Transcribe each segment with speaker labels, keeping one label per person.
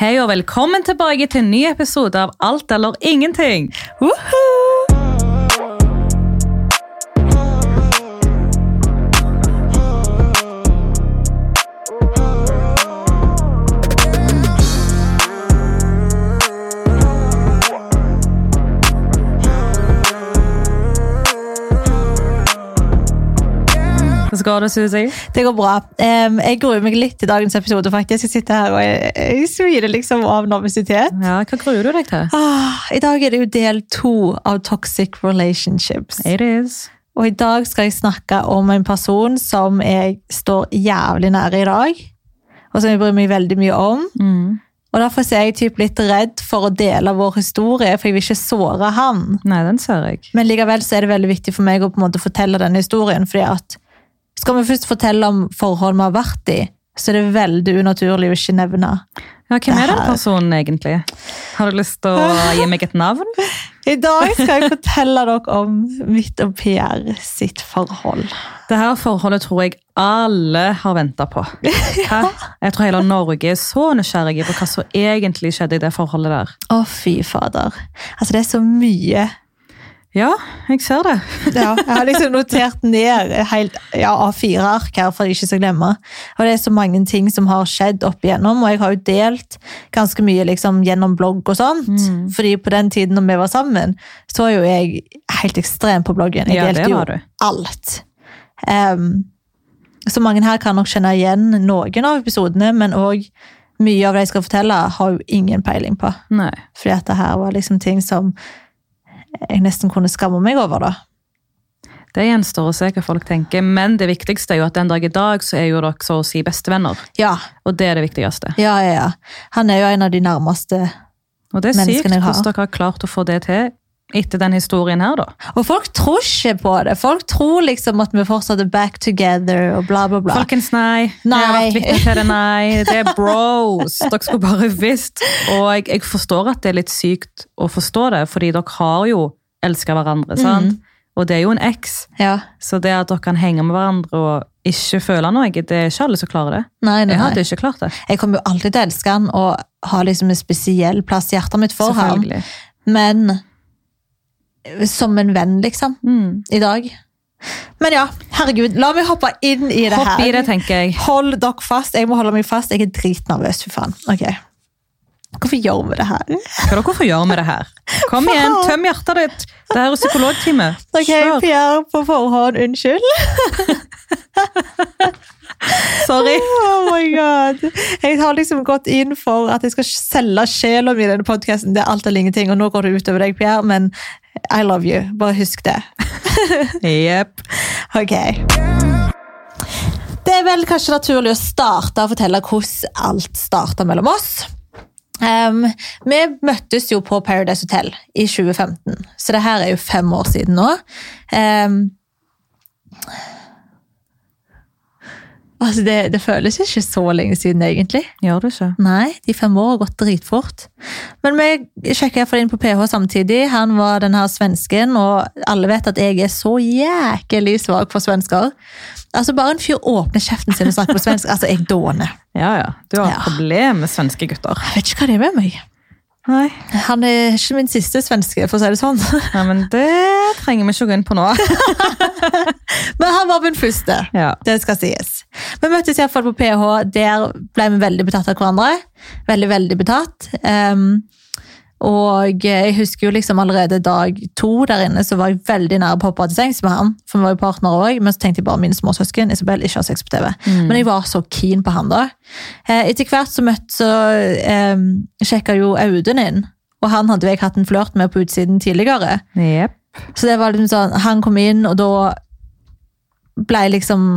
Speaker 1: Hei og velkommen tilbake til en ny episode av Alt eller ingenting. Woohoo! Hvordan går det, Susi?
Speaker 2: Det går bra. Em, jeg gruer meg litt til dagens episode, faktisk. Jeg sitter her og jeg, jeg smiler liksom av nervøsitet.
Speaker 1: Ja, hva gruer du deg til?
Speaker 2: Ah, I dag er det jo del to av Toxic Relationships.
Speaker 1: It is.
Speaker 2: Og i dag skal jeg snakke om en person som jeg står jævlig nære i dag. Og som jeg bryr meg veldig mye om.
Speaker 1: Mm.
Speaker 2: Og derfor er jeg typ litt redd for å dele vår historie, for jeg vil ikke såre han.
Speaker 1: Nei, den ser jeg.
Speaker 2: Men likevel så er det veldig viktig for meg å på en måte fortelle denne historien. fordi at Skal vi først fortelle om forhold vi har vært i, så er det veldig unaturlig å ikke nevne.
Speaker 1: Ja, hvem er
Speaker 2: Det
Speaker 1: den
Speaker 2: her-
Speaker 1: personen egentlig? Har du lyst til å gi meg et navn?
Speaker 2: I dag skal jeg fortelle dere om mitt og Pierre sitt forhold.
Speaker 1: Det her forholdet tror jeg alle har venta på. Hæ? Jeg tror hele Norge er så nysgjerrig på hva som egentlig skjedde i det forholdet der.
Speaker 2: Å, fy fader. Altså, det er så mye.
Speaker 1: Ja, jeg ser det.
Speaker 2: Ja, jeg har liksom notert ned helt ja, A4-ark her for ikke å glemme. Og det er så mange ting som har skjedd opp igjennom, og jeg har jo delt ganske mye liksom, gjennom blogg og sånt.
Speaker 1: Mm.
Speaker 2: Fordi på den tiden når vi var sammen, så var jo jeg helt ekstrem på bloggen. Jeg
Speaker 1: Ja, det
Speaker 2: delte jo
Speaker 1: var du.
Speaker 2: alt. Em, så mange her kan nok kjenne igjen noen av episodene, men òg mye av det jeg skal fortelle, har jo ingen peiling på.
Speaker 1: Nei.
Speaker 2: Fordi at det her var liksom ting som jeg nesten kunne skamme meg over, da.
Speaker 1: Det gjenstår å se hva folk tenker, men det viktigste er jo at den dag i dag så er jo dere så å si bestevenner.
Speaker 2: Ja,
Speaker 1: Og det er det viktigste.
Speaker 2: Ja, ja, ja. Han er jo en av de nærmeste.
Speaker 1: Og det er sykt
Speaker 2: Menneskene jeg har.
Speaker 1: hvordan dere har klart å få det til etter den historien her, da.
Speaker 2: Og folk tror ikke på det. Folk tror liksom at vi fortsatt er back together og bla, bla, bla.
Speaker 1: Folkens, nei. Jeg har
Speaker 2: Nei.
Speaker 1: vært vitne til det, nei. Det er bros. Dere skulle bare visst. Og jeg, jeg forstår at det er litt sykt å forstå det, fordi dere har jo elska
Speaker 2: Mhm.
Speaker 1: hverandre, sant? Og det er jo en eks,
Speaker 2: Ja.
Speaker 1: så det at dere kan henge med hverandre og ikke føle noe, det er ikke alle som klarer det.
Speaker 2: Nei, nei,
Speaker 1: Jeg hadde
Speaker 2: nei.
Speaker 1: ikke klart det.
Speaker 2: Jeg kommer jo alltid til å elske han og ha liksom en spesiell plass i hjertet mitt for ham.
Speaker 1: Selvfølgelig.
Speaker 2: Men som en venn, liksom.
Speaker 1: Mm.
Speaker 2: I dag. Men ja, herregud. La meg hoppe inn i det
Speaker 1: Hopp
Speaker 2: her.
Speaker 1: i det, tenker jeg.
Speaker 2: Hold dere fast. Jeg må holde meg fast. Jeg er dritnervøs, fy faen. Ok. Hvorfor gjør vi det her?
Speaker 1: Hva dere får gjøre med det her? Kom igjen, tøm hjertet ditt. Det her er psykologtime.
Speaker 2: Ok,
Speaker 1: Kjør.
Speaker 2: Pierre, på forhånd, unnskyld.
Speaker 1: Sorry.
Speaker 2: Oh my god. Jeg har liksom gått inn for at jeg skal selge sjela mi i denne podkasten. Det er alt eller ingenting, og nå går det utover deg, Pierre, men I love you. Bare husk det.
Speaker 1: Jepp.
Speaker 2: Ok. Det er vel kanskje naturlig å starte og fortelle hvordan alt starta mellom oss. Ehm, vi møttes jo på Paradise Hotel i 2015, så det her er jo fem år siden nå. Ehm, altså, det, det føles ikke så lenge siden, egentlig.
Speaker 1: Gjør du ikke?
Speaker 2: Nei, de fem år har gått dritfort. Men vi sjekket iallfall inn på PH samtidig. Han var den her svensken, og alle vet at jeg er så jækelig svak for svensker. Altså, bare en fyr åpner kjeften sin og snakker på svensk. Altså, jeg dåner.
Speaker 1: Ja, ja. Du har
Speaker 2: Ja.
Speaker 1: et problem med svenske gutter.
Speaker 2: Jeg vet ikke hva det er med meg.
Speaker 1: Nei.
Speaker 2: Han er ikke min siste svenske, for å si det sånn.
Speaker 1: Nei, men det trenger vi ikke å gå inn på nå.
Speaker 2: Men han var min første.
Speaker 1: Ja.
Speaker 2: Det skal sies. Vi møttes iallfall på PH. Der ble vi veldig betatt av hverandre. Veldig, veldig betatt. Ehm, og jeg husker jo liksom allerede dag to der inne, så var jeg veldig nær på å hoppe til sengs med han. For vi var jo partnere også, men så tenkte jeg bare mine småsøsken Isabel ikke har sex på TV. Men jeg var så keen på han da. Eh, Etter hvert så møtte så um, sjekka jo Audun inn. Og han hadde jo jeg hatt en flørt med på utsiden tidligere.
Speaker 1: Jep.
Speaker 2: Så det var liksom sånn, han kom inn, og da ble liksom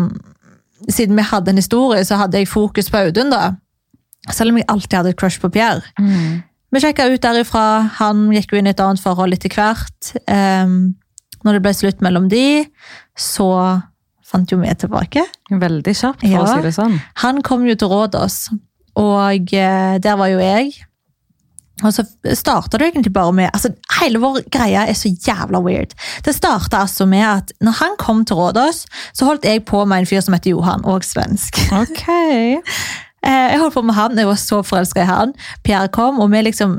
Speaker 2: Siden vi hadde en historie, så hadde jeg fokus på Audun, da. Selv om jeg alltid hadde et crush på Pierre.
Speaker 1: Mm.
Speaker 2: Vi sjekka ut derifra. Han gikk jo inn i et annet forhold etter hvert. Ehm, når det ble slutt mellom de, så fant jo vi tilbake.
Speaker 1: Veldig kjapt, for
Speaker 2: Ja.
Speaker 1: å si det sånn.
Speaker 2: Han kom jo til Rådås, og eh, der var jo jeg. Og så starta det egentlig bare med altså Hele vår greia er så jævla weird. Det starta altså med at når han kom til Rådås, så holdt jeg på med en fyr som heter Johan, og svensk.
Speaker 1: Ok.
Speaker 2: Eh, Jeg holdt på med han, jeg var så forelska i han. Pierre kom, og vi liksom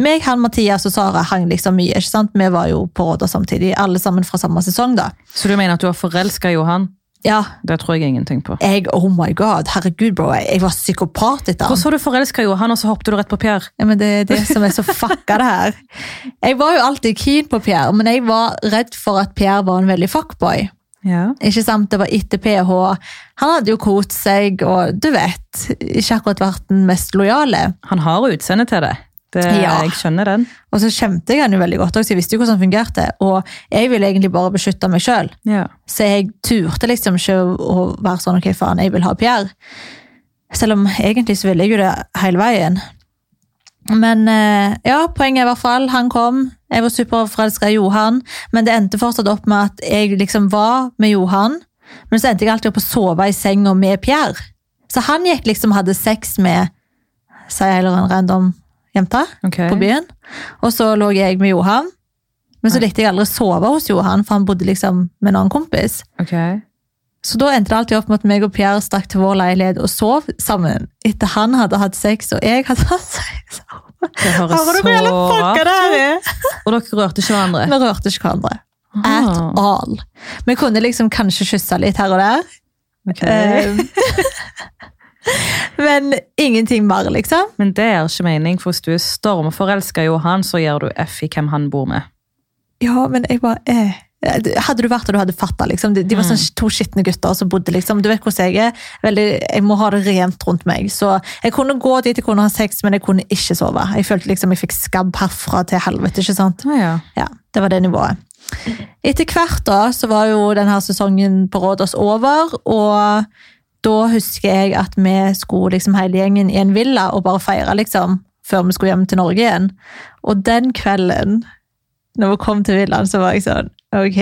Speaker 2: meg, han, Mathias og Sara hang liksom mye. ikke sant? Vi var jo på Odda samtidig, alle sammen fra samme sesong. da.
Speaker 1: Så du mener at du var forelska i Johan?
Speaker 2: Ja,
Speaker 1: Det tror jeg ingenting på.
Speaker 2: jeg, Oh my god, herregud, bro. Jeg, jeg var psykopat etter han.
Speaker 1: Hvordan var du forelska i Johan, og så hoppet du rett på Pierre?
Speaker 2: Ja, men det er det som er så fucka, det her. Jeg var jo alltid keen på Pierre, men jeg var redd for at Pierre var en veldig fuckboy.
Speaker 1: Ja.
Speaker 2: Ikke sant, Det var etter PH. Han hadde jo kost seg, og du vet Ikke akkurat vært den mest lojale.
Speaker 1: Han har utseende til det. det
Speaker 2: Ja.
Speaker 1: Jeg skjønner den.
Speaker 2: Og så kjente jeg han jo veldig godt, også, så jeg visste jo hvordan han fungerte. Og jeg ville egentlig bare beskytte meg sjøl,
Speaker 1: Ja.
Speaker 2: så jeg turte liksom ikke å være sånn ok, faen, jeg vil ha Pierre. Selv om egentlig så ville jeg jo det hele veien. Men eh, ja, poenget i hvert fall, han kom. Jeg var superforelska i Johan, men det endte fortsatt opp med at jeg liksom var med Johan, men så endte jeg alltid opp å sove i senga med Pierre. Så han gikk liksom og hadde sex med, sier jeg, eller en random jente
Speaker 1: Ok.
Speaker 2: på byen. Og så lå jeg med Johan. Men så likte jeg aldri å sove hos Johan, for han bodde liksom med en annen kompis.
Speaker 1: Ok.
Speaker 2: Så da endte det alltid opp med at meg og Pierre stakk til vår leilighet og sov sammen. Etter han hadde hatt sex, og jeg hadde hatt sex.
Speaker 1: Det høres
Speaker 2: Hører du
Speaker 1: så
Speaker 2: hvor jævla fucka
Speaker 1: rart
Speaker 2: det her er?
Speaker 1: Og dere rørte ikke hverandre?
Speaker 2: Vi rørte ikke hverandre. At
Speaker 1: Ah,
Speaker 2: all. Vi kunne liksom kanskje kysse litt her og der.
Speaker 1: ok.
Speaker 2: Eh, Men ingenting mer, liksom.
Speaker 1: Men det er ikke mening, for hvis du er stormforelska i Johan, så gjør du F i hvem han bor med.
Speaker 2: Ja, men jeg bare eh. Hadde du vært der du hadde fatta, liksom. De, de var sånn to skitne gutter som bodde, liksom. Du vet hvordan jeg er. Veldig, jeg må ha det rent rundt meg. Så jeg kunne gå dit jeg kunne ha sex, men jeg kunne ikke sove. Jeg følte liksom jeg fikk skabb herfra til helvete, ikke sant.
Speaker 1: Ah, ja.
Speaker 2: Ja, det var det nivået. Etter hvert da, så var jo denne sesongen på Rådås over, og da husker jeg at vi skulle liksom hele gjengen i en villa og bare feire, liksom, før vi skulle hjem til Norge igjen. Og den kvelden, når vi kom til villaen, så var jeg sånn, ok,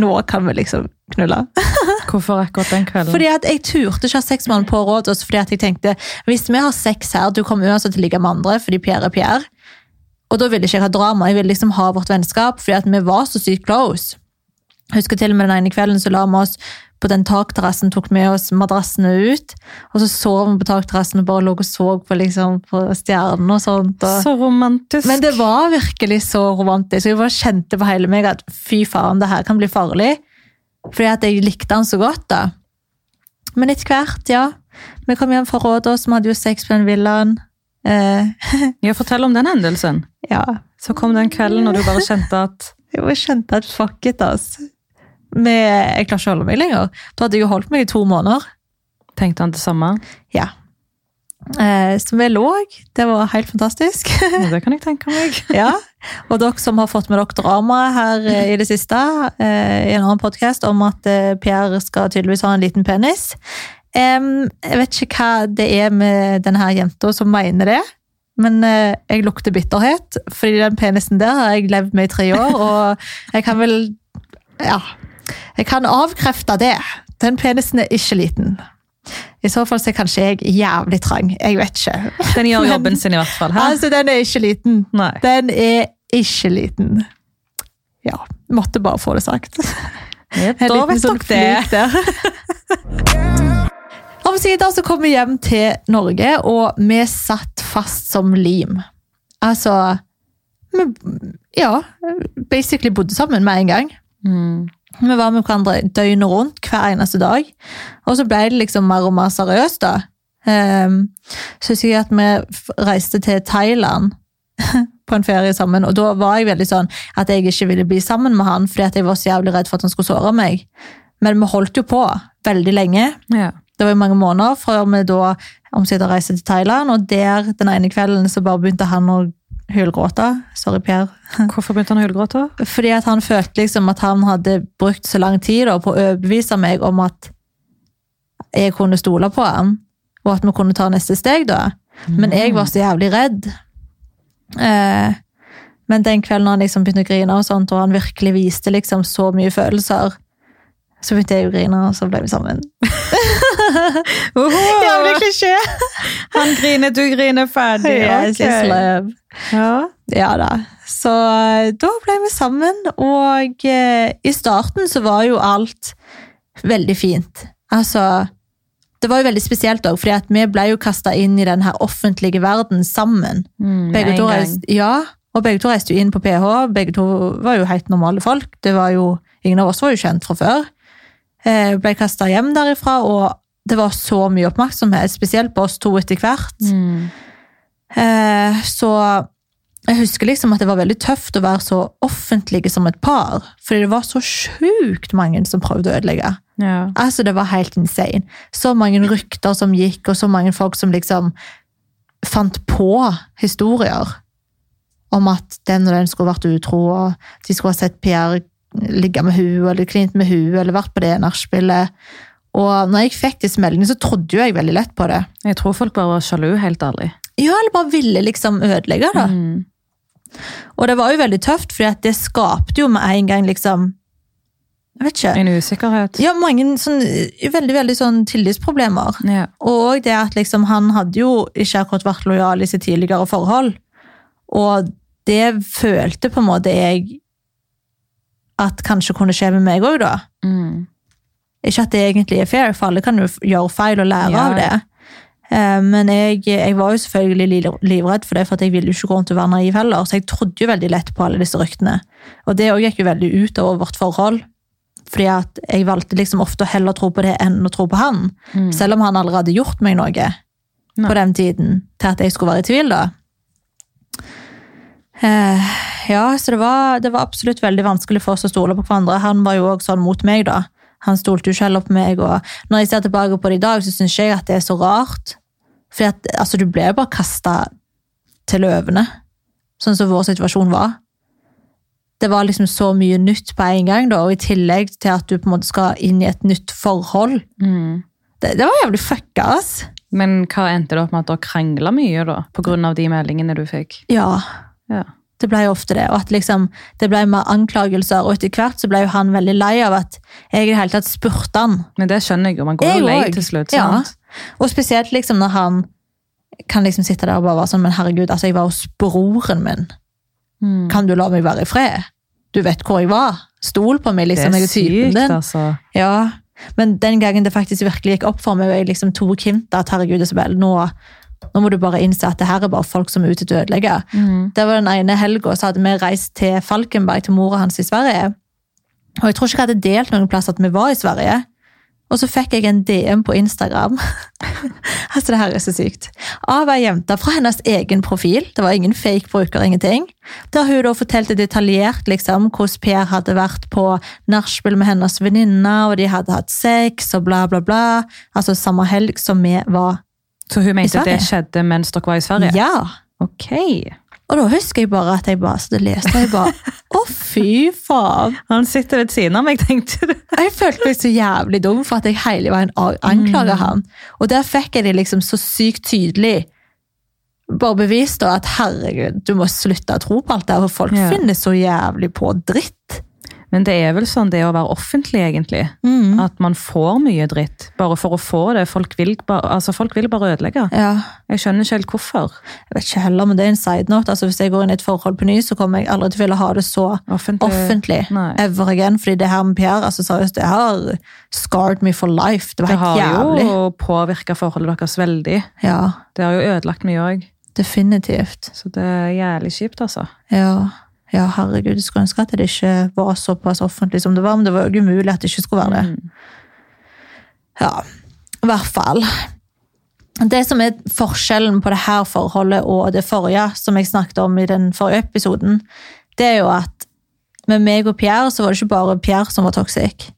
Speaker 2: nå kan vi liksom knulle.
Speaker 1: Hvorfor akkurat den kvelden?
Speaker 2: Fordi at jeg turte ikke ha sex med han på Rådås, fordi at jeg tenkte, hvis vi har sex her, du kommer uansett til å ligge med andre, fordi Pierre er Pierre. Og da ville ikke jeg ha drama, jeg ville liksom ha vårt vennskap, fordi at vi var så sykt close. Jeg husker til og med den ene kvelden så la vi oss på den takterrassen, tok med oss madrassene ut, og så sov vi på takterrassen og bare lå og så på, liksom, på stjernene og sånt. Og...
Speaker 1: Så romantisk.
Speaker 2: Men det var virkelig så romantisk. og Jeg bare kjente på hele meg at fy faen, det her kan bli farlig. Fordi at jeg likte han så godt, da. Men etter hvert, ja. Vi kom hjem fra Rådås, vi hadde jo sex på den villaen. Eh,
Speaker 1: Ja, fortell om den hendelsen.
Speaker 2: ja.
Speaker 1: Så kom den kvelden, og du bare kjente at
Speaker 2: Jo, jeg kjente at fuck it, ass. Men jeg klarer ikke å holde meg lenger. Da hadde jeg jo holdt meg i to måneder.
Speaker 1: Tenkte han det samme?
Speaker 2: Ja. Eh, så vi lå. Det var helt fantastisk.
Speaker 1: Ja, Det kan jeg tenke meg.
Speaker 2: Ja, og dere som har fått med dere drama her eh, i det siste, eh, i en annen podcast om at eh, Pierre skal tydeligvis ha en liten penis. Em, jeg vet ikke hva det er med denne jenta som mener det, men eh, jeg lukter bitterhet, fordi den penisen der har jeg levd med i tre år, og jeg kan vel, ja, jeg kan avkrefte det. Den penisen er ikke liten. I så fall så er kanskje jeg jævlig trang, jeg vet ikke.
Speaker 1: Den gjør jobben sin i hvert fall. Hæ?
Speaker 2: Altså, den er ikke liten.
Speaker 1: Nei.
Speaker 2: Den er ikke liten. Ja, måtte bare få det sagt.
Speaker 1: Ja,
Speaker 2: En
Speaker 1: da
Speaker 2: liten
Speaker 1: vet
Speaker 2: sånn
Speaker 1: dere det.
Speaker 2: flik der. Omsider så kom vi hjem til Norge, og vi satt fast som lim. Altså vi, Ja, basically bodde sammen med en gang.
Speaker 1: Mm.
Speaker 2: Vi var med hverandre døgnet rundt hver eneste dag. Og så ble det liksom mer og mer seriøst, da. Ehm, så husker jeg at vi f- reiste til Thailand på en ferie sammen, og da var jeg veldig sånn at jeg ikke ville bli sammen med han, fordi at jeg var så jævlig redd for at han skulle såre meg. Men vi holdt jo på veldig lenge.
Speaker 1: Ja.
Speaker 2: Det var jo mange måneder før vi da omsider reiste til Thailand, og der den ene kvelden så bare begynte han å hylgråte. Sorry, Per.
Speaker 1: Hvorfor begynte han å hylgråte?
Speaker 2: Fordi at han følte liksom at han hadde brukt så lang tid da, på å overbevise meg om at jeg kunne stole på ham, og at vi kunne ta neste steg da. Men jeg var så jævlig redd. Eh, men den kvelden han liksom begynte å grine og sånt, og han virkelig viste liksom så mye følelser, så begynte jeg å grine, og så ble vi sammen.
Speaker 1: Jævlig
Speaker 2: klisjé!
Speaker 1: Han griner, du griner ferdig.
Speaker 2: Yes,
Speaker 1: Ok.
Speaker 2: it's love.
Speaker 1: Ja.
Speaker 2: Ja da. Så eh, da ble vi sammen, og eh, i starten så var jo alt veldig fint. Altså, det var jo veldig spesielt òg, fordi at vi ble jo kasta inn i den her offentlige verden sammen.
Speaker 1: Mm, med
Speaker 2: Begge
Speaker 1: en
Speaker 2: to,
Speaker 1: gang.
Speaker 2: reiste, ja, og begge to reiste jo inn på PH. Begge to var jo helt normale folk. Det var jo, ingen av oss var jo kjent fra før. Eh, ble kasta hjem derifra, og det var så mye oppmerksomhet, spesielt på oss to etter hvert.
Speaker 1: Mm.
Speaker 2: Eh, så jeg husker liksom at det var veldig tøft å være så offentlige som et par. Fordi det var så sjukt mange som prøvde å ødelegge.
Speaker 1: Ja.
Speaker 2: Altså, det var helt insane. Så mange rykter som gikk, og så mange folk som liksom fant på historier om at den og den skulle vært utro, og de skulle ha sett Pierre ligge med hun, eller klint med hun, eller vært på det nachspielet. Og når jeg fikk disse meldingene, så trodde jo jeg veldig lett på det.
Speaker 1: Jeg tror folk bare var sjalu, helt ærlig.
Speaker 2: Ja, eller bare ville liksom ødelegge det.
Speaker 1: Mm.
Speaker 2: Og det var jo veldig tøft, fordi at det skapte jo med en gang liksom Jeg vet ikke.
Speaker 1: En usikkerhet.
Speaker 2: Ja, mange sånn, veldig, veldig sånn tillitsproblemer.
Speaker 1: Ja.
Speaker 2: Og det at liksom, han hadde jo ikke akkurat vært lojal i sitt tidligere forhold. Og det følte på en måte jeg at kanskje kunne skje med meg òg, da.
Speaker 1: Mm.
Speaker 2: Ikke at det egentlig er fair, for alle kan jo f- gjøre feil og lære
Speaker 1: Ja.
Speaker 2: av det. Eh, Men jeg, jeg var jo selvfølgelig li- livredd for det, for at jeg ville jo ikke gå rundt og være naiv heller. Så jeg trodde jo veldig lett på alle disse ryktene. Og det også gikk jo veldig ut over vårt forhold. Fordi at jeg valgte liksom ofte å heller tro på det enn å tro på han.
Speaker 1: Mm.
Speaker 2: Selv om han allerede hadde gjort meg noe
Speaker 1: Nei.
Speaker 2: på den tiden, til at jeg skulle være i tvil, da. Eh, ja, så det var, det var absolutt veldig vanskelig for oss å stole på hverandre. Han var jo også sånn mot meg, da. Han stolte jo ikke heller på meg. Og når jeg ser tilbake på det i dag, så syns jeg at det er så rart. For at, altså, du ble jo bare kasta til løvene, sånn som vår situasjon var. Det var liksom så mye nytt på en gang, da, og i tillegg til at du på en måte skal inn i et nytt forhold.
Speaker 1: Mm.
Speaker 2: Det, det var jævlig fucka, ass.
Speaker 1: Men hva endte det opp med at dere krangla mye da, pga. de meldingene du fikk?
Speaker 2: Ja,
Speaker 1: Ja.
Speaker 2: det ble jo ofte det. Og at liksom, det ble mer anklagelser, og etter hvert så ble jo han veldig lei av at jeg i det hele tatt spurte han.
Speaker 1: Men det skjønner jeg jo. Man går
Speaker 2: Jeg
Speaker 1: jo lei
Speaker 2: òg.
Speaker 1: til slutt.
Speaker 2: Ja.
Speaker 1: sant?
Speaker 2: Og spesielt liksom når han kan liksom sitte der og bare være sånn, men herregud, altså jeg var hos broren min.
Speaker 1: Mm.
Speaker 2: Kan du la meg være i fred? Du vet hvor jeg var. Stol på meg,
Speaker 1: Det
Speaker 2: liksom.
Speaker 1: er
Speaker 2: Jeg er typen
Speaker 1: sykt,
Speaker 2: din.
Speaker 1: altså.
Speaker 2: Ja, men den gangen det faktisk virkelig gikk opp for meg, og jeg liksom tok hintet at herregud, Isabel, nå, nå må du bare innse at det her er bare folk som er ute til å ødelegge.
Speaker 1: Mm.
Speaker 2: Det var den ene helga, så hadde vi reist til Falkenberg til mora hans i Sverige. Og jeg tror ikke jeg hadde delt noen plass at vi var i Sverige. Og så fikk jeg en DM på Instagram. altså, det her er så sykt. Av ei jente fra hennes egen profil. Det var ingen fake bruker, ingenting. Der hun da fortalte detaljert liksom, hvordan Per hadde vært på nachspiel med hennes venninne, og de hadde hatt sex og bla, bla, bla. Altså samme helg som vi var
Speaker 1: Så hun mente at det
Speaker 2: Sverige?
Speaker 1: skjedde mens dere var i Sverige?
Speaker 2: Ja!
Speaker 1: Ok.
Speaker 2: Og da husker jeg bare at jeg bare satt og leste, og jeg bare Å, fy faen!
Speaker 1: Han sitter ved siden av meg, tenkte du.
Speaker 2: Og Jeg følte meg så jævlig dum for at jeg hele veien a- anklager
Speaker 1: Mm.
Speaker 2: han. Og der fikk jeg det liksom så sykt tydelig. Bare bevist da at herregud, du må slutte å tro på alt det her, for folk
Speaker 1: Ja.
Speaker 2: finner så jævlig på dritt.
Speaker 1: Men det er vel sånn det å være offentlig, egentlig.
Speaker 2: Mm.
Speaker 1: At man får mye dritt bare for å få det. Folk vil bare, altså, folk vil bare ødelegge.
Speaker 2: Ja.
Speaker 1: Jeg skjønner ikke helt hvorfor.
Speaker 2: Jeg vet ikke heller, men det er en side note. Altså, hvis jeg går inn i et forhold på ny, så kommer jeg aldri til å ville ha det så
Speaker 1: Offentlig.
Speaker 2: offentlig.
Speaker 1: Nei.
Speaker 2: Ever again. Fordi det her med Pierre, altså seriøst, det har scarred me for life. Det var
Speaker 1: Det
Speaker 2: helt
Speaker 1: har
Speaker 2: jævlig.
Speaker 1: jo påvirka forholdet deres veldig.
Speaker 2: Ja.
Speaker 1: Det har jo ødelagt mye òg.
Speaker 2: Definitivt.
Speaker 1: Så det er jævlig kjipt, altså.
Speaker 2: Ja. ja, herregud, jeg skulle ønske at det ikke var såpass offentlig som det var, men det var jo umulig at det ikke skulle være det.
Speaker 1: Mm.
Speaker 2: Ja, i hvert fall. Det som er forskjellen på det her forholdet og det forrige, som jeg snakket om i den forrige episoden, det er jo at med meg og Pierre så var det ikke bare Pierre som var toxic.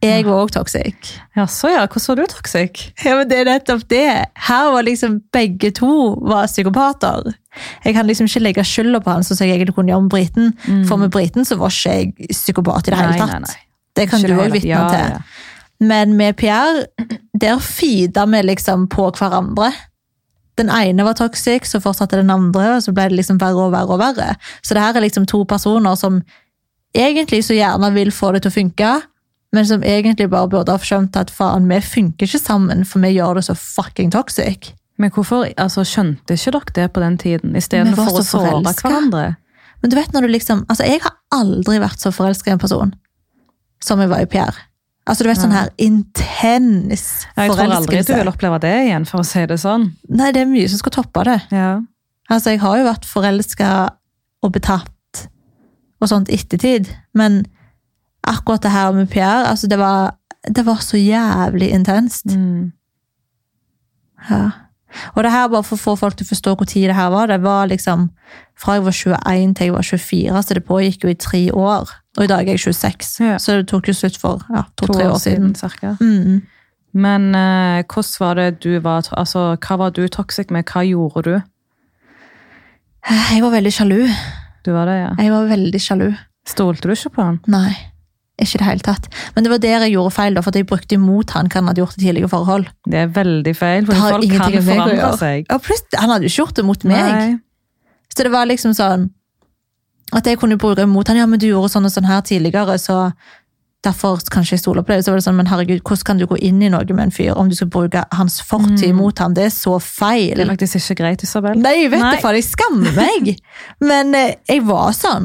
Speaker 2: Jeg var òg toxic.
Speaker 1: Jaså, ja. Hvordan var du toxic?
Speaker 2: Ja, men det er nettopp det. Her var liksom begge to var psykopater. Jeg kan liksom ikke legge skylda på han, sånn som jeg egentlig kunne gjøre med briten. For med briten så var ikke jeg psykopat i det hele
Speaker 1: Mm. Nei,
Speaker 2: tatt.
Speaker 1: nei, nei.
Speaker 2: Det kan
Speaker 1: Ikke
Speaker 2: du òg
Speaker 1: hele-
Speaker 2: vitne
Speaker 1: ja,
Speaker 2: til.
Speaker 1: ja.
Speaker 2: Men med Pierre, der feeda vi liksom på hverandre. Den ene var toxic, så fortsatte den andre, og så ble det liksom verre og verre. og verre. Så det her er liksom to personer som egentlig så gjerne vil få det til å funke, men som egentlig bare burde ha skjønt at faen, vi funker ikke sammen, for vi gjør det så fucking toxic.
Speaker 1: Men hvorfor altså, skjønte ikke dere det på den tiden,
Speaker 2: Vi var
Speaker 1: istedenfor å
Speaker 2: så
Speaker 1: såre
Speaker 2: forelsket.
Speaker 1: hverandre?
Speaker 2: Men du vet når du liksom Altså, jeg har aldri vært så forelska i en person som jeg var i Pierre. Altså, du vet sånn her intens
Speaker 1: Jeg tror aldri du
Speaker 2: forelskelse.
Speaker 1: vil oppleve det igjen, for å si det sånn.
Speaker 2: Nei, det er mye som skal toppe det.
Speaker 1: Ja.
Speaker 2: Altså, jeg har jo vært forelska og betatt og sånt ettertid, men akkurat det her med Pierre, altså, det var, det var så jævlig intenst.
Speaker 1: Mm.
Speaker 2: Ja. Og det her bare for å få folk til å forstå hvor tid det her var, det var liksom fra jeg var 21 til jeg var 24, så det pågikk jo i tre år. Og i dag er jeg 26,
Speaker 1: Ja.
Speaker 2: så det tok jo slutt for ja, to-tre
Speaker 1: To
Speaker 2: år siden.
Speaker 1: cirka.
Speaker 2: Mm.
Speaker 1: Men eh, hvordan var det du var to- Altså, hva var du toxic med? Hva gjorde du?
Speaker 2: Jeg var veldig sjalu.
Speaker 1: Du var det, ja.
Speaker 2: Jeg var veldig sjalu.
Speaker 1: Stolte du ikke på han?
Speaker 2: Nei, ikke i det hele tatt. Men det var der jeg gjorde feil, da, for at jeg brukte imot han hva han hadde gjort i tidligere forhold.
Speaker 1: Det er veldig feil, for
Speaker 2: Det har
Speaker 1: folk kan
Speaker 2: ingenting med meg å
Speaker 1: forandre
Speaker 2: gjøre.
Speaker 1: seg.
Speaker 2: Og plutselig, Han hadde jo ikke gjort det mot meg.
Speaker 1: Nei.
Speaker 2: Så det var liksom sånn At jeg kunne bruke imot han, ja, men du gjorde sånn og sånn her tidligere, så derfor kan ikke jeg stole på deg. Så var det sånn, men herregud, hvordan kan du gå inn i noe med en fyr om du skal bruke hans fortid mot ham? Det er så
Speaker 1: Mm. Det er
Speaker 2: feil.
Speaker 1: faktisk ikke greit, Isabel.
Speaker 2: Nei, vet
Speaker 1: Nei.
Speaker 2: du faen, jeg skammer meg! Men eh, jeg var sånn.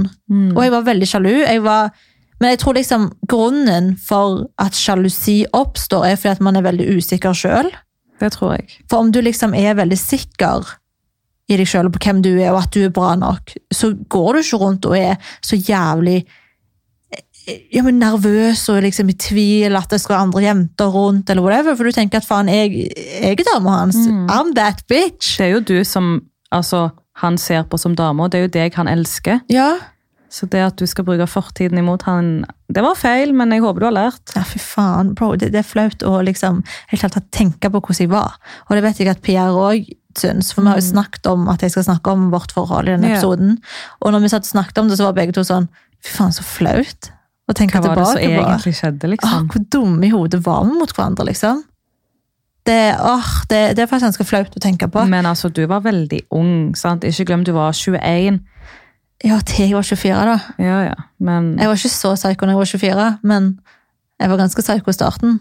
Speaker 2: Og jeg var veldig sjalu. Jeg var, men jeg tror liksom grunnen for at sjalusi oppstår, er fordi at man er veldig usikker sjøl.
Speaker 1: Det tror jeg.
Speaker 2: For om du liksom er veldig sikker i deg sjøl på hvem du er, og at du er bra nok, så går du ikke rundt og er så jævlig eh, ja, men nervøs og liksom i tvil at det skal være andre jenter rundt, eller whatever, for du tenker at faen, jeg, jeg er dama hans. I'm that bitch.
Speaker 1: Det er jo du som altså, han ser på som dame, og det er jo deg han elsker.
Speaker 2: Ja.
Speaker 1: Så det at du skal bruke fortiden imot han, det var feil, men jeg håper du har lært.
Speaker 2: Ja, fy faen, bro. Det, det er flaut å liksom helt tatt tenke på hvordan jeg var. Og det vet jeg at Pierre òg syns, for vi har jo snakket om at jeg skal snakke om vårt forhold i denne
Speaker 1: Mm. Ja.
Speaker 2: episoden. Og når vi satt og snakket om det, så var begge to sånn Fy faen, så flaut å tenke
Speaker 1: Hva var det som
Speaker 2: tilbake på.
Speaker 1: egentlig skjedde,
Speaker 2: Åh,
Speaker 1: liksom?
Speaker 2: hvor dumme i hodet var vi mot hverandre, liksom? Det, åh, det, det er faktisk ganske flaut å tenke på.
Speaker 1: Men altså, du var veldig ung, sant? Ikke glem du var 21.
Speaker 2: Ja, til jeg var 24, da.
Speaker 1: Ja, ja. Men
Speaker 2: Jeg var ikke så psyko når jeg var 24, men jeg var ganske psyko i starten.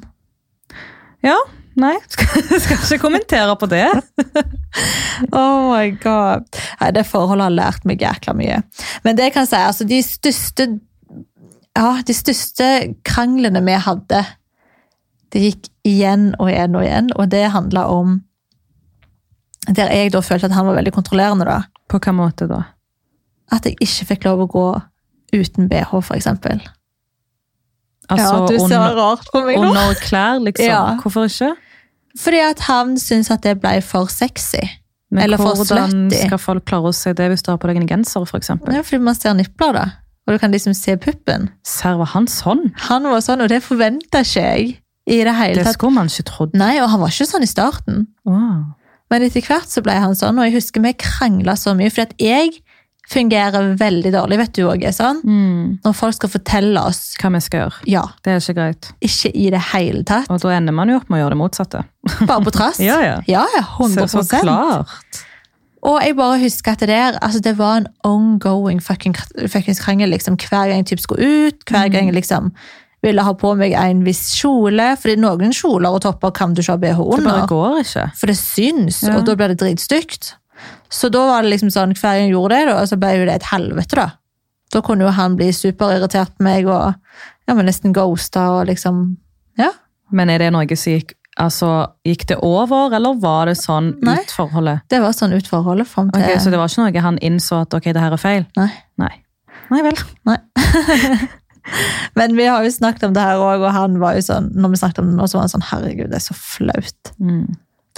Speaker 1: Ja, nei. Skal, skal ikke kommentere på det.
Speaker 2: Oh my god. Nei, det forholdet har lært meg jækla mye. Men det jeg kan si, altså de største ja, de største kranglene vi hadde, det gikk igjen og igjen og igjen, og det handla om Der jeg da følte at han var veldig kontrollerende, da.
Speaker 1: På hvilken måte da?
Speaker 2: At jeg ikke fikk lov å gå uten BH, for eksempel.
Speaker 1: Altså, under,
Speaker 2: rart på meg
Speaker 1: under klær, liksom.
Speaker 2: Ja.
Speaker 1: Hvorfor ikke?
Speaker 2: Fordi at han syntes at det ble for sexy.
Speaker 1: Men
Speaker 2: Eller for
Speaker 1: hvordan
Speaker 2: slutty.
Speaker 1: skal folk klare å se det hvis du har på deg en genser, for eksempel?
Speaker 2: Det er fordi man ser nipler, da. Og du kan liksom se puppen.
Speaker 1: Serr, var han sånn?
Speaker 2: Han var sånn, og det forventa ikke jeg. I det hele
Speaker 1: Det Mm.
Speaker 2: tatt.
Speaker 1: skulle man ikke trodd.
Speaker 2: Nei, og han var ikke sånn i starten.
Speaker 1: Åh.
Speaker 2: Men etter hvert så ble han sånn, og jeg husker vi krangla så mye. For at jeg fungerer veldig dårlig, vet du òg, er sånn.
Speaker 1: Mm.
Speaker 2: Når folk skal fortelle oss
Speaker 1: Hva vi skal gjøre.
Speaker 2: ja,
Speaker 1: Det er ikke greit.
Speaker 2: ikke i det hele tatt,
Speaker 1: Og da ender man jo opp med å gjøre det motsatte.
Speaker 2: bare på trass.
Speaker 1: Ja, ja.
Speaker 2: ja, ja,
Speaker 1: Så,
Speaker 2: 100
Speaker 1: så klart.
Speaker 2: Og jeg bare husker at det der, altså det var en ongoing fucking, fucking krangel, liksom. Hver gang jeg typ skulle ut, hver
Speaker 1: Mm.
Speaker 2: gang jeg liksom ville ha på meg en viss kjole. Fordi noen kjoler og topper kan du ikke ha BH
Speaker 1: Det bare
Speaker 2: under.
Speaker 1: går ikke.
Speaker 2: For det syns,
Speaker 1: Ja.
Speaker 2: og da blir det dritstygt. Så da var det liksom sånn, hver gang jeg gjorde det, da, så ble jo det et helvete, da. Da kunne jo han bli superirritert på meg og ja, men nesten ghosta og liksom Ja.
Speaker 1: Men er det noe som gikk Altså, gikk det over, eller var det sånn
Speaker 2: Nei.
Speaker 1: ut forholdet?
Speaker 2: Det var sånn ut forholdet fram til
Speaker 1: Ok, Så det var ikke noe han innså at ok, det her er feil?
Speaker 2: Nei.
Speaker 1: Nei. Nei vel.
Speaker 2: Men vi har jo snakket om det her òg, og han var jo sånn når vi snakket om det nå, så var han sånn Herregud, det er så flaut.
Speaker 1: Mm.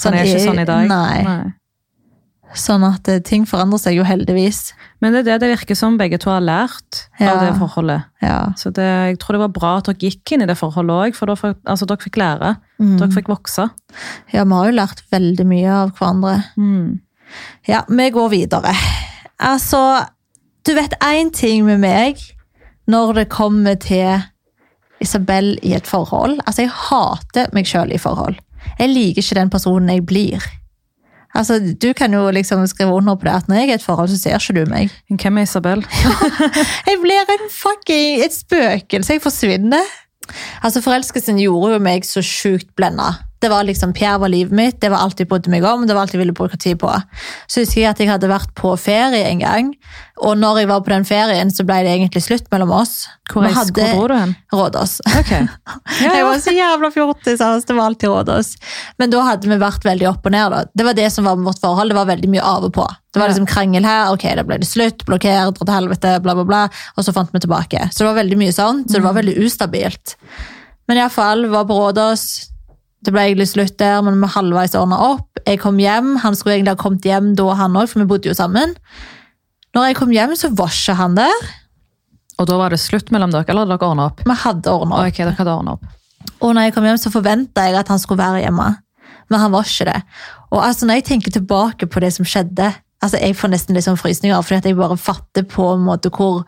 Speaker 1: Så han er ikke sånn i dag?
Speaker 2: Nei.
Speaker 1: Nei.
Speaker 2: Sånn at eh, ting forandrer seg jo heldigvis.
Speaker 1: Men det er det det virker som begge to har lært
Speaker 2: Ja.
Speaker 1: av det forholdet.
Speaker 2: Ja.
Speaker 1: Så det, jeg tror det var bra at dere gikk inn i det forholdet òg, for da fikk, altså, dere fikk lære.
Speaker 2: Mm.
Speaker 1: Dere fikk vokse.
Speaker 2: ja, vi har jo lært veldig mye av hverandre.
Speaker 1: Mm.
Speaker 2: Ja, vi går videre. Altså, du vet én ting med meg når det kommer til Isabel i et forhold. Altså, jeg hater meg sjøl i forhold. Jeg liker ikke den personen jeg blir. Altså, Du kan jo liksom skrive under på det at når jeg er i et forhold, så ser ikke du meg.
Speaker 1: Men Hvem er Isabel?
Speaker 2: Jeg blir en fucking, et spøkelse. Jeg forsvinner. Altså, Forelskelsen gjorde jo meg så sjukt blenda. Det var liksom, Pierre var livet mitt, det var alt jeg brydde meg om. det var alt jeg ville bruke tid på. Så husker jeg at jeg hadde vært på ferie en gang, og når jeg var på den ferien, så ble det egentlig slutt mellom oss.
Speaker 1: Hvor,
Speaker 2: Vi
Speaker 1: reis,
Speaker 2: hadde
Speaker 1: hvor dro du hen?
Speaker 2: Rådås.
Speaker 1: Ok. Ja, ja.
Speaker 2: Jeg var så jævla fjortis, altså. det var alltid Rådås. Men da hadde vi vært veldig opp og ned. da. Det var det som var med vårt forhold, det var veldig mye av og på. Det var
Speaker 1: Ja.
Speaker 2: liksom krangel her, ok, da ble det slutt, blokkert, dra til helvete, bla bla bla, og så fant vi tilbake. Så det var veldig mye sånn, så det var veldig ustabilt. Men iallfall, var på Rådås, det ble egentlig slutt der, men vi halvveis ordna opp. Jeg kom hjem, han skulle egentlig ha kommet hjem da, han òg, for vi bodde jo sammen. Når jeg kom hjem, så var ikke han der.
Speaker 1: Og da var det slutt mellom dere, eller hadde dere ordnet opp?
Speaker 2: Vi hadde ordna opp.
Speaker 1: Ok, dere hadde ordnet opp.
Speaker 2: Og når jeg kom hjem, så forventa jeg at han skulle være hjemme. Men han var ikke det. Og altså, når jeg tenker tilbake på det som skjedde altså, Jeg får nesten litt sånn frysninger, fordi at jeg bare fatter på en måte hvor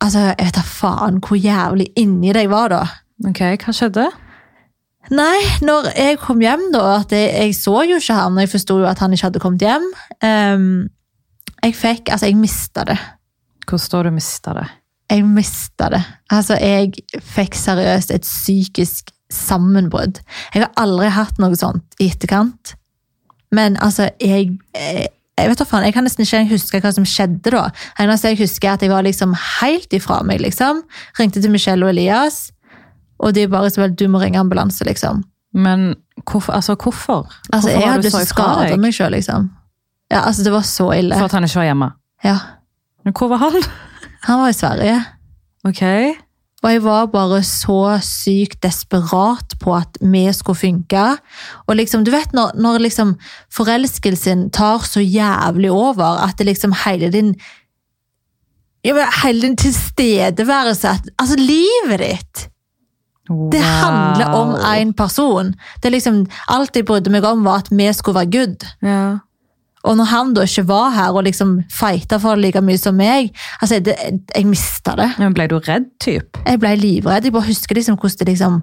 Speaker 2: Altså, jeg vet da faen hvor jævlig inni det jeg var da.
Speaker 1: Ok, hva skjedde?
Speaker 2: Nei, når jeg kom hjem da, at jeg, jeg så jo ikke han, og jeg forsto jo at han ikke hadde kommet hjem. Ehm, jeg fikk, altså jeg mistet det.
Speaker 1: Hvordan da du mistet det?
Speaker 2: Jeg mistet det. Altså jeg fikk seriøst et psykisk sammenbrudd. Jeg har aldri hatt noe sånt i etterkant. Men altså, jeg, eh, jeg vet da faen, jeg kan nesten ikke huske hva som skjedde da. Eneste jeg husker er at jeg var liksom helt ifra meg, liksom. Ringte til Michelle og Elias, og de bare så vel, du må ringe ambulanse, liksom.
Speaker 1: Men hvorfor? Altså, hvorfor?
Speaker 2: Altså,
Speaker 1: hvorfor
Speaker 2: jeg
Speaker 1: var du
Speaker 2: hadde lyst
Speaker 1: så
Speaker 2: til å
Speaker 1: ifra
Speaker 2: skade
Speaker 1: deg?
Speaker 2: meg sjøl, liksom. Ja, altså, det var så ille.
Speaker 1: For at han ikke var hjemme.
Speaker 2: Ja.
Speaker 1: Men hvor var han?
Speaker 2: Han var i Sverige,
Speaker 1: Ok.
Speaker 2: og jeg var bare så sykt desperat på at vi skulle funke. Og liksom, du vet når, når liksom forelskelsen tar så jævlig over at det liksom hele din ja, men Hele din tilstedeværelse at, Altså, livet ditt! Det
Speaker 1: Wow.
Speaker 2: handler om én person. Det er liksom, Alt jeg brydde meg om, var at vi skulle være good.
Speaker 1: Ja.
Speaker 2: Og når han da ikke var her og liksom fighta for det like mye som meg altså det, Jeg mista det.
Speaker 1: Men ble du redd, typ?
Speaker 2: Jeg ble livredd. Jeg bare husker liksom hvordan det liksom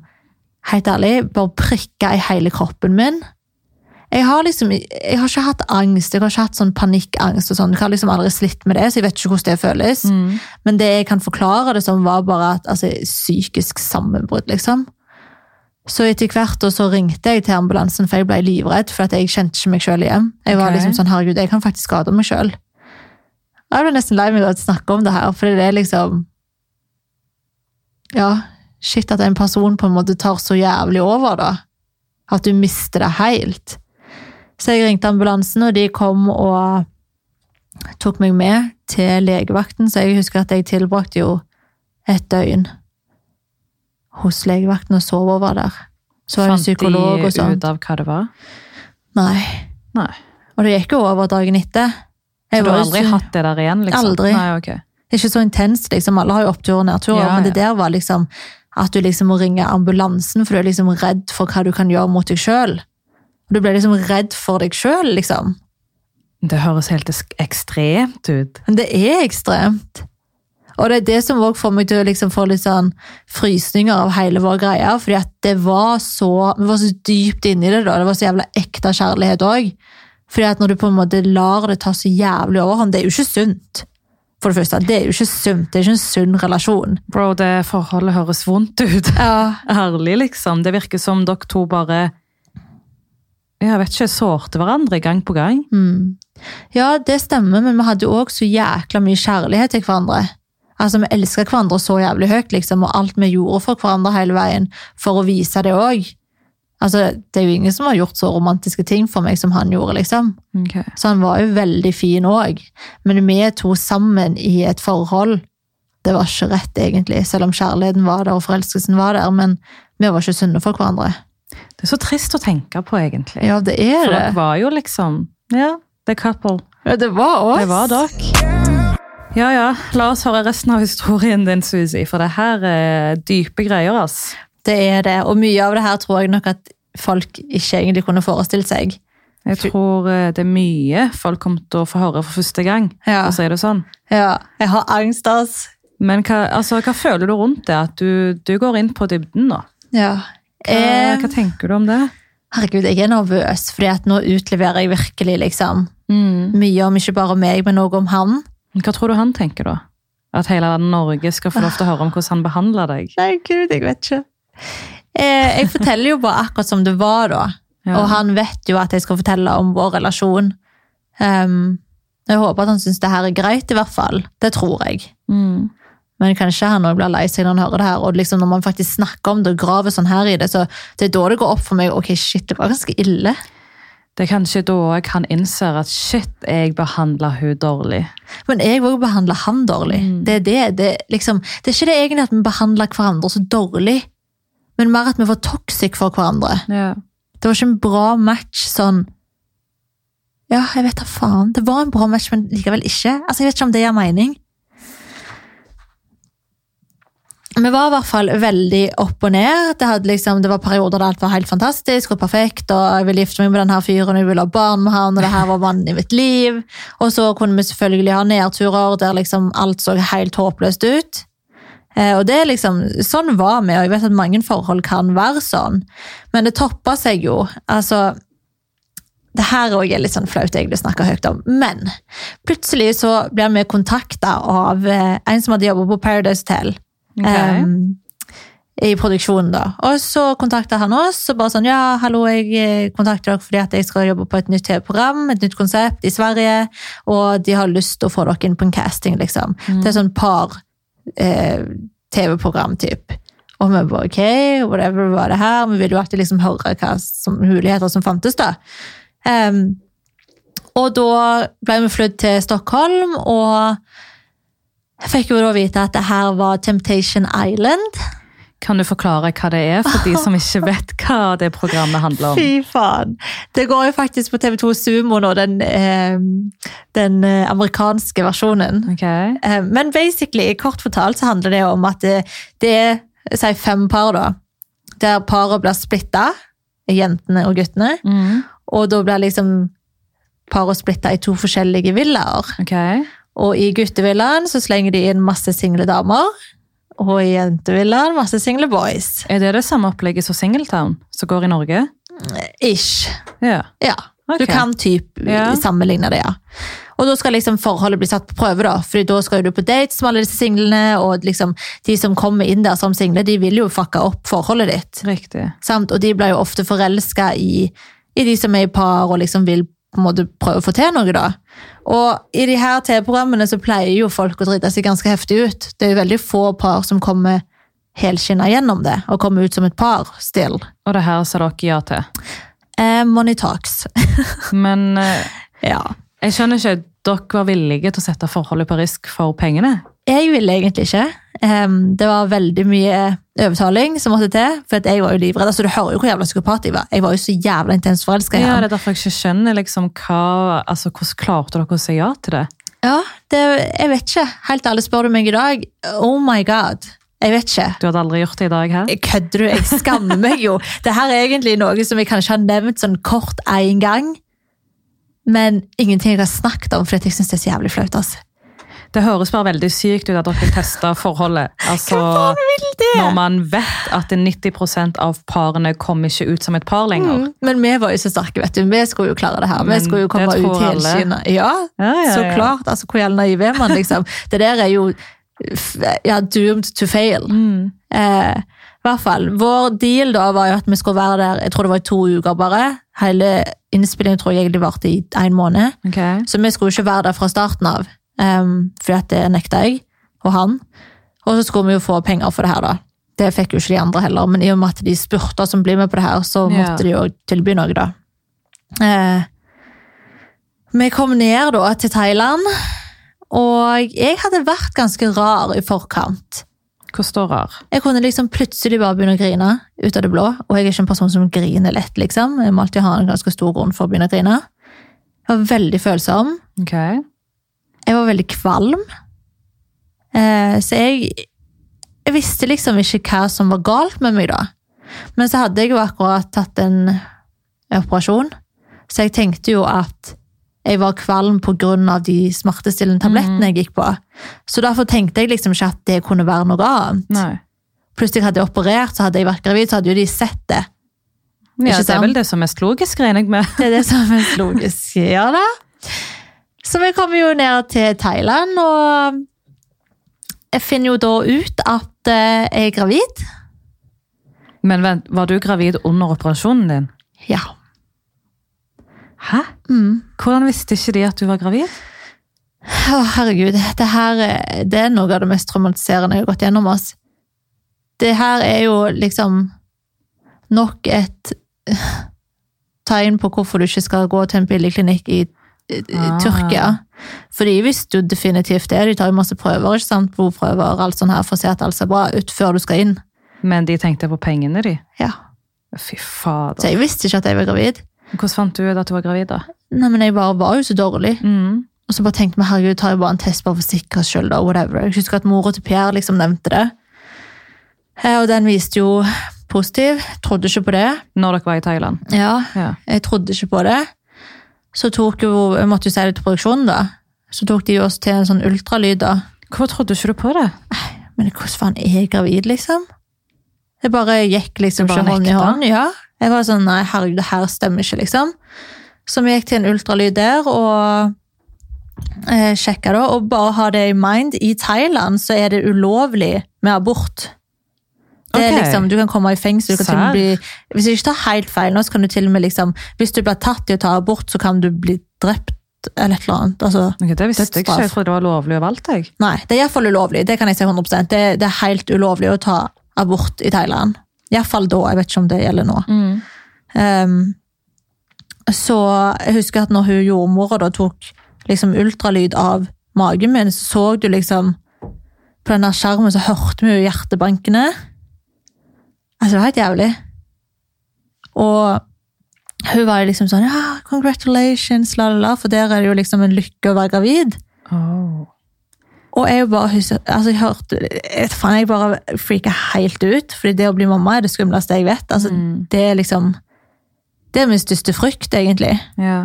Speaker 2: Helt ærlig, bare prikka i hele kroppen min. Jeg har liksom, jeg har ikke hatt angst, jeg har ikke hatt sånn panikkangst. og sånn, Jeg har liksom aldri slitt med det, så jeg vet ikke hvordan det føles. Men det jeg kan forklare det som, var bare at altså, psykisk sammenbrudd, liksom. Så etter hvert og så ringte jeg til ambulansen, for jeg ble livredd. For at jeg kjente ikke meg sjøl igjen. Jeg var
Speaker 1: Ok.
Speaker 2: liksom sånn, herregud, jeg kan faktisk skade meg sjøl. Jeg ble nesten lei meg av å snakke om det her, for det er liksom Ja, shit at en person på en måte tar så jævlig over, da. At du mister det helt. Så jeg ringte ambulansen, og de kom og tok meg med til legevakten, så jeg husker at jeg tilbrakte jo et døgn hos legevakten og sov over der. Så var det psykolog og
Speaker 1: Fant de
Speaker 2: sånn.
Speaker 1: ut av hva det var?
Speaker 2: Nei.
Speaker 1: Nei.
Speaker 2: Og det gikk jo over dagen etter.
Speaker 1: Så du har
Speaker 2: var jo
Speaker 1: aldri
Speaker 2: så-
Speaker 1: hatt det der igjen, liksom?
Speaker 2: Aldri.
Speaker 1: Nei, ok.
Speaker 2: Det er ikke så intenst, liksom. Alle har jo opptur og nedtur,
Speaker 1: Ja,
Speaker 2: men det
Speaker 1: ja.
Speaker 2: der var liksom at du liksom må ringe ambulansen, for du er liksom redd for hva du kan gjøre mot deg sjøl. Du ble liksom redd for deg sjøl, liksom.
Speaker 1: Det høres helt esk- ekstremt ut.
Speaker 2: Men det er ekstremt. Og det er det som også får meg til å liksom få litt sånn frysninger av hele vår greie. fordi at det var så, Vi var så dypt inni det, da. Det var så jævla ekte kjærlighet òg. Fordi at når du på en måte lar det ta så jævlig overhånd, det er jo ikke sunt. For det første, det er jo ikke sunt. Det er ikke en sunn relasjon.
Speaker 1: Bro, det forholdet høres vondt ut.
Speaker 2: Ja,
Speaker 1: Ærlig, liksom. Det virker som dere to bare Jeg vet ikke, sårte hverandre gang på gang.
Speaker 2: mm. ja det stemmer, men vi hadde jo òg så jækla mye kjærlighet til hverandre. Altså, Vi elska hverandre så jævlig høyt, liksom, og alt vi gjorde for hverandre hele veien, for å vise det òg. Altså, det er jo ingen som har gjort så romantiske ting for meg som han gjorde, liksom. Så han var jo veldig fin òg. Men vi to sammen i et forhold, det var ikke rett, egentlig. Selv om kjærligheten var der, og forelskelsen var der, men vi var ikke sunne for hverandre.
Speaker 1: Det er så trist å tenke på, egentlig.
Speaker 2: Ja, det er
Speaker 1: For
Speaker 2: det.
Speaker 1: dere var jo liksom Ja, the couple.
Speaker 2: Ja, det var oss.
Speaker 1: Det var dere. Ja, ja. La oss høre resten av historien din, Susi, for det her er dype greier, ass.
Speaker 2: Det er det, og mye av det her tror jeg nok at folk ikke egentlig kunne forestilt seg.
Speaker 1: Jeg tror eh, det er mye folk kommer til å få høre for første gang.
Speaker 2: Ja.
Speaker 1: Og så er det sånn.
Speaker 2: Ja, Altså, jeg har angst, ass.
Speaker 1: Men hva, altså, hva føler du rundt det? At du, du går inn på dybden nå?
Speaker 2: Ja.
Speaker 1: Hva,
Speaker 2: Eh,
Speaker 1: hva tenker du om det?
Speaker 2: herregud, jeg er nervøs, fordi at nå utleverer jeg virkelig liksom
Speaker 1: Mm.
Speaker 2: mye om ikke bare meg, men også om han.
Speaker 1: Hva tror du han tenker da? At hele Norge skal få lov til å høre om hvordan han behandler deg?
Speaker 2: Nei, gud, jeg vet ikke. eh, jeg forteller jo bare akkurat som det var da.
Speaker 1: Ja.
Speaker 2: Og han vet jo at jeg skal fortelle om vår relasjon. Ehm, jeg håper at han syns det her er greit, i hvert fall. Det tror jeg.
Speaker 1: Mm.
Speaker 2: Men kanskje han også blir lei seg når han hører det her. Og liksom når man faktisk snakker om det og graver sånn her i det, så det er da det går opp for meg ok, shit, det var ganske ille.
Speaker 1: Det er kanskje da jeg han innser at shit, jeg behandla hun dårlig.
Speaker 2: Men jeg vil jo behandle han dårlig. Det, er det, det, er liksom, det er ikke det egentlig at vi behandler hverandre så dårlig, men mer at vi var toxic for hverandre.
Speaker 1: Ja.
Speaker 2: Det var ikke en bra match sånn Ja, jeg vet da faen. Det var en bra match, men likevel ikke. Altså, Jeg vet ikke om det gir mening. Vi var i hvert fall veldig opp og ned. Det, hadde liksom, det var perioder der alt var helt fantastisk og perfekt, og jeg ville gifte meg med denne fyren, og jeg ville ha barn med han, og det her var mannen i mitt liv. Og så kunne vi selvfølgelig ha nedturer der liksom alt så helt håpløst ut. Eh, Og det er liksom, sånn var vi, og jeg vet at mange forhold kan være sånn. Men det toppa seg jo. Altså, det her òg er litt sånn flaut egentlig å snakke høyt om, men plutselig så blir vi kontakta av eh, en som hadde jobba på Paradise Hotel.
Speaker 1: Ok.
Speaker 2: em, i produksjonen, da. Og så kontakta han oss og bare sånn Ja, hallo, jeg eh, kontakter dere fordi at jeg skal jobbe på et nytt TV-program, et nytt konsept i Sverige, og de har lyst til å få dere inn på en casting, liksom. Det er sånn par eh, TV-program, typ. Og vi bare, ok, whatever var det her? Vi ville jo alltid liksom høre hva som, muligheter som fantes da. Em, og da ble vi flytt til Stockholm, og jeg fikk jo da vite at det her var Temptation Island.
Speaker 1: Kan du forklare hva det er for de som ikke vet hva det programmet handler om?
Speaker 2: Fy faen! Det går jo faktisk på TV2 Sumo nå, den, em, den eh, amerikanske versjonen.
Speaker 1: Ok,
Speaker 2: Eh, Men basically, kort fortalt så handler det om at det, det er si fem par, da. Der paret blir splitta, jentene og guttene.
Speaker 1: mm.
Speaker 2: Og da blir liksom paret splitta i to forskjellige villaer.
Speaker 1: ok,
Speaker 2: Og i guttevillaen så slenger de inn masse single damer. Og i jentevillaen masse single boys.
Speaker 1: Er det det samme opplegget som Singletown, som går i Norge?
Speaker 2: Ish.
Speaker 1: Ja.
Speaker 2: Ja.
Speaker 1: ok.
Speaker 2: Du kan typ
Speaker 1: Ja.
Speaker 2: sammenligne det, ja. Og da skal liksom forholdet bli satt på prøve, da. Fordi da skal jo du på dates med alle disse singlene, og liksom de som kommer inn der som single, de vil jo fucke opp forholdet ditt.
Speaker 1: Riktig.
Speaker 2: Sant? Og de blir jo ofte forelska i, i de som er i par, og liksom vil på en måte prøve å få til noe, da. Og i de her TV-programmene så pleier jo folk å drite seg ganske heftig ut. Det er jo veldig få par som kommer helskinna gjennom det, og kommer ut som et par still.
Speaker 1: Og det her sa dere ja til.
Speaker 2: Eh, money talks.
Speaker 1: Men eh,
Speaker 2: ja.
Speaker 1: jeg skjønner ikke, dere var villige til å sette forholdet på risk for pengene?
Speaker 2: Jeg ville egentlig ikke. Em, det var veldig mye overtaling som måtte til. For at jeg var jo livredd. Altså, du hører jo hvor jævla psykopat jeg var. Jeg var jo så jævla intens forelska i
Speaker 1: Ja,
Speaker 2: ham.
Speaker 1: det er derfor jeg ikke skjønner liksom, hva, altså, hvordan klarte dere å si ja til det?
Speaker 2: Ja, det, jeg vet ikke. Helt ærlig, spør du meg i dag Oh my god. Jeg vet ikke.
Speaker 1: Du hadde aldri gjort det i dag her?
Speaker 2: Jeg Kødder du? Jeg skammer meg jo. Det her er egentlig noe som jeg kanskje har nevnt sånn kort én gang. Men ingenting jeg har snakket om, for jeg syns det er så jævlig flaut. altså.
Speaker 1: Det høres bare veldig sykt ut at dere tester forholdet. Altså,
Speaker 2: Hva faen vil det?
Speaker 1: når man vet at 90 av parene kommer ikke ut som et par lenger.
Speaker 2: Mm. Men vi var jo så sterke, vet du. Vi skulle jo klare det her.
Speaker 1: Men
Speaker 2: vi skulle jo
Speaker 1: det
Speaker 2: komme
Speaker 1: tror
Speaker 2: ut
Speaker 1: alle.
Speaker 2: helskinna. Ja,
Speaker 1: Ja, ja,
Speaker 2: så
Speaker 1: ja.
Speaker 2: klart. Altså, hvor jævla naiv er man, liksom? Det der er jo f- ja, doomed to fail.
Speaker 1: Mm.
Speaker 2: Eh, I hvert fall. Vår deal da var jo at vi skulle være der jeg tror det var i to uker bare. Hele innspillingen tror jeg egentlig varte i en måned.
Speaker 1: Ok.
Speaker 2: Så vi skulle jo ikke være der fra starten av, um, fordi at det nekta jeg og han. Og så skulle vi jo få penger for det her, da. Det fikk jo ikke de andre heller, men i og med at de spurte som blir med på det her, så
Speaker 1: Ja.
Speaker 2: måtte de jo tilby noe, da. Eh, vi kom ned da til Thailand, og jeg hadde vært ganske rar i forkant.
Speaker 1: Hvor står rar?
Speaker 2: Jeg kunne liksom plutselig bare begynne å grine ut av det blå, og jeg er ikke en person som griner lett, liksom. Jeg må alltid ha en ganske stor grunn for å begynne å grine. Jeg var veldig følsom.
Speaker 1: Ok.
Speaker 2: Jeg var veldig kvalm. Eh, så jeg, jeg visste liksom ikke hva som var galt med meg da. Men så hadde jeg jo akkurat tatt en operasjon, så jeg tenkte jo at jeg var kvalm på grunn av de smertestillende tablettene jeg gikk på. Så derfor tenkte jeg liksom ikke at det kunne være noe annet.
Speaker 1: Nei.
Speaker 2: Plutselig hadde jeg operert, så hadde jeg vært gravid, så hadde jo de sett det.
Speaker 1: Ja,
Speaker 2: Ikke
Speaker 1: det er
Speaker 2: sant?
Speaker 1: vel det som er mest logisk, regner jeg med.
Speaker 2: Det er det som er mest logisk. Ja da. Så vi kommer jo ned til Thailand, og jeg finner jo da ut at eh, jeg er gravid.
Speaker 1: Men vent, var du gravid under operasjonen din?
Speaker 2: Ja.
Speaker 1: Hæ?
Speaker 2: Mm.
Speaker 1: Hvordan visste ikke de at du var gravid?
Speaker 2: Å, herregud. Det her eh, det er noe av det mest traumatiserende jeg har gått gjennom. Oss. Det her er jo liksom nok et eh, tegn på hvorfor du ikke skal gå til en billig klinikk i eh,
Speaker 1: Ah.
Speaker 2: Tyrkia. For de visste jo definitivt det. De tar jo masse prøver, ikke sant? blodprøver og alt sånt her, for å se at alt ser bra ut før du skal inn.
Speaker 1: Men de tenkte på pengene, de.
Speaker 2: Ja.
Speaker 1: Fy
Speaker 2: Så
Speaker 1: fader.
Speaker 2: jeg visste ikke at jeg var gravid.
Speaker 1: Hvordan fant du ut at du var gravid, da?
Speaker 2: Nei, men jeg bare var jo så dårlig.
Speaker 1: Mm.
Speaker 2: Og så bare tenkte vi, herregud, tar jeg bare en test bare for sikkerhets skyld, da, whatever. Jeg husker at mora til Pierre liksom nevnte det. Eh, Og den viste jo positiv. Trodde ikke på det.
Speaker 1: Når dere var i Thailand.
Speaker 2: Ja,
Speaker 1: Ja.
Speaker 2: jeg trodde ikke på det. Så tok jo, jeg måtte jo si det til produksjonen da. Så tok de jo oss til en sånn ultralyd da.
Speaker 1: Hvorfor trodde ikke du på det?
Speaker 2: Men hvordan faen er jeg gravid, liksom? Jeg bare gikk liksom
Speaker 1: Du bare
Speaker 2: ikke hånd i
Speaker 1: nekta?
Speaker 2: hånd. Ja. Jeg var sånn, nei, herregud, det her stemmer ikke, liksom. Så vi gikk til en ultralyd der, og eh, sjekka da, og bare ha det i mind, i Thailand så er det ulovlig med abort. Det er
Speaker 1: Ok.
Speaker 2: liksom, Du kan komme i fengsel. Du kan til og med bli, hvis jeg ikke tar helt feil nå, så kan du til og med liksom Hvis du blir tatt i å ta abort, så kan du bli drept eller et eller annet. altså...
Speaker 1: Ok, det visste jeg ikke.
Speaker 2: Dødsstraff.
Speaker 1: Jeg trodde det var lovlig overalt. jeg.
Speaker 2: Nei, det er iallfall ulovlig. Det kan jeg si 100 det, det er helt ulovlig å ta abort i Thailand. Iallfall da. Jeg vet ikke om det gjelder nå.
Speaker 1: Mm.
Speaker 2: Ehm, så jeg husker at når hun jordmora da tok liksom ultralyd av magen min, så så du liksom På den der skjermen så hørte vi jo hjertebankene. Altså, det var helt jævlig. Og hun var jo liksom sånn ja, 'Congratulations', la, la, la. For der er det jo liksom en lykke å være gravid.
Speaker 1: Oh.
Speaker 2: Og jeg bare husker, altså jeg hørte, jeg vet faen, jeg bare freaka helt ut, fordi det å bli mamma er det skumleste jeg vet. Altså, Det er liksom, det er min største frykt egentlig.
Speaker 1: Ja.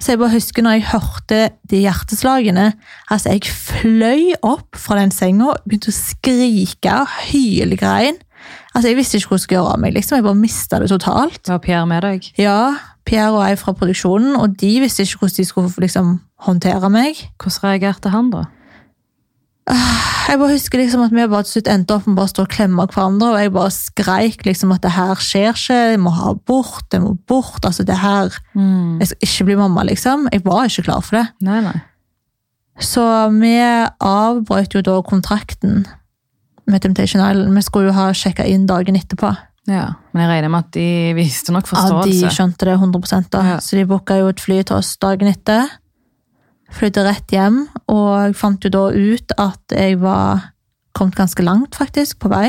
Speaker 2: Så jeg bare husker når jeg hørte de hjerteslagene, altså jeg fløy opp fra den senga, begynte å skrike og hylgrein. Altså jeg visste ikke hvor jeg skulle gjøre av meg, liksom. jeg bare mistet det totalt.
Speaker 1: Var Pierre med deg?
Speaker 2: Ja, Pierre og jeg fra produksjonen, og de visste ikke hvordan de skulle liksom, håndtere meg.
Speaker 1: Hvordan reagerte han, da?
Speaker 2: Jeg bare husker liksom at vi bare til slutt endte opp med bare å stå og klemme hverandre, og jeg bare skreik liksom at det her skjer ikke, jeg må ha abort, jeg må bort, altså det her, jeg skal ikke bli mamma liksom. Jeg var ikke klar for det.
Speaker 1: Nei, nei.
Speaker 2: Så vi avbrøt jo da kontrakten med Temptation Island. Vi skulle jo ha sjekket inn dagen etterpå.
Speaker 1: Ja. Men jeg regner med at de viste nok
Speaker 2: Ja,
Speaker 1: forståelse.
Speaker 2: de skjønte det 100 da.
Speaker 1: Ja.
Speaker 2: Så de booka jo et fly til oss dagen etter. Flydde rett hjem, og jeg fant jo da ut at jeg var kommet ganske langt, faktisk, på vei.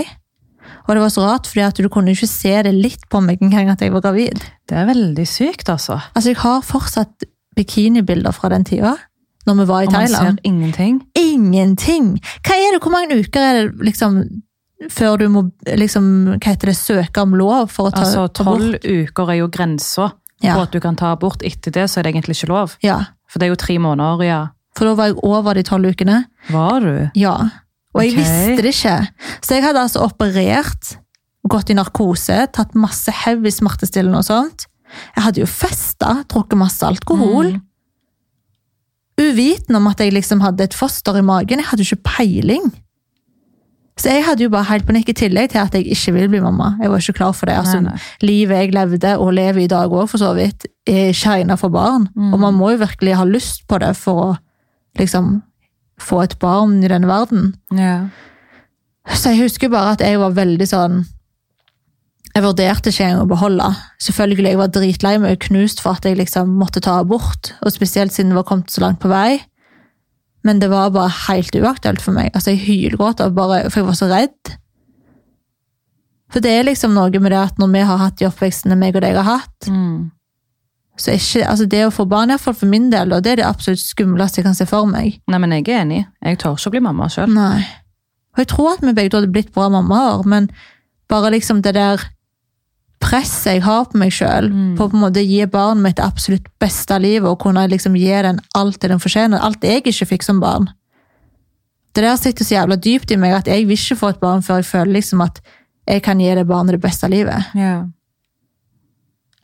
Speaker 2: Og det var så rart, fordi at du kunne jo ikke se det litt på meg engang at jeg var gravid.
Speaker 1: Det er veldig sykt, altså.
Speaker 2: Altså, jeg har fortsatt bikinibilder fra den tida, når vi var i
Speaker 1: Og man
Speaker 2: Thailand.
Speaker 1: ser ingenting.
Speaker 2: Ingenting! Hva er det, hvor mange uker er det liksom før du må liksom, hva heter det, søke om lov for å ta
Speaker 1: Altså,
Speaker 2: abort?
Speaker 1: Tolv uker er jo grensa på
Speaker 2: Ja.
Speaker 1: at du kan ta abort. Etter det så er det egentlig ikke lov.
Speaker 2: ja.
Speaker 1: For det er jo tre måneder, ja.
Speaker 2: For da var jeg over de tolv ukene.
Speaker 1: Var du?
Speaker 2: Ja. Og jeg
Speaker 1: Ok.
Speaker 2: visste det ikke. Så jeg hadde altså operert, gått i narkose, tatt masse heavy smertestillende og sånt. Jeg hadde jo festa, drukket masse alkohol.
Speaker 1: Mm.
Speaker 2: Uviten om at jeg liksom hadde et foster i magen. Jeg hadde jo ikke peiling. Så jeg hadde jo bare helt panikk i tillegg til at jeg ikke ville bli mamma. Jeg var ikke klar for det. Altså,
Speaker 1: Nei, nei.
Speaker 2: Livet jeg levde, og lever i dag òg, for så vidt, er ikke egnet for barn.
Speaker 1: Mm.
Speaker 2: Og man må jo virkelig ha lyst på det for å liksom få et barn i denne verden.
Speaker 1: Ja.
Speaker 2: Så jeg husker bare at jeg var veldig sånn Jeg vurderte ikke engang å beholde. Selvfølgelig, jeg var dritlei meg og knust for at jeg liksom måtte ta abort. Og spesielt siden det var kommet så langt på vei. Men det var bare helt uaktuelt for meg. Altså, jeg hylgråt, av bare, for jeg var så redd. For det er liksom noe med det at når vi har hatt de oppvekstene meg og deg har hatt,
Speaker 1: Mm.
Speaker 2: så er ikke, altså det å få barn, iallfall for min del, og det er det absolutt skumleste jeg kan se for meg.
Speaker 1: Nei, men jeg er enig. Jeg tør ikke å bli mamma sjøl.
Speaker 2: Nei. Og jeg tror at vi begge to hadde blitt bra mammaer, men bare liksom det der presset jeg har på meg sjøl, på å på en måte gi barnet mitt det absolutt beste livet og kunne liksom gi den alt det den fortjener, alt jeg ikke fikk som barn. Det der sitter så jævla dypt i meg at jeg vil ikke få et barn før jeg føler liksom at jeg kan gi det barnet det beste livet.
Speaker 1: Mm. Ja.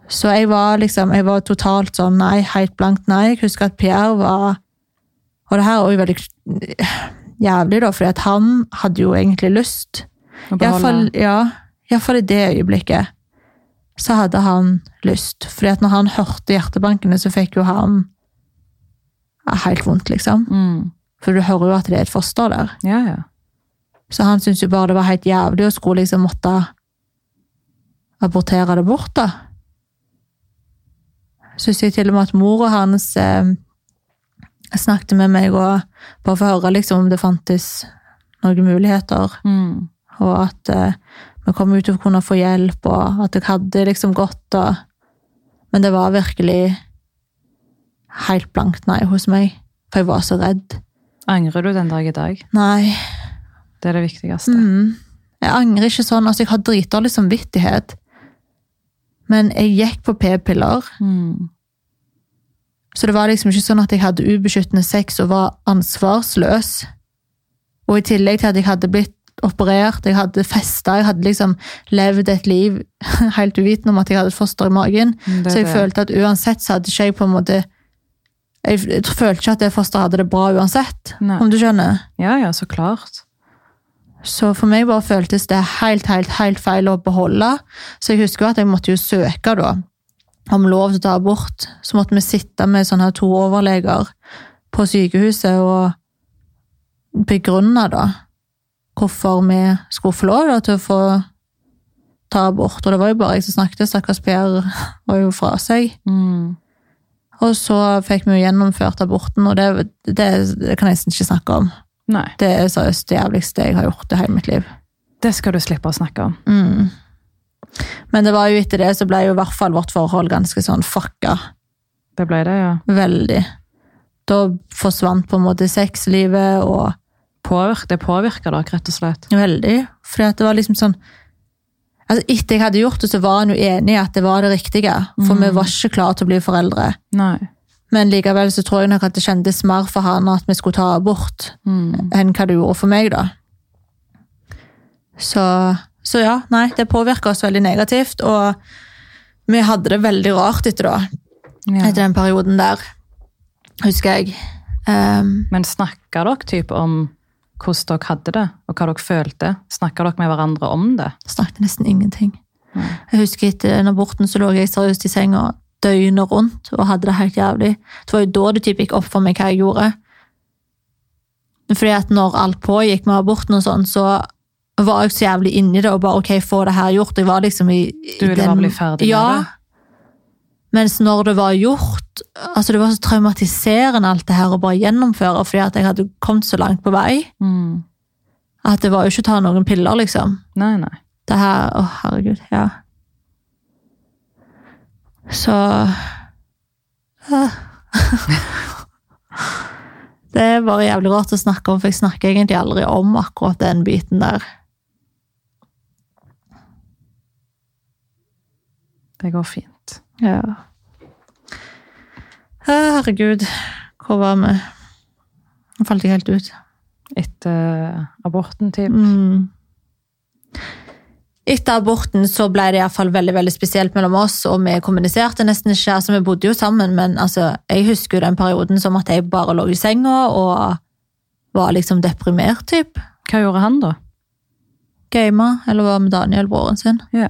Speaker 2: Så jeg var liksom, jeg var totalt sånn nei, helt blankt nei. Jeg husker at Pierre var Og det her er jo veldig jævlig, da, fordi at han hadde jo egentlig lyst.
Speaker 1: Å
Speaker 2: I hvert fall,
Speaker 1: beholde.
Speaker 2: ja. I Ja, for i det øyeblikket så hadde han lyst. Fordi at når han hørte hjertebankene, så fikk jo han ja, helt vondt, liksom.
Speaker 1: Mm.
Speaker 2: For du hører jo at det er et foster der.
Speaker 1: Ja, ja.
Speaker 2: Så han syntes jo bare det var helt jævlig å skulle liksom måtte abortere det bort, da. Syns jeg til og med at mora hans eh, snakket med meg og bare for å høre liksom om det fantes noen muligheter.
Speaker 1: Mm.
Speaker 2: Og at eh, vi kom ut og kunne få hjelp, og at jeg hadde liksom gått. Og... Men det var virkelig helt blankt nei hos meg, for jeg var så redd.
Speaker 1: Angrer du den dag i dag?
Speaker 2: Nei.
Speaker 1: Det er det viktigste.
Speaker 2: Mm. Jeg angrer ikke sånn. Altså, jeg har dritdårlig samvittighet. Men jeg gikk på p-piller,
Speaker 1: Mm.
Speaker 2: så det var liksom ikke sånn at jeg hadde ubeskyttende sex og var ansvarsløs. Og i tillegg til at jeg hadde blitt operert, jeg hadde festa, jeg hadde liksom levd et liv helt uvitende om at jeg hadde et foster i magen.
Speaker 1: Det er
Speaker 2: Så jeg
Speaker 1: det.
Speaker 2: følte at uansett så hadde ikke jeg på en måte Jeg f- følte ikke at det fosteret hadde det bra uansett,
Speaker 1: Nei.
Speaker 2: om du skjønner.
Speaker 1: Ja, ja, så klart.
Speaker 2: Så for meg bare føltes det helt, helt, helt feil å beholde. Så jeg husker jo at jeg måtte jo søke da, om lov til å ta abort. Så måtte vi sitte med sånne her to overleger på sykehuset og begrunne da, hvorfor vi skulle få lov da, til å få ta abort. Og det var jo bare jeg som snakket, stakkars Per var jo fra seg.
Speaker 1: Mm.
Speaker 2: Og så fikk vi jo gjennomført aborten, og det, det, det kan jeg nesten ikke snakke om.
Speaker 1: Nei,
Speaker 2: Det er seriøst det jævligste jeg har gjort i hele mitt liv.
Speaker 1: det skal du slippe å snakke om.
Speaker 2: Mm. Men det var jo etter det så ble jo i hvert fall vårt forhold ganske sånn fucka.
Speaker 1: Det ble det, ja.
Speaker 2: Veldig. Da forsvant på en måte sexlivet og
Speaker 1: Påvirk, det påvirker dere, rett og slett.
Speaker 2: Veldig. Fordi at det var liksom sånn Altså Etter jeg hadde gjort det, så var han jo enig i at det var det riktige. For vi var ikke klare til å bli foreldre.
Speaker 1: Nei.
Speaker 2: Men likevel så tror jeg nok at det kjentes mer for han at vi skulle ta abort.
Speaker 1: Mm.
Speaker 2: enn hva det gjorde for meg, da. Så, så ja, nei, det påvirka oss veldig negativt, og vi hadde det veldig rart etter, da,
Speaker 1: Ja.
Speaker 2: etter den perioden der, husker jeg. Ehm,
Speaker 1: Men snakker dere typ om hvordan dere hadde det, og hva dere følte? Snakker dere med hverandre om det?
Speaker 2: snakket nesten ingenting.
Speaker 1: Nei.
Speaker 2: Jeg husker etter den aborten så lå jeg seriøst i senga døgnet rundt og hadde det helt jævlig. Det var jo da det typ gikk opp for meg hva jeg gjorde. Fordi at når alt pågikk med aborten og sånn, så var jeg så jævlig inni det og bare ok, få det her gjort. Jeg var liksom i, i
Speaker 1: Du ville bare bli ferdig med
Speaker 2: ja.
Speaker 1: det?
Speaker 2: Mens når det var gjort, altså det var så traumatiserende alt det her å bare gjennomføre, fordi at jeg hadde kommet så langt på vei,
Speaker 1: Mm.
Speaker 2: at det var jo ikke å ta noen piller liksom
Speaker 1: Nei, nei.
Speaker 2: det her Å, herregud, ja. Så ja. Det er bare jævlig rart å snakke om, for jeg snakker egentlig aldri om akkurat den biten der.
Speaker 1: Det går fint.
Speaker 2: Ja. Herregud, hvor var vi? Nå falt jeg helt ut.
Speaker 1: Etter eh, aborten, typ.
Speaker 2: Mm. Etter aborten så ble det i hvert fall veldig veldig spesielt mellom oss, og vi kommuniserte nesten ikke. altså Vi bodde jo sammen, men altså, jeg husker jo den perioden som at jeg bare lå i senga og var liksom deprimert, typ.
Speaker 1: Hva gjorde han, da?
Speaker 2: Gama, eller var med Daniel, broren sin.
Speaker 1: Ja.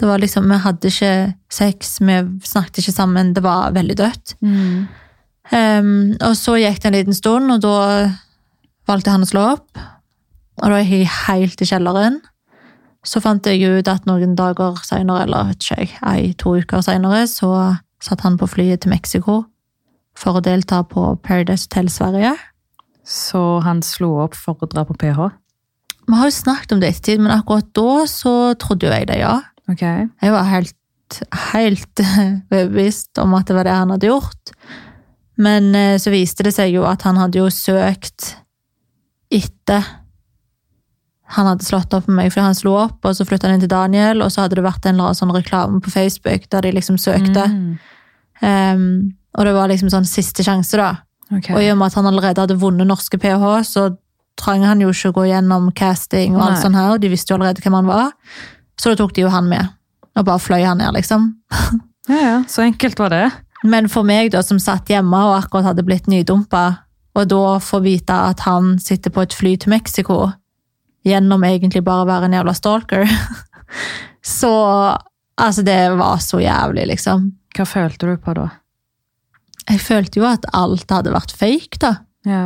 Speaker 2: Det var liksom, Vi hadde ikke sex, vi snakket ikke sammen, det var veldig dødt.
Speaker 1: Mm.
Speaker 2: Ehm, og så gikk det en liten stund, og da valgte han å slå opp. Og da gikk jeg helt i kjelleren. Så fant jeg ut at noen dager senere, eller vet ikke jeg, ei, to uker senere, så satt han på flyet til Mexico for å delta på Paradise Hotel Sverige.
Speaker 1: Så han slo opp for å dra på PH?
Speaker 2: Vi har jo snakket om det i ettertid, men akkurat da så trodde jo jeg det, ja.
Speaker 1: Ok.
Speaker 2: Jeg var helt, helt overbevist om at det var det han hadde gjort. Men eh, så viste det seg jo at han hadde jo søkt etter han hadde slått opp med meg, for han slo opp, og så flytta han inn til Daniel, og så hadde det vært en eller annen sånn reklame på Facebook der de liksom søkte.
Speaker 1: Mm.
Speaker 2: Em, og det var liksom sånn siste sjanse, da.
Speaker 1: Ok.
Speaker 2: Og i og med at han allerede hadde vunnet norske PH, så trang han jo ikke å gå gjennom casting og alt
Speaker 1: Nei.
Speaker 2: sånt her, og de visste jo allerede hvem han var. Så da tok de jo han med, og bare fløy han ned, liksom.
Speaker 1: Ja, ja. Så enkelt var det.
Speaker 2: Men for meg da, som satt hjemme og akkurat hadde blitt nydumpa, og da få vite at han sitter på et fly til Mexico, gjennom egentlig bare å være en jævla stalker, Så altså, det var så jævlig, liksom.
Speaker 1: Hva følte du på da?
Speaker 2: Jeg følte jo at alt hadde vært fake, da.
Speaker 1: Ja.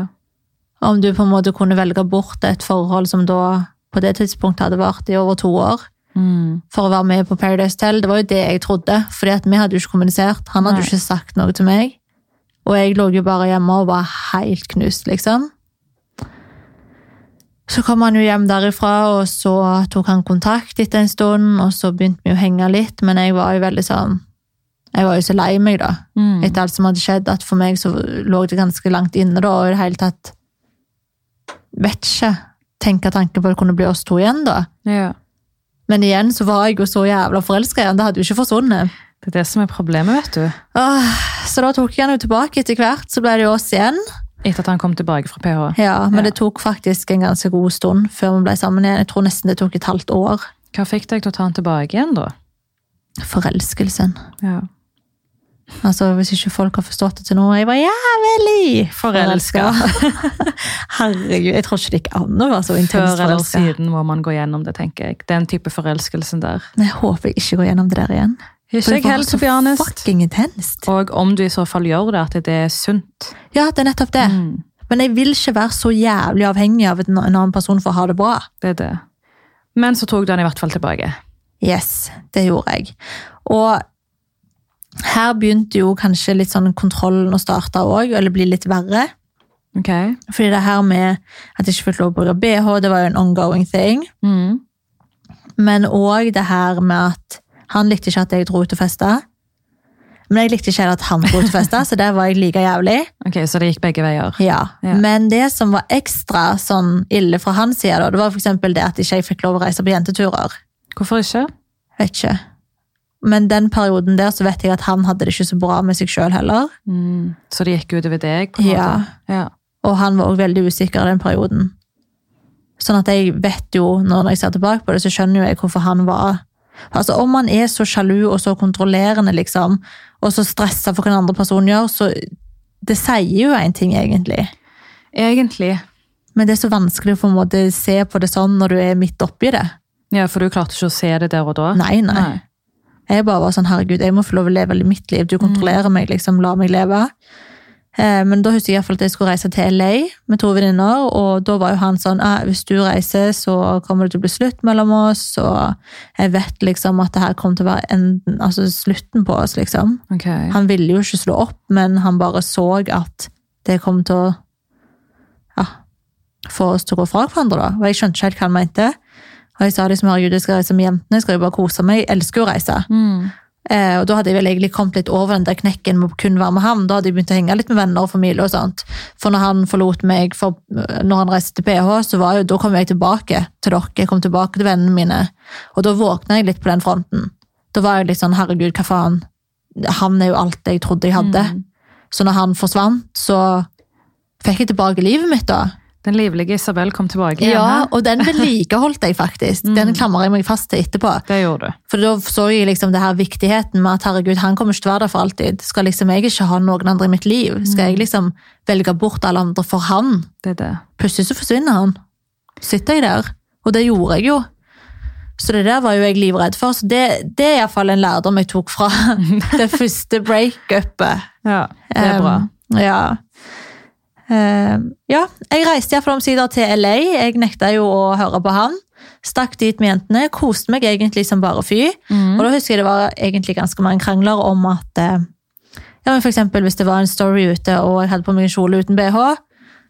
Speaker 2: Om du på en måte kunne velge bort et forhold som da på det tidspunktet hadde vart i over to år,
Speaker 1: Mm.
Speaker 2: for å være med på Paradise Tell. Det var jo det jeg trodde, fordi at vi hadde jo ikke kommunisert. Han hadde jo
Speaker 1: Nei.
Speaker 2: ikke sagt noe til meg. Og jeg lå jo bare hjemme og var helt knust, liksom. Så kom han jo hjem derifra, og så tok han kontakt etter en stund, og så begynte vi å henge litt, men jeg var jo veldig sånn Jeg var jo så lei meg, da
Speaker 1: Mm.
Speaker 2: etter alt som hadde skjedd, at for meg så lå det ganske langt inne da, og i det hele tatt vet ikke, tenker tanken på at det kunne bli oss to igjen da.
Speaker 1: Ja.
Speaker 2: Men igjen så var jeg jo så jævla forelsket igjen, det hadde jo ikke forsvunnet.
Speaker 1: Det er det som er problemet, vet du.
Speaker 2: Åh, så da tok jeg han jo tilbake etter hvert, så ble det jo oss igjen.
Speaker 1: Etter at han kom tilbake fra PH.
Speaker 2: Ja,
Speaker 1: Ja.
Speaker 2: men det tok faktisk en ganske god stund før vi ble sammen igjen. Jeg tror nesten det tok et halvt år.
Speaker 1: Hva fikk deg til å ta han tilbake igjen, da?
Speaker 2: Forelskelsen.
Speaker 1: Ja.
Speaker 2: Altså, hvis ikke folk har forstått det til nå, jeg var jævlig
Speaker 1: Forelska.
Speaker 2: Herregud, jeg tror ikke det gikk an å være så intenst
Speaker 1: Før eller
Speaker 2: forelska.
Speaker 1: siden må man gå gjennom det, tenker jeg. Den type forelskelsen der.
Speaker 2: Men Jeg håper jeg ikke går gjennom det der igjen. For
Speaker 1: Ikke
Speaker 2: det
Speaker 1: jeg
Speaker 2: var
Speaker 1: helt,
Speaker 2: så
Speaker 1: to be honest.
Speaker 2: fucking intenst.
Speaker 1: Og om du i så fall gjør det, at det er sunt.
Speaker 2: Ja, det er nettopp det.
Speaker 1: Mm.
Speaker 2: Men jeg vil ikke være så jævlig avhengig av en en annen person for å ha det bra.
Speaker 1: Det er det. Men så tok du han i hvert fall tilbake.
Speaker 2: Yes, det gjorde jeg. Og her begynte jo kanskje litt sånn kontrollen å starte òg, eller bli litt verre.
Speaker 1: Ok.
Speaker 2: Fordi det her med at jeg ikke fikk lov å bruke BH, det var jo en ongoing thing.
Speaker 1: Mm.
Speaker 2: Men òg det her med at han likte ikke at jeg dro ut og festa. Men jeg likte ikke heller at han dro ut og festa, så der var jeg like jævlig.
Speaker 1: Ok, Så det gikk begge veier.
Speaker 2: Ja.
Speaker 1: Ja.
Speaker 2: Men det som var ekstra sånn ille fra hans side, da, det var for eksempel det at ikke jeg fikk lov å reise på jenteturer.
Speaker 1: Hvorfor ikke?
Speaker 2: Vet ikke. Men den perioden der så vet jeg at han hadde det ikke så bra med seg sjøl heller.
Speaker 1: Mm. Så det gikk utover deg? på en
Speaker 2: Ja.
Speaker 1: måte? Ja.
Speaker 2: Og han var òg veldig usikker i den perioden. Sånn at jeg vet jo, nå når jeg ser tilbake på det, så skjønner jo jeg hvorfor han var Altså Om han er så sjalu og så kontrollerende, liksom, og så stressa for hva den andre personen gjør, så det sier jo en ting, egentlig.
Speaker 1: Egentlig.
Speaker 2: Men det er så vanskelig å på en måte se på det sånn når du er midt oppi det.
Speaker 1: Ja, For du klarte ikke å se det der og da?
Speaker 2: Nei, nei. Jeg bare var sånn, herregud, jeg må få lov å leve mitt liv. Du kontrollerer meg, liksom. La meg leve. Eh, men da husker jeg i hvert fall at jeg skulle reise til LA med to venninner, og da var jo han sånn ah, Hvis du reiser, så kommer det til å bli slutt mellom oss, og jeg vet liksom at det her kommer til å være enden, altså slutten på oss, liksom.
Speaker 1: Ok.
Speaker 2: Han ville jo ikke slå opp, men han bare så at det kom til å ja, få oss til å gå fra hverandre. da. Og jeg skjønte ikke helt hva han mente. Og jeg sa liksom, herregud, jeg skal reise med jentene, jeg skal jo bare kose meg. Jeg elsker jo å reise.
Speaker 1: Mm.
Speaker 2: Eh, og da hadde jeg vel egentlig kommet litt over den der knekken med å kun være med ham. Da hadde jeg begynt å henge litt med venner og familie og sånt. For når han forlot meg, for når han reiste til PH, så var jo, da kom jeg tilbake til dere. Jeg kom tilbake til vennene mine. Og da våkna jeg litt på den fronten. Da var jeg litt sånn, herregud, hva faen. Han er jo alt jeg trodde jeg hadde. Så når han forsvant, så fikk jeg tilbake livet mitt da.
Speaker 1: Den livlige Isabel kom tilbake igjen.
Speaker 2: Ja,
Speaker 1: hæ?
Speaker 2: og den vedlikeholdt jeg faktisk. Den klamrer jeg meg fast til etterpå.
Speaker 1: Det gjorde du.
Speaker 2: For da så jeg liksom det her viktigheten med at herregud, han kommer ikke til å være der for alltid. Skal liksom jeg ikke ha noen andre i mitt liv? Skal
Speaker 1: Mm.
Speaker 2: jeg liksom velge bort alle andre for han?
Speaker 1: Det er det.
Speaker 2: Plutselig så forsvinner han. Sitter jeg der. Og det gjorde jeg jo. Så det der var jo jeg livredd for. Så det, det er iallfall en lærdom jeg tok fra det første breakupet.
Speaker 1: Ja, det er bra.
Speaker 2: Um, ja. Um, ja, jeg reiste iallfall omsider til LA. Jeg nekta jo å høre på han. Stakk dit med jentene. Koste meg egentlig som bare fy. Og da husker jeg det var egentlig ganske mange krangler om at eh, ja, men for eksempel hvis det var en story ute og jeg hadde på meg en kjole uten BH,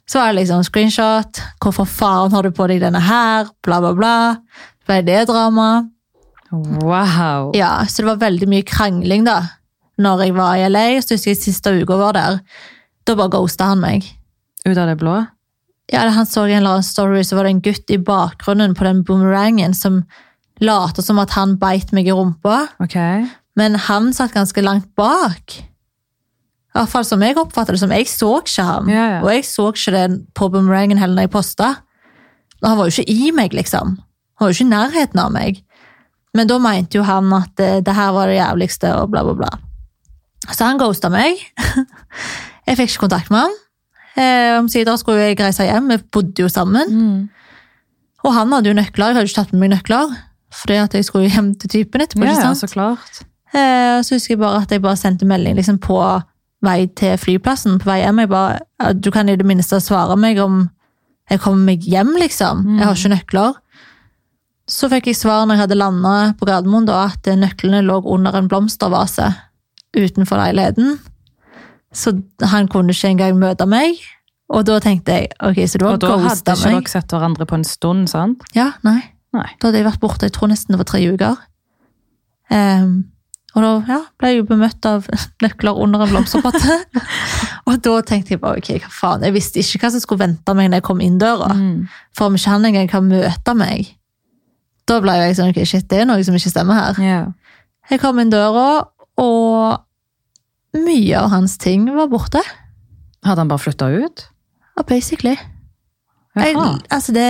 Speaker 2: så var det liksom screenshot. Hvorfor faen har du på deg denne her? Bla, bla, bla. Så ble det drama.
Speaker 1: Wow.
Speaker 2: Ja, så det var veldig mye krangling da. Når jeg var i LA, så husker jeg siste uka var der. Da bare ghosta han meg.
Speaker 1: Ut av det blå?
Speaker 2: Ja, eller han så i en eller annen story, så var det en gutt i bakgrunnen på den boomerangen som later som at han beit meg i rumpa,
Speaker 1: Ok.
Speaker 2: men han satt ganske langt bak. I hvert fall som jeg oppfattet det som. Jeg så ikke ham.
Speaker 1: Ja, ja.
Speaker 2: Og jeg så ikke det på boomerangen heller når jeg posta. Og Han var jo ikke i meg, liksom. Han var jo ikke i nærheten av meg. Men da mente jo han at eh, det her var det jævligste, og bla, bla, bla. Så han ghosta meg. jeg fikk ikke kontakt med han. Eh, Omsider skulle jeg reise hjem, vi bodde jo sammen.
Speaker 1: Mm.
Speaker 2: Og han hadde jo nøkler, jeg hadde jo ikke tatt med meg nøkler. Fordi at jeg skulle jo hjem til typen etterpå. ikke
Speaker 1: Ja,
Speaker 2: sant?
Speaker 1: så klart.
Speaker 2: Eh, og så husker jeg bare at jeg bare sendte melding liksom, på vei til flyplassen. På vei hjem. Jeg bare, «Ja, du kan i det minste svare meg om jeg kommer meg hjem, liksom. Jeg har ikke nøkler. Så fikk jeg svar når jeg hadde landa på Gardermoen, da, at nøklene lå under en blomstervase utenfor leiligheten. Så han kunne ikke engang møte meg. Og da tenkte jeg ok, så du
Speaker 1: Og
Speaker 2: har
Speaker 1: da hadde
Speaker 2: ghosta
Speaker 1: ikke
Speaker 2: meg.
Speaker 1: dere sett hverandre på en stund, sant?
Speaker 2: Ja, nei.
Speaker 1: Nei.
Speaker 2: Da hadde jeg vært borte, jeg tror nesten det var tre uker. Ehm, og da ja, ble jeg jo bemøtt av nøkler under en blomsterpotte. og da tenkte jeg bare, ok, hva faen, jeg visste ikke hva som skulle vente meg når jeg kom inn døra.
Speaker 1: Mm.
Speaker 2: For om ikke han engang kan møte meg, da ble jeg sånn, ok, shit, det er noe som ikke stemmer her.
Speaker 1: Ja.
Speaker 2: Jeg kom inn døra, og mye av hans ting var borte.
Speaker 1: Hadde han bare flytta ut?
Speaker 2: Ja, basically. Jeg,
Speaker 1: Jaha.
Speaker 2: altså det,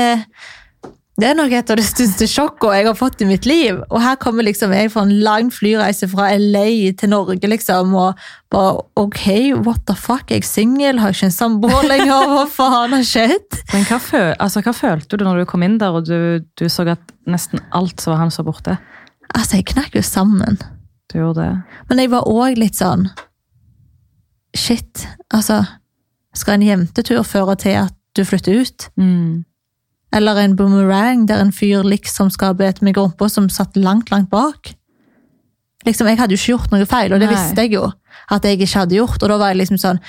Speaker 2: det er nok et av de største sjokkene jeg har fått i mitt liv. Og her kommer liksom jeg fra en lang flyreise fra LA til Norge, liksom. Og bare ok, what the fuck, er jeg singel, har jeg ikke en samboer lenger, hva faen har skjedd?
Speaker 1: Men hva, fø altså, hva følte du når du kom inn der og du, du så at nesten alt som var hans, var borte?
Speaker 2: Altså, jeg knakk jo sammen.
Speaker 1: Du gjorde det.
Speaker 2: Men jeg var òg litt sånn Shit, altså. Skal en jentetur føre til at du flytter ut?
Speaker 1: Mm.
Speaker 2: Eller en boomerang der en fyr liksom skal bete meg i rumpa, som satt langt, langt bak. Liksom, Jeg hadde jo ikke gjort noe feil, og det
Speaker 1: Nei.
Speaker 2: visste jeg jo. at jeg ikke hadde gjort, og da var jeg liksom sånn,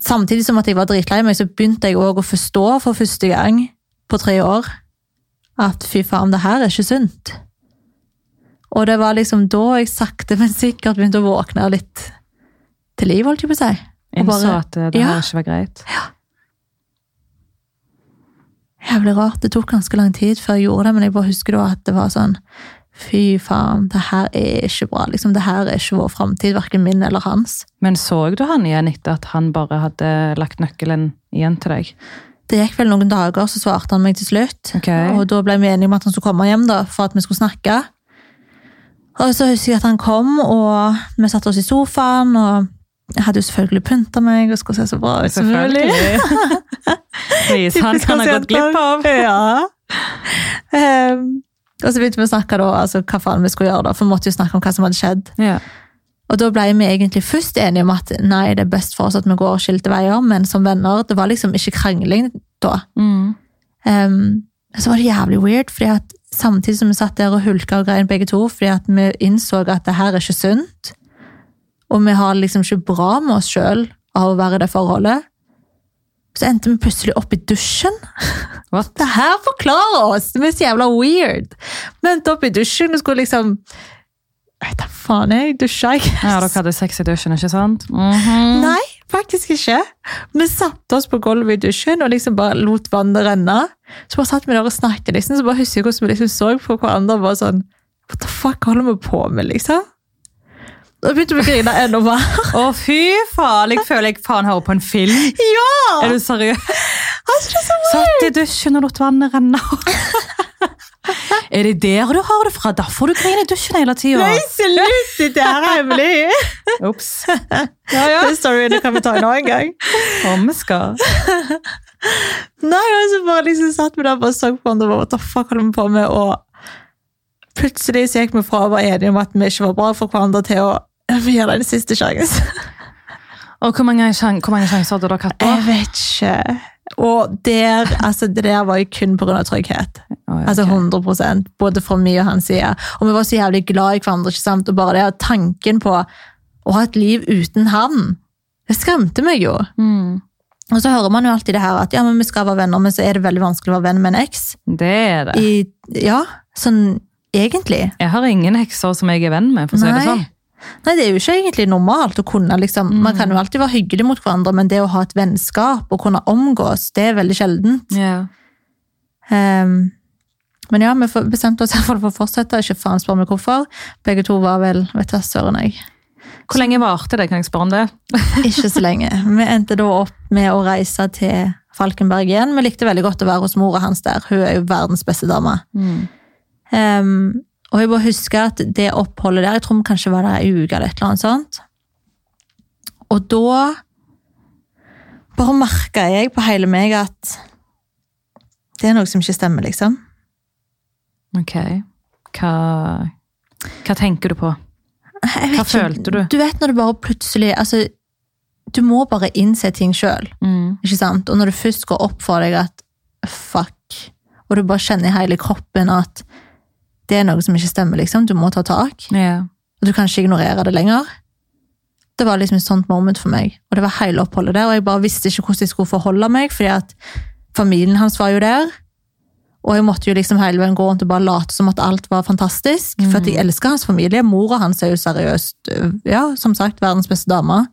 Speaker 2: Samtidig som at jeg var dritlei meg, så begynte jeg òg å forstå for første gang på tre år at fy faen, det her er ikke sunt. Og det var liksom da jeg sakte, men sikkert begynte å våkne litt til liv, holdt jeg på å si. Og
Speaker 1: Innså
Speaker 2: bare-
Speaker 1: at eh, det
Speaker 2: Ja.
Speaker 1: her ikke var greit.
Speaker 2: Jævlig rart. Det tok ganske lang tid før jeg gjorde det, men jeg bare husker da at det var sånn Fy faen, det her er ikke bra. Liksom, det her er ikke vår framtid, verken min eller hans.
Speaker 1: Men så du han igjen etter at han bare hadde lagt nøkkelen igjen til deg?
Speaker 2: Det gikk vel noen dager, så svarte han meg til slutt.
Speaker 1: Ok.
Speaker 2: Og da ble vi enige om at han skulle komme hjem da, for at vi skulle snakke. Og så husker jeg at han kom, og vi satte oss i sofaen, og jeg hadde jo selvfølgelig pynta meg og skulle se så bra ut som mulig.
Speaker 1: Pris han kan ha gått glipp av.
Speaker 2: Ja. Ehm, og så begynte vi å snakke da, altså, hva faen vi skulle gjøre, da, for vi måtte jo snakke om hva som hadde skjedd.
Speaker 1: Ja.
Speaker 2: Og da ble vi egentlig først enige om at nei, det er best for oss at vi går skilte veier, men som venner, det var liksom ikke krangling da.
Speaker 1: Mm.
Speaker 2: Ehm, så var det jævlig weird, fordi at samtidig som vi satt der og hulka og grein begge to, fordi at vi innså at det her er ikke sunt, og vi har liksom ikke bra med oss sjøl av å være i det forholdet, så endte vi plutselig opp i dusjen.
Speaker 1: What?
Speaker 2: Det her forklarer oss! Det er så jævla weird! Vi endte opp i dusjen og skulle liksom Jeg vet da faen, jeg dusja, jeg.
Speaker 1: Ja, dere hadde sex i dusjen, ikke sant? Mhm.
Speaker 2: Nei, faktisk ikke. Vi satte oss på gulvet i dusjen og liksom bare lot vannet renne. Så bare satt vi der og snakket, liksom, så bare husker jeg hvordan vi liksom så på hverandre og bare sånn What the fuck holder vi på med, liksom? Da begynte vi å grine enda mer.
Speaker 1: Å, fy faen! Jeg føler jeg faen hører på en film.
Speaker 2: Ja!
Speaker 1: Er du seriøs?
Speaker 2: Altså, det er så
Speaker 1: Satt i dusjen og lot vannet renne. er det der du har det fra? Derfor du griner i dusjen hele tida?
Speaker 2: Nei, slutt! Det her er hemmelig.
Speaker 1: Ops.
Speaker 2: Ja, ja. Den storyen kan vi ta en annen gang.
Speaker 1: Om vi skal.
Speaker 2: Nei, og så bare liksom satt vi der og bare så på hverandre og bare, what the fuck holder vi på med? Og plutselig så gikk vi fra å være enige om at vi ikke var bra for hverandre, til å vi gir det en siste sjanse.
Speaker 1: Og hvor mange, sjan- hvor mange sjanser hadde dere hatt da?
Speaker 2: Jeg vet ikke. Og der, altså, det der var jo kun pga. trygghet.
Speaker 1: Å, ja,
Speaker 2: Altså
Speaker 1: ok.
Speaker 2: 100 både fra min og hans side. Og vi var så jævlig glad i hverandre. ikke sant? Og bare det at tanken på å ha et liv uten han, det skremte meg jo.
Speaker 1: Mm.
Speaker 2: Og så hører man jo alltid det her at ja, men vi skal være venner, men så er det veldig vanskelig å være venn med en eks.
Speaker 1: Det er det.
Speaker 2: I, ja, sånn egentlig.
Speaker 1: Jeg har ingen hekser som jeg er venn med, for å si det
Speaker 2: Nei.
Speaker 1: sånn. Mm.
Speaker 2: Nei, det er jo ikke egentlig normalt å kunne liksom, Man kan jo alltid være hyggelig mot hverandre, men det å ha et vennskap og kunne omgås, det er veldig sjeldent.
Speaker 1: Ja.
Speaker 2: Ehm, men ja, vi for- bestemte oss i hvert fall for å fortsette. Ikke faen spør meg hvorfor. Begge to var vel vet du hva, søren jeg.
Speaker 1: Hvor lenge varte det? Kan jeg spørre om det?
Speaker 2: Ikke så lenge. Vi endte da opp med å reise til Falkenberg igjen. Vi likte veldig godt å være hos mora hans der. Hun er jo verdens beste dame.
Speaker 1: Mm.
Speaker 2: Ehm, og jeg bare husker at det oppholdet der, jeg tror vi kanskje var der ei uke eller et eller annet sånt. Og da bare merka jeg på hele meg at det er noe som ikke stemmer, liksom.
Speaker 1: Ok. Hva, hva tenker du på?
Speaker 2: Jeg vet
Speaker 1: Hva
Speaker 2: ikke.
Speaker 1: følte du?
Speaker 2: Du vet når du bare plutselig altså, Du må bare innse ting sjøl.
Speaker 1: Mm.
Speaker 2: Ikke sant? Og når det først går opp for deg at fuck, og du bare kjenner i hele kroppen at det er noe som ikke stemmer, liksom. Du må ta tak.
Speaker 1: Ja.
Speaker 2: Og du kan ikke ignorere det lenger. Det var liksom et sånt moment for meg. Og det var hele oppholdet der, og jeg bare visste ikke hvordan jeg skulle forholde meg, fordi at familien hans var jo der. Og jeg måtte jo liksom hele veien gå rundt og bare late som at alt var fantastisk. For at jeg elsker hans familie. Mora hans er jo seriøst, øh, ja, som sagt, verdens beste dame.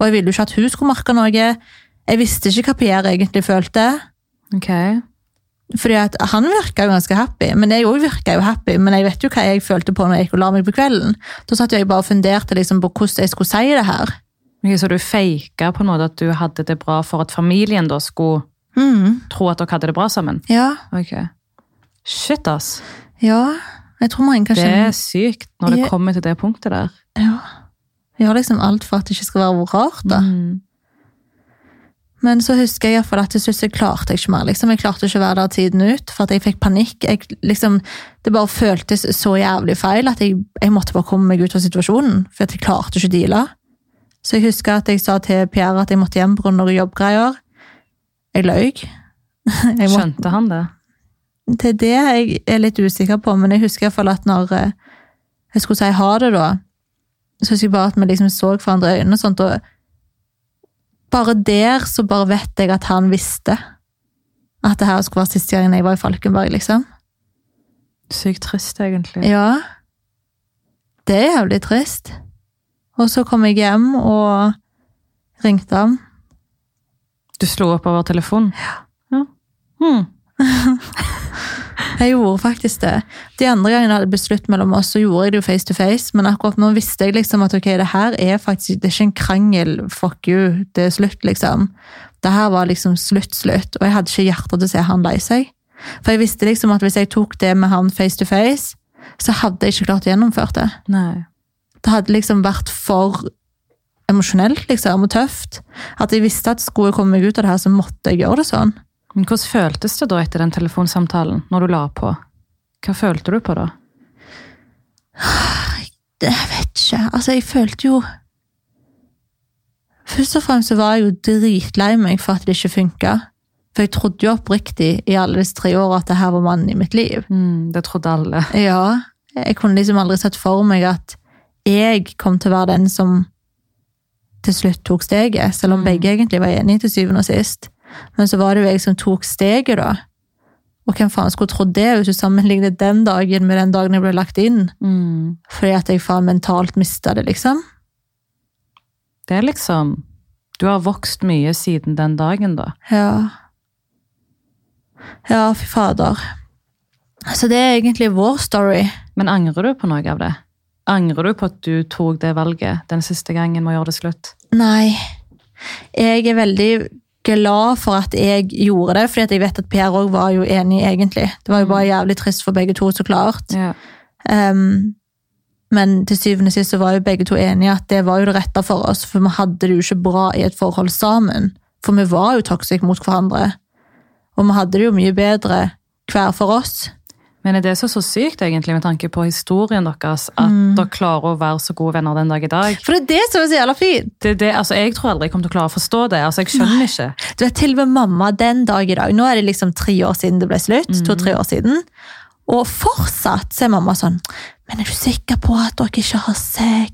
Speaker 2: Og jeg ville jo ikke at hun skulle merke noe. Jeg visste ikke hva Pierre egentlig følte.
Speaker 1: Ok.
Speaker 2: Fordi at han virka jo ganske happy, men jeg òg virka jo happy. Men jeg vet jo hva jeg følte på når jeg gikk og la meg på kvelden. Da satt jeg bare og funderte liksom på hvordan jeg skulle si det her.
Speaker 1: Ok, Så du faka på en måte at du hadde det bra for at familien da skulle
Speaker 2: Mm,
Speaker 1: tro at dere hadde det bra sammen?
Speaker 2: ja,
Speaker 1: Ok. Shit, ass.
Speaker 2: ja. Jeg tror mange kan
Speaker 1: Det
Speaker 2: kjenne
Speaker 1: er sykt når det
Speaker 2: Ja.
Speaker 1: kommer til det punktet der.
Speaker 2: ja. Vi har liksom alt for at det ikke skal være rart, da.
Speaker 1: Mm.
Speaker 2: Men så husker jeg i hvert fall at til slutt så klarte jeg ikke mer. liksom. Jeg klarte ikke å være der tiden ut, for at jeg fikk panikk. Jeg, liksom, det bare føltes så jævlig feil at jeg, jeg måtte bare komme meg ut av situasjonen. For at jeg klarte ikke å deale. Så jeg husker at jeg sa til Pierre at jeg måtte hjem pga. noen jobbgreier. Jeg løy. Jeg må,
Speaker 1: Skjønte han det?
Speaker 2: det er det jeg er litt usikker på, men jeg husker i hvert fall at når eh, jeg skulle si ha det, da, så husker jeg bare at vi liksom så hverandre i øynene og sånt, og bare der så bare vet jeg at han visste at det her skulle være siste gangen jeg var i Falkenberg, liksom.
Speaker 1: Sykt trist, egentlig.
Speaker 2: Ja. Det er jævlig trist. Og så kom jeg hjem og ringte ham.
Speaker 1: Du slo opp over telefonen? Ja. Hmm.
Speaker 2: Jeg gjorde faktisk det. De andre gangene det hadde blitt slutt mellom oss, så gjorde jeg det jo face to face, men akkurat nå visste jeg liksom at ok, det her er faktisk det er ikke en krangel, fuck you, det er slutt, liksom. Det her var liksom slutt, slutt, og jeg hadde ikke hjerte til å se han lei seg. For jeg visste liksom at hvis jeg tok det med han face to face, så hadde jeg ikke klart å gjennomføre det.
Speaker 1: Nei.
Speaker 2: Det hadde liksom vært for emosjonelt, liksom, og tøft. At jeg visste at skulle jeg komme meg ut av det her, så måtte jeg gjøre det sånn.
Speaker 1: Men hvordan føltes det da etter den telefonsamtalen, når du la på? Hva følte du på da?
Speaker 2: det, jeg vet ikke. Altså, jeg følte jo Først og fremst så var jeg jo dritlei meg for at det ikke funka. For jeg trodde jo oppriktig i alle disse tre åra at det her var mannen i mitt liv.
Speaker 1: Mm, det trodde alle.
Speaker 2: Ja, jeg kunne liksom aldri sett for meg at jeg kom til å være den som til slutt tok steget, selv om begge egentlig var enige til syvende og sist. Men så var det jo jeg som tok steget, da. Og hvem faen skulle trodd det, hvis du sammenlignet den dagen med den dagen jeg ble lagt inn?
Speaker 1: Mm.
Speaker 2: Fordi at jeg faen mentalt mista det, liksom.
Speaker 1: Det er liksom Du har vokst mye siden den dagen, da.
Speaker 2: Ja. Ja, fy fader. Så det er egentlig vår story.
Speaker 1: Men angrer du på noe av det? Angrer du på at du tok det valget den siste gangen med å gjøre det slutt?
Speaker 2: Nei. Jeg er veldig glad for at jeg gjorde det, fordi at jeg vet at Per òg var jo enig, egentlig. Det var jo bare jævlig trist for begge to, så klart.
Speaker 1: Ja.
Speaker 2: Ehm, men til syvende og sist så var jo begge to enige at det var jo det rette for oss, for vi hadde det jo ikke bra i et forhold sammen. For vi var jo toxic mot hverandre. Og vi hadde det jo mye bedre hver for oss.
Speaker 1: Men er det så, så sykt, egentlig, med tanke på historien deres, at
Speaker 2: Mm.
Speaker 1: dere klarer å være så gode venner den dag i dag?
Speaker 2: For det er det som er så jævla fint!
Speaker 1: Det, er det, altså, jeg tror aldri jeg kommer til å klare å forstå det. Altså, jeg skjønner ikke.
Speaker 2: Du vet, til og med mamma den dag i dag, nå er det liksom tre år siden det ble slutt, to-tre år siden, og fortsatt så er mamma sånn, men er du sikker på at dere ikke har sex?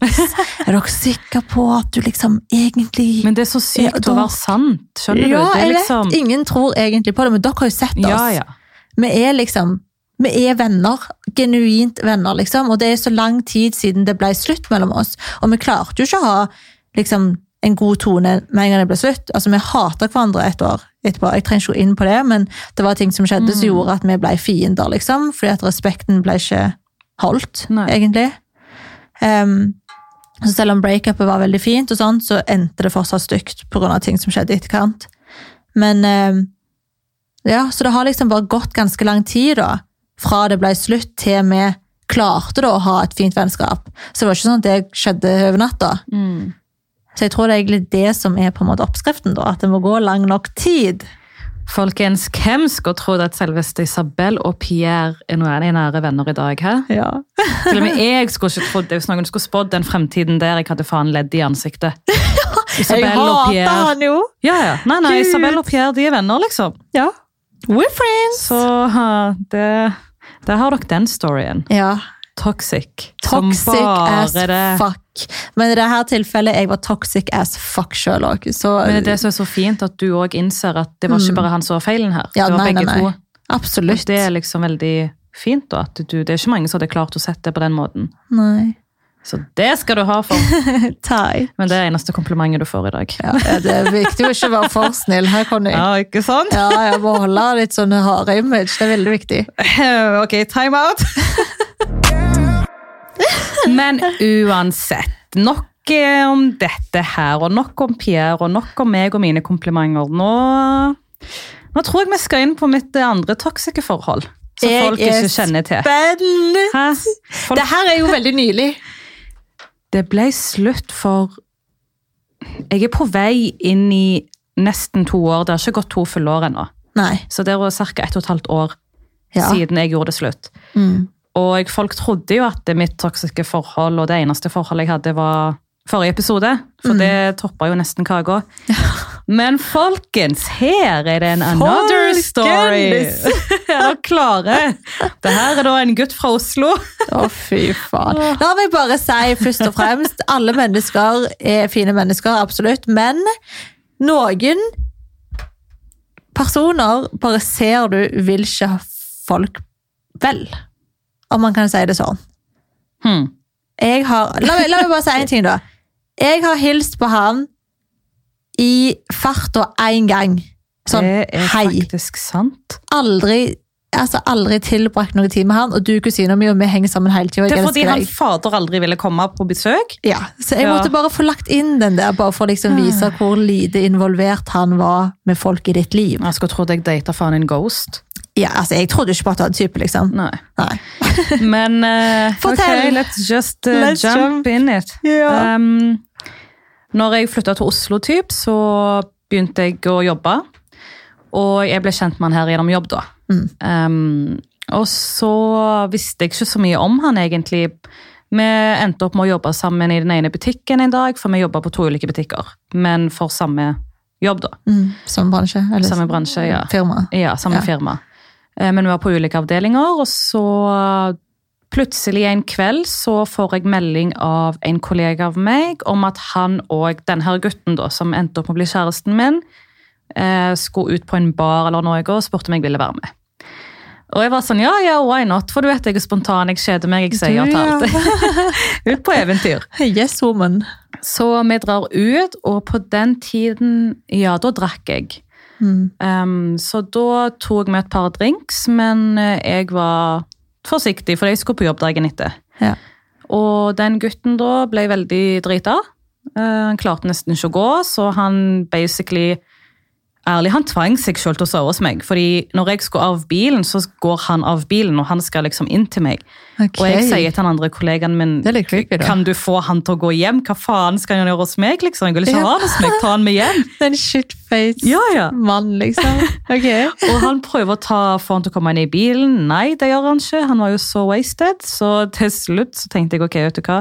Speaker 2: er dere sikker på at du liksom egentlig...
Speaker 1: Men det er så sykt
Speaker 2: Ja, da-
Speaker 1: å være sant. Skjønner du? Det
Speaker 2: ja, jeg
Speaker 1: er
Speaker 2: vet,
Speaker 1: liksom
Speaker 2: ingen tror egentlig på det, men dere har jo sett oss.
Speaker 1: Ja, ja.
Speaker 2: Vi er liksom, vi er venner, genuint venner liksom, og det er så lang tid siden det ble slutt mellom oss, og vi klarte jo ikke å ha liksom en god tone med en gang det ble slutt. Altså, vi hater hverandre et år etterpå. Jeg trenger ikke gå inn på det, men det var ting som skjedde som gjorde at vi ble fiender, liksom, fordi at respekten ble ikke holdt,
Speaker 1: Nei.
Speaker 2: egentlig. Ehm, så selv om breakupet var veldig fint, og sånt, så endte det fortsatt stygt pga. ting som skjedde i etterkant. Men ehm, ja, Så det har liksom bare gått ganske lang tid da, fra det ble slutt, til vi klarte da å ha et fint vennskap. Så det var ikke sånn at det skjedde over natta.
Speaker 1: Mm.
Speaker 2: Så jeg tror det er egentlig det som er på en måte oppskriften, da, at det må gå lang nok tid.
Speaker 1: Folkens, hvem skulle trodd at selveste Isabel og Pierre er noen av de nære venner i dag? Hæ?
Speaker 2: Ja.
Speaker 1: Til og med jeg skulle ikke trodd det hvis noen skulle spådd den fremtiden der jeg hadde faen ledd i ansiktet.
Speaker 2: Jeg
Speaker 1: Isabel og
Speaker 2: hater
Speaker 1: Pierre.
Speaker 2: han jo!
Speaker 1: Ja, ja. Nei, nei,
Speaker 2: Gud.
Speaker 1: Isabel og Pierre de er venner, liksom.
Speaker 2: Ja. We're friends!
Speaker 1: Så ha, det, der har dere den storyen.
Speaker 2: Ja.
Speaker 1: Toxic. Som
Speaker 2: Toxic as
Speaker 1: bare det.
Speaker 2: fuck. Men i dette tilfellet jeg var toxic as fuck sjøl òg. Så
Speaker 1: Men det er det som er så fint, at du òg innser at det var ikke bare han som var feilen her.
Speaker 2: Mm. Ja,
Speaker 1: det var
Speaker 2: nei, nei,
Speaker 1: begge
Speaker 2: nei.
Speaker 1: to. Og
Speaker 2: absolutt.
Speaker 1: det er liksom veldig fint, da. At du, det er ikke mange som hadde klart å sette det på den måten.
Speaker 2: Nei.
Speaker 1: Så det skal du ha for.
Speaker 2: Tai.
Speaker 1: Men det er eneste komplimentet du får i dag.
Speaker 2: Ja, det er viktig å ikke være for snill her, Conny. Ja.
Speaker 1: ikke sant?
Speaker 2: jeg må holde litt sånn harde image. Det er veldig viktig.
Speaker 1: Ok, time out. Men uansett, nok eh, om dette her, og nok om Pierre, og nok om meg og mine komplimenter. Nå, nå tror jeg vi skal inn på mitt eh, andre toksike forhold, som
Speaker 2: Jeg
Speaker 1: folk
Speaker 2: er
Speaker 1: ikke kjenner til.
Speaker 2: Spennende!
Speaker 1: Hæ? Folk,
Speaker 2: Det her er jo veldig nylig.
Speaker 1: det ble slutt for Jeg er på vei inn i nesten to år. Det har ikke gått to fulle år ennå.
Speaker 2: Nei.
Speaker 1: Så det var ca. ett og et halvt år
Speaker 2: Ja.
Speaker 1: siden jeg gjorde det slutt.
Speaker 2: Mm.
Speaker 1: Og jeg- folk trodde jo at det mitt toksiske forhold og det eneste forholdet jeg hadde, var forrige episode. For det toppa jo nesten kaka. Men folkens, her er det en another
Speaker 2: Folkens!
Speaker 1: story! Er dere klare? Det her er da en gutt fra Oslo.
Speaker 2: Å, fy faen. La meg bare si først og fremst alle mennesker er fine mennesker, absolutt, men noen personer bare ser du vil ikke ha folk vel. Om man kan si det sånn.
Speaker 1: Hm.
Speaker 2: Jeg har, la, meg, la meg bare si en ting, da. Jeg har hilst på han i farta én gang. Sånn
Speaker 1: det er
Speaker 2: hei
Speaker 1: faktisk sant.
Speaker 2: aldri altså aldri tilbrakt noe tid med han, og du, kusina mi, og vi henger sammen hele tida.
Speaker 1: Det er fordi han fader aldri ville komme på besøk.
Speaker 2: Ja, så jeg
Speaker 1: Ja. Ah.
Speaker 2: måtte bare få lagt inn den der, bare for å liksom vise hvor lite involvert han var med folk i ditt liv.
Speaker 1: Jeg skulle trodd jeg data faen en ghost.
Speaker 2: Ja, altså, jeg trodde ikke på at han var en type, liksom.
Speaker 1: Nei.
Speaker 2: Nei.
Speaker 1: Men eh,
Speaker 2: Fortell.
Speaker 1: ok, let's just eh,
Speaker 2: Let's
Speaker 1: jump,
Speaker 2: jump.
Speaker 1: in it.
Speaker 2: Ja.
Speaker 1: Um, når jeg flytta til Oslo, typ, så begynte jeg å jobbe. Og jeg ble kjent med han her gjennom jobb, da. Um, og så visste jeg ikke så mye om han, egentlig. Vi endte opp med å jobbe sammen i den ene butikken en dag, for vi jobba på to ulike butikker. Men for samme jobb, da.
Speaker 2: Mm, samme bransje, eller
Speaker 1: Samme bransje, ja.
Speaker 2: firma.
Speaker 1: Ja, samme
Speaker 2: Ja.
Speaker 1: firma. Eh, Men vi var på ulike avdelinger, og så plutselig en kveld så får jeg melding av en kollega av meg om at han og denne her gutten da, som endte opp med å bli kjæresten min, eh, skulle ut på en bar eller noe og spurte om jeg ville være med. Og jeg var sånn, ja, ja, why not? For du vet, jeg er spontan, jeg kjeder meg, jeg sier ja til
Speaker 2: Du,
Speaker 1: alt. Ut på eventyr.
Speaker 2: Yes, woman.
Speaker 1: Så vi drar ut, og på den tiden, ja, da drakk jeg.
Speaker 2: Mm.
Speaker 1: Ehm, så da tok vi et par drinks, men eh, jeg var forsiktig, for jeg skulle på jobb dagen etter.
Speaker 2: Ja.
Speaker 1: Og den gutten da ble veldig drita. Eh, han klarte nesten ikke å gå, så han basically Ærlig, han tvang seg selv til å sove hos meg, fordi når jeg skulle av bilen, så går han av bilen, og han skal liksom inn til meg.
Speaker 2: Ok.
Speaker 1: Og jeg sier til den andre kollegaen min
Speaker 2: Det er litt creepy, da.
Speaker 1: Kan du få han til å gå hjem? Hva faen skal han gjøre hos meg? liksom? Jeg vil ikke
Speaker 2: Ja.
Speaker 1: ha han hos meg, ta han med hjem.
Speaker 2: Den shitface
Speaker 1: Ja, ja.
Speaker 2: mann, liksom. Ok.
Speaker 1: Og han prøver å ta for han til å komme inn i bilen. Nei, det gjør han ikke. Han var jo så wasted. Så til slutt så tenkte jeg ok, vet du hva.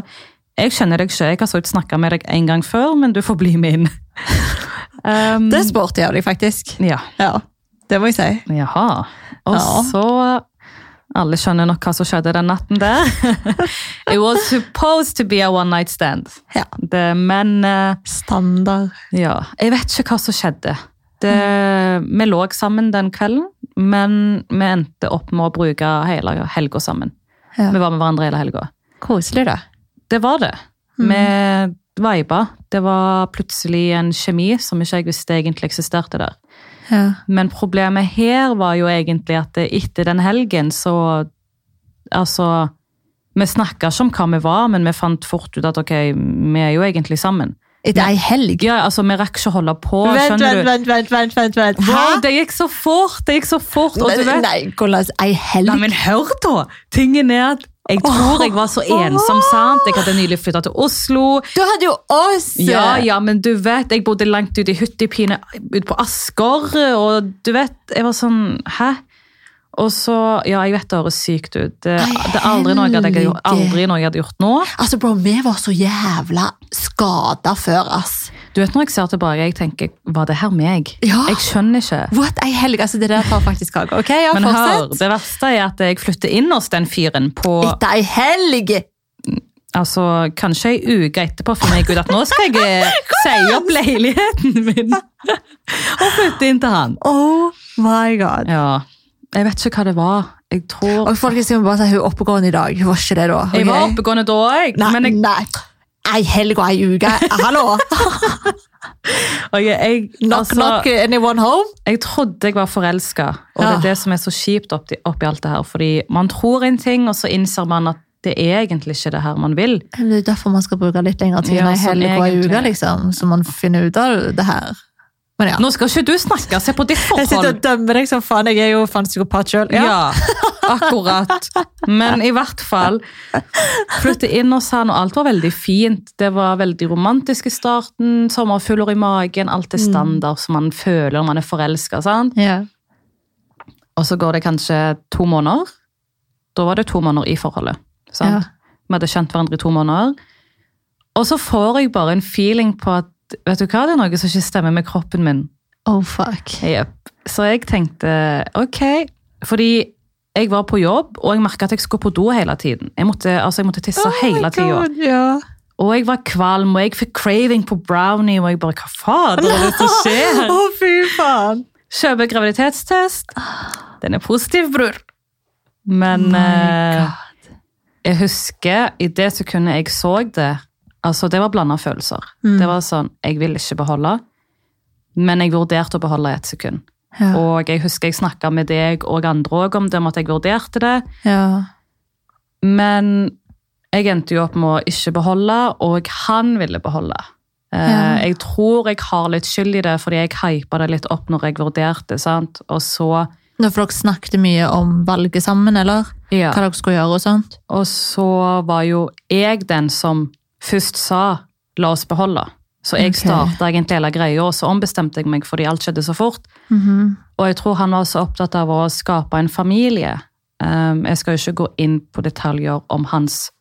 Speaker 1: Jeg kjenner deg ikke. Jeg har så vidt snakka med deg en gang før, men du får bli med inn. Um,
Speaker 2: Det er sporty av deg, faktisk.
Speaker 1: ja.
Speaker 2: Ja, det må jeg si.
Speaker 1: Jaha. Og
Speaker 2: Ja.
Speaker 1: så Alle skjønner nok hva som skjedde den natten der. It was supposed to be a one night stand.
Speaker 2: Ja.
Speaker 1: Det, men eh,
Speaker 2: Standard.
Speaker 1: Ja, jeg vet ikke hva som skjedde. Det, vi lå sammen den kvelden, men vi endte opp med å bruke hele helga sammen.
Speaker 2: Ja.
Speaker 1: Vi var med hverandre hele helga.
Speaker 2: Koselig, da.
Speaker 1: Det var det.
Speaker 2: Mm.
Speaker 1: Vi viba. Det var plutselig en kjemi som ikke jeg visste egentlig eksisterte der.
Speaker 2: Ja.
Speaker 1: Men problemet her var jo egentlig at det- etter den helgen så Altså, vi snakka ikke om hva vi var, men vi fant fort ut at ok, vi er jo egentlig sammen.
Speaker 2: Etter ei helg.
Speaker 1: Ja, altså, vi rakk ikke å holde på,
Speaker 2: Vent,
Speaker 1: skjønner du.
Speaker 2: vent, vent, vent, vent, vent, vent.
Speaker 1: Wow, det gikk så fort! Det gikk så fort, og du
Speaker 2: Men,
Speaker 1: vet...
Speaker 2: nei, hvordan ei helg?
Speaker 1: Nei, men hør da! Tingen er at Jeg tror jeg var så ensom, sant? Jeg hadde nylig flytta til Oslo.
Speaker 2: Du hadde jo oss!
Speaker 1: Ja, ja, men du vet, jeg bodde langt ute i hyttepine ute på Asker, og du vet, jeg var sånn Hæ? Og så Ja, jeg vet det høres sykt ut. Det, det er aldri noe jeg hadde, gjort- aldri noe jeg hadde gjort nå.
Speaker 2: Altså, bro, vi var så jævla skada før, ass.
Speaker 1: Du vet når jeg ser tilbake, jeg tenker Var det her meg?
Speaker 2: Ja.
Speaker 1: Jeg skjønner ikke.
Speaker 2: What ei helg! Altså, det der tar faktisk kake. Ok, ja,
Speaker 1: Men hør,
Speaker 2: fortsett.
Speaker 1: det verste er at jeg flytter inn hos den fyren på
Speaker 2: Etter ei helg!
Speaker 1: altså, kanskje ei uke etterpå finner jeg ut at nå skal jeg eh, si opp leiligheten min og flytte inn til han.
Speaker 2: Oh my god.
Speaker 1: Ja, jeg vet ikke hva det var. Jeg tror
Speaker 2: Og folkens, jeg må bare si hun er oppegående i dag. Hun var ikke det da. ok?
Speaker 1: Jeg var oppegående da, jeg,
Speaker 2: Nei,
Speaker 1: men jeg,
Speaker 2: nei. Ei helg og ei uke. Hallo!
Speaker 1: og jeg, jeg,
Speaker 2: Knock, knock,
Speaker 1: altså,
Speaker 2: anyone home?
Speaker 1: jeg trodde jeg var forelska, og det
Speaker 2: Ja.
Speaker 1: er det som er så kjipt oppi, oppi alt det her. Fordi man tror en ting, og så innser man at det er egentlig ikke det her man vil.
Speaker 2: Men Det er jo derfor man skal bruke litt lengre tid
Speaker 1: Ja,
Speaker 2: enn ei
Speaker 1: sånn
Speaker 2: helg og ei
Speaker 1: egentlig.
Speaker 2: uke, liksom. Så man finner ut av det her. Men ja.
Speaker 1: Nå skal ikke du snakke, se på ditt
Speaker 2: Jeg sitter og
Speaker 1: forhold.
Speaker 2: dømmer deg som faen. Jeg er jo faen psykopat sjøl.
Speaker 1: Ja, akkurat. Men i hvert fall flytte inn hos han, og alt var veldig fint. Det var veldig romantisk i starten, sommerfugler i magen, alt er standard som man føler når man er forelska.
Speaker 2: Ja.
Speaker 1: Og så går det kanskje to måneder. Da var det to måneder i forholdet. Sant?
Speaker 2: Ja.
Speaker 1: Vi hadde kjent hverandre i to måneder. Og så får jeg bare en feeling på at vet du hva, det er noe som ikke stemmer med kroppen min.
Speaker 2: Oh, fuck.
Speaker 1: Jep. Så jeg tenkte ok, fordi jeg var på jobb, og jeg merka at jeg skulle på do hele tiden. Jeg måtte, altså, jeg måtte tisse hele tida.
Speaker 2: Ja.
Speaker 1: Og jeg var kvalm, og jeg fikk craving på brownie, og jeg bare hva faen er det som skjer?
Speaker 2: Å, fy faen!
Speaker 1: Kjøper graviditetstest. Den er positiv, bror. Men eh, jeg husker i det sekundet jeg så det altså Det var blanda følelser. Det var sånn Jeg vil ikke beholde, men jeg vurderte å beholde i ett sekund.
Speaker 2: Ja.
Speaker 1: Og jeg husker jeg snakka med deg og andre òg om det, om at jeg vurderte det.
Speaker 2: ja.
Speaker 1: Men jeg endte jo opp med å ikke beholde, og han ville beholde. Eh,
Speaker 2: Ja.
Speaker 1: Jeg tror jeg har litt skyld i det, fordi jeg hypa det litt opp når jeg vurderte. sant? Og så,
Speaker 2: Nå for dere snakket mye om valget sammen, eller? Hva dere skulle gjøre og sånt?
Speaker 1: og så var jo jeg den som først sa 'la oss beholde'. Så jeg
Speaker 2: Ok.
Speaker 1: starta egentlig hele greia, og så ombestemte jeg meg fordi alt skjedde så fort.
Speaker 2: Mhm.
Speaker 1: Og jeg tror han var så opptatt av å skape en familie. Um, jeg skal jo ikke gå inn på detaljer om hans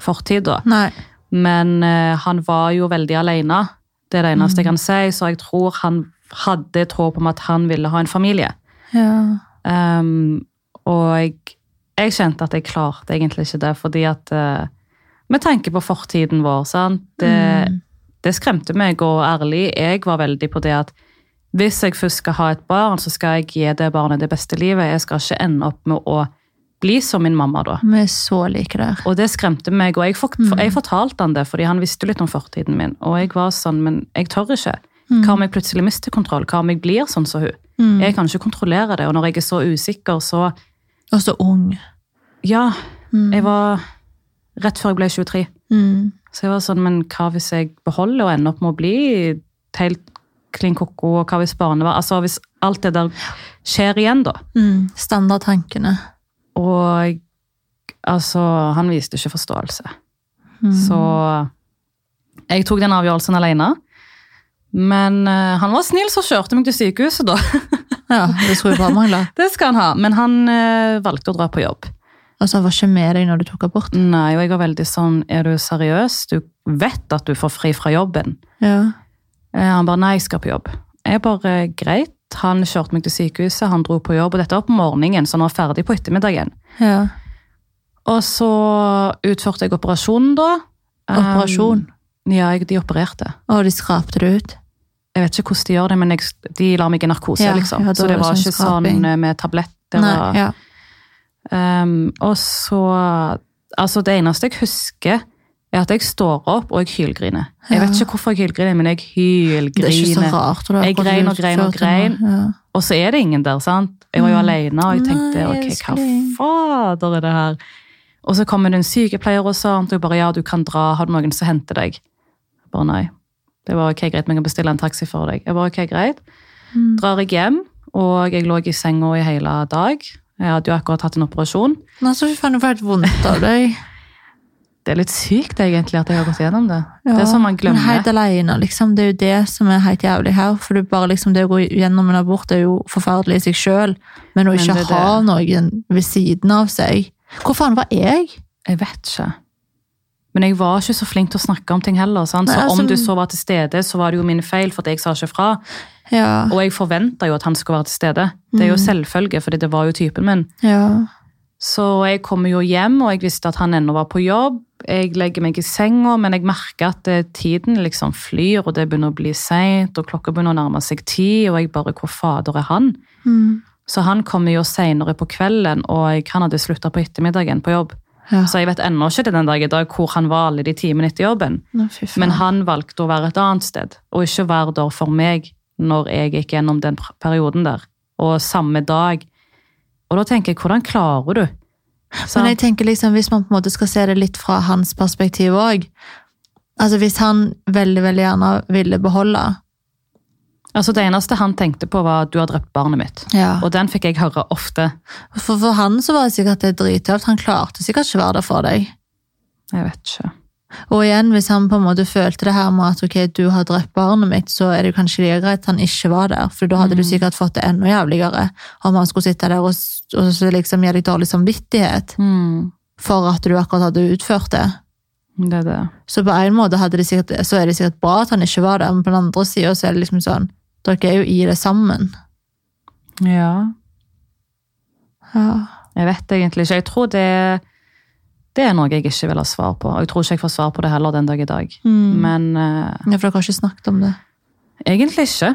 Speaker 1: fortid, da.
Speaker 2: Nei.
Speaker 1: Men eh, han var jo veldig alene. Det er det eneste jeg kan si, så jeg tror han hadde et håp om at han ville ha en familie.
Speaker 2: Ja.
Speaker 1: Um, og jeg, jeg kjente at jeg klarte egentlig ikke det, fordi at eh, Med tanke på fortiden vår, sant. Det, det skremte meg, og ærlig, jeg var veldig på det at hvis jeg først skal ha et barn, så skal jeg gi det barnet det beste livet. Jeg skal ikke ende opp med å bli som min mamma, da.
Speaker 2: Vi er så like der.
Speaker 1: Og det skremte meg, og jeg, fort, jeg fortalte han det, fordi han visste litt om fortiden min. Og jeg var sånn, men jeg tør ikke. Hva om jeg plutselig mister kontroll? Hva om jeg blir sånn som hun?
Speaker 2: Mm.
Speaker 1: Jeg kan ikke kontrollere det, og når jeg er så usikker, så
Speaker 2: Og så ung.
Speaker 1: Ja, jeg var rett før jeg ble 23. Så jeg var sånn, men hva hvis jeg beholder og ender opp med å bli helt klin koko, og hva hvis barnet var Altså hvis alt det der skjer igjen, da.
Speaker 2: Mm. Standardtankene.
Speaker 1: Og altså, han viste ikke forståelse.
Speaker 2: Mm.
Speaker 1: Så jeg tok den avgjørelsen alene. Men eh, han var snill, så kjørte meg til sykehuset, da.
Speaker 2: Ja, det skulle jo bare mangle.
Speaker 1: Det skal han ha. Men han eh, valgte å dra på jobb.
Speaker 2: Og så Altså, var ikke med deg når du tok abort.
Speaker 1: Nei, og jeg var veldig sånn Er du seriøs? Du vet at du får fri fra jobben.
Speaker 2: Ja.
Speaker 1: Eh, Han bare nei, jeg skal på jobb. Jeg bare eh, greit. Han kjørte meg til sykehuset, han dro på jobb, og dette var på morgenen, så han var ferdig på ettermiddagen.
Speaker 2: ja.
Speaker 1: Og så utførte jeg operasjonen, da.
Speaker 2: Operasjon?
Speaker 1: Um, ja, jeg, de opererte.
Speaker 2: Og de skrapte det ut.
Speaker 1: Jeg vet ikke hvordan de gjør det, men jeg, de la meg i narkose,
Speaker 2: Ja,
Speaker 1: liksom.
Speaker 2: ja, da
Speaker 1: så
Speaker 2: var
Speaker 1: det
Speaker 2: det
Speaker 1: var
Speaker 2: sånn
Speaker 1: ikke
Speaker 2: skraping.
Speaker 1: sånn eh, med tabletter.
Speaker 2: Nei,
Speaker 1: og-
Speaker 2: ja.
Speaker 1: Um, og så Altså, det eneste jeg husker, er at jeg står opp og jeg hylgriner. Jeg vet ikke hvorfor jeg hylgriner, men jeg
Speaker 2: Det er ikke så
Speaker 1: hylgriner.
Speaker 2: rart. og det er
Speaker 1: Jeg
Speaker 2: akkurat
Speaker 1: grein og
Speaker 2: utført
Speaker 1: grein og
Speaker 2: det nå.
Speaker 1: grein.
Speaker 2: sånn, Ja.
Speaker 1: Og så er det ingen der, sant? Jeg var jo alene, og jeg tenkte
Speaker 2: Mm. Nei,
Speaker 1: ok, hva
Speaker 2: elskling.
Speaker 1: fader er det her? Og så kommer det en sykepleier og sånt, og jeg bare ja, du kan dra, har du noen som henter deg? Jeg bare nei. Det var ok, greit, men jeg kan bestille en taxi Mm. for deg. Jeg bare ok, greit. Drar jeg hjem, og jeg lå i senga i hele dag. Jeg hadde jo akkurat hatt en operasjon.
Speaker 2: Nå så faen du får helt vondt av deg.
Speaker 1: Det er litt sykt egentlig at jeg har gått gjennom det.
Speaker 2: Ja,
Speaker 1: det er sånn man
Speaker 2: men Helt
Speaker 1: glemmer.
Speaker 2: alene, liksom. Det er jo det som er helt jævlig her. For det, er bare, liksom, det å gå gjennom en abort er jo forferdelig i seg sjøl, men å
Speaker 1: Men
Speaker 2: ikke
Speaker 1: det er
Speaker 2: ha noen ved siden av seg Hvor faen var jeg?
Speaker 1: Jeg vet ikke. Men jeg var ikke så flink til å snakke om ting heller. Sant? Så
Speaker 2: Nei, altså-
Speaker 1: om du så var til stede, så var det jo min feil, for at jeg sa ikke fra.
Speaker 2: Ja.
Speaker 1: Og jeg forventa jo at han skulle være til stede. Det er jo selvfølge, fordi det var jo typen min.
Speaker 2: ja.
Speaker 1: Så jeg kommer jo hjem, og jeg visste at han ennå var på jobb. Jeg legger meg i senga, men jeg merker at eh, tiden liksom flyr, og det begynner å bli seint, og klokka begynner å nærme seg ti, og jeg bare Hvor fader er han?
Speaker 2: Mm.
Speaker 1: Så han kommer jo seinere på kvelden, og jeg, han hadde slutta på ettermiddagen på jobb.
Speaker 2: ja.
Speaker 1: Så jeg vet ennå ikke til den dag i dag hvor han var alle de timene etter jobben.
Speaker 2: Nå, fy faen.
Speaker 1: Men han valgte å være et annet sted, og ikke være der for meg når jeg gikk gjennom den pr- perioden der. Og samme dag. Og da tenker jeg, hvordan klarer du?
Speaker 2: Men
Speaker 1: Sant?
Speaker 2: jeg tenker liksom, hvis man på en måte skal se det litt fra hans perspektiv òg Altså Hvis han veldig veldig gjerne ville beholde
Speaker 1: Altså Det eneste han tenkte på, var at du har drept barnet mitt.
Speaker 2: ja.
Speaker 1: Og den fikk jeg høre ofte.
Speaker 2: for, for han så var det sikkert det drittøft. Han klarte sikkert ikke å være der for deg.
Speaker 1: Jeg vet ikke.
Speaker 2: Og igjen, hvis han på en måte følte det her med at ok, du har drept barnet mitt, så er det jo kanskje like greit at han ikke var der, for da hadde du sikkert fått det enda jævligere om han skulle sitte der og, s- og så liksom gi deg dårlig samvittighet
Speaker 1: Mm,
Speaker 2: for at du akkurat hadde utført det.
Speaker 1: det er det.
Speaker 2: Så på en måte hadde det sikkert, så er det sikkert bra at han ikke var der, men på den andre siden så er det liksom sånn, dere er jo i det sammen.
Speaker 1: Ja.
Speaker 2: Ja.
Speaker 1: Jeg vet egentlig ikke. Jeg tror det, det er noe jeg ikke vil ha svar på. Og jeg tror ikke jeg får svar på det heller den dag i dag.
Speaker 2: Mm.
Speaker 1: Men eh,
Speaker 2: ja, for dere har ikke snakket om det.
Speaker 1: egentlig ikke.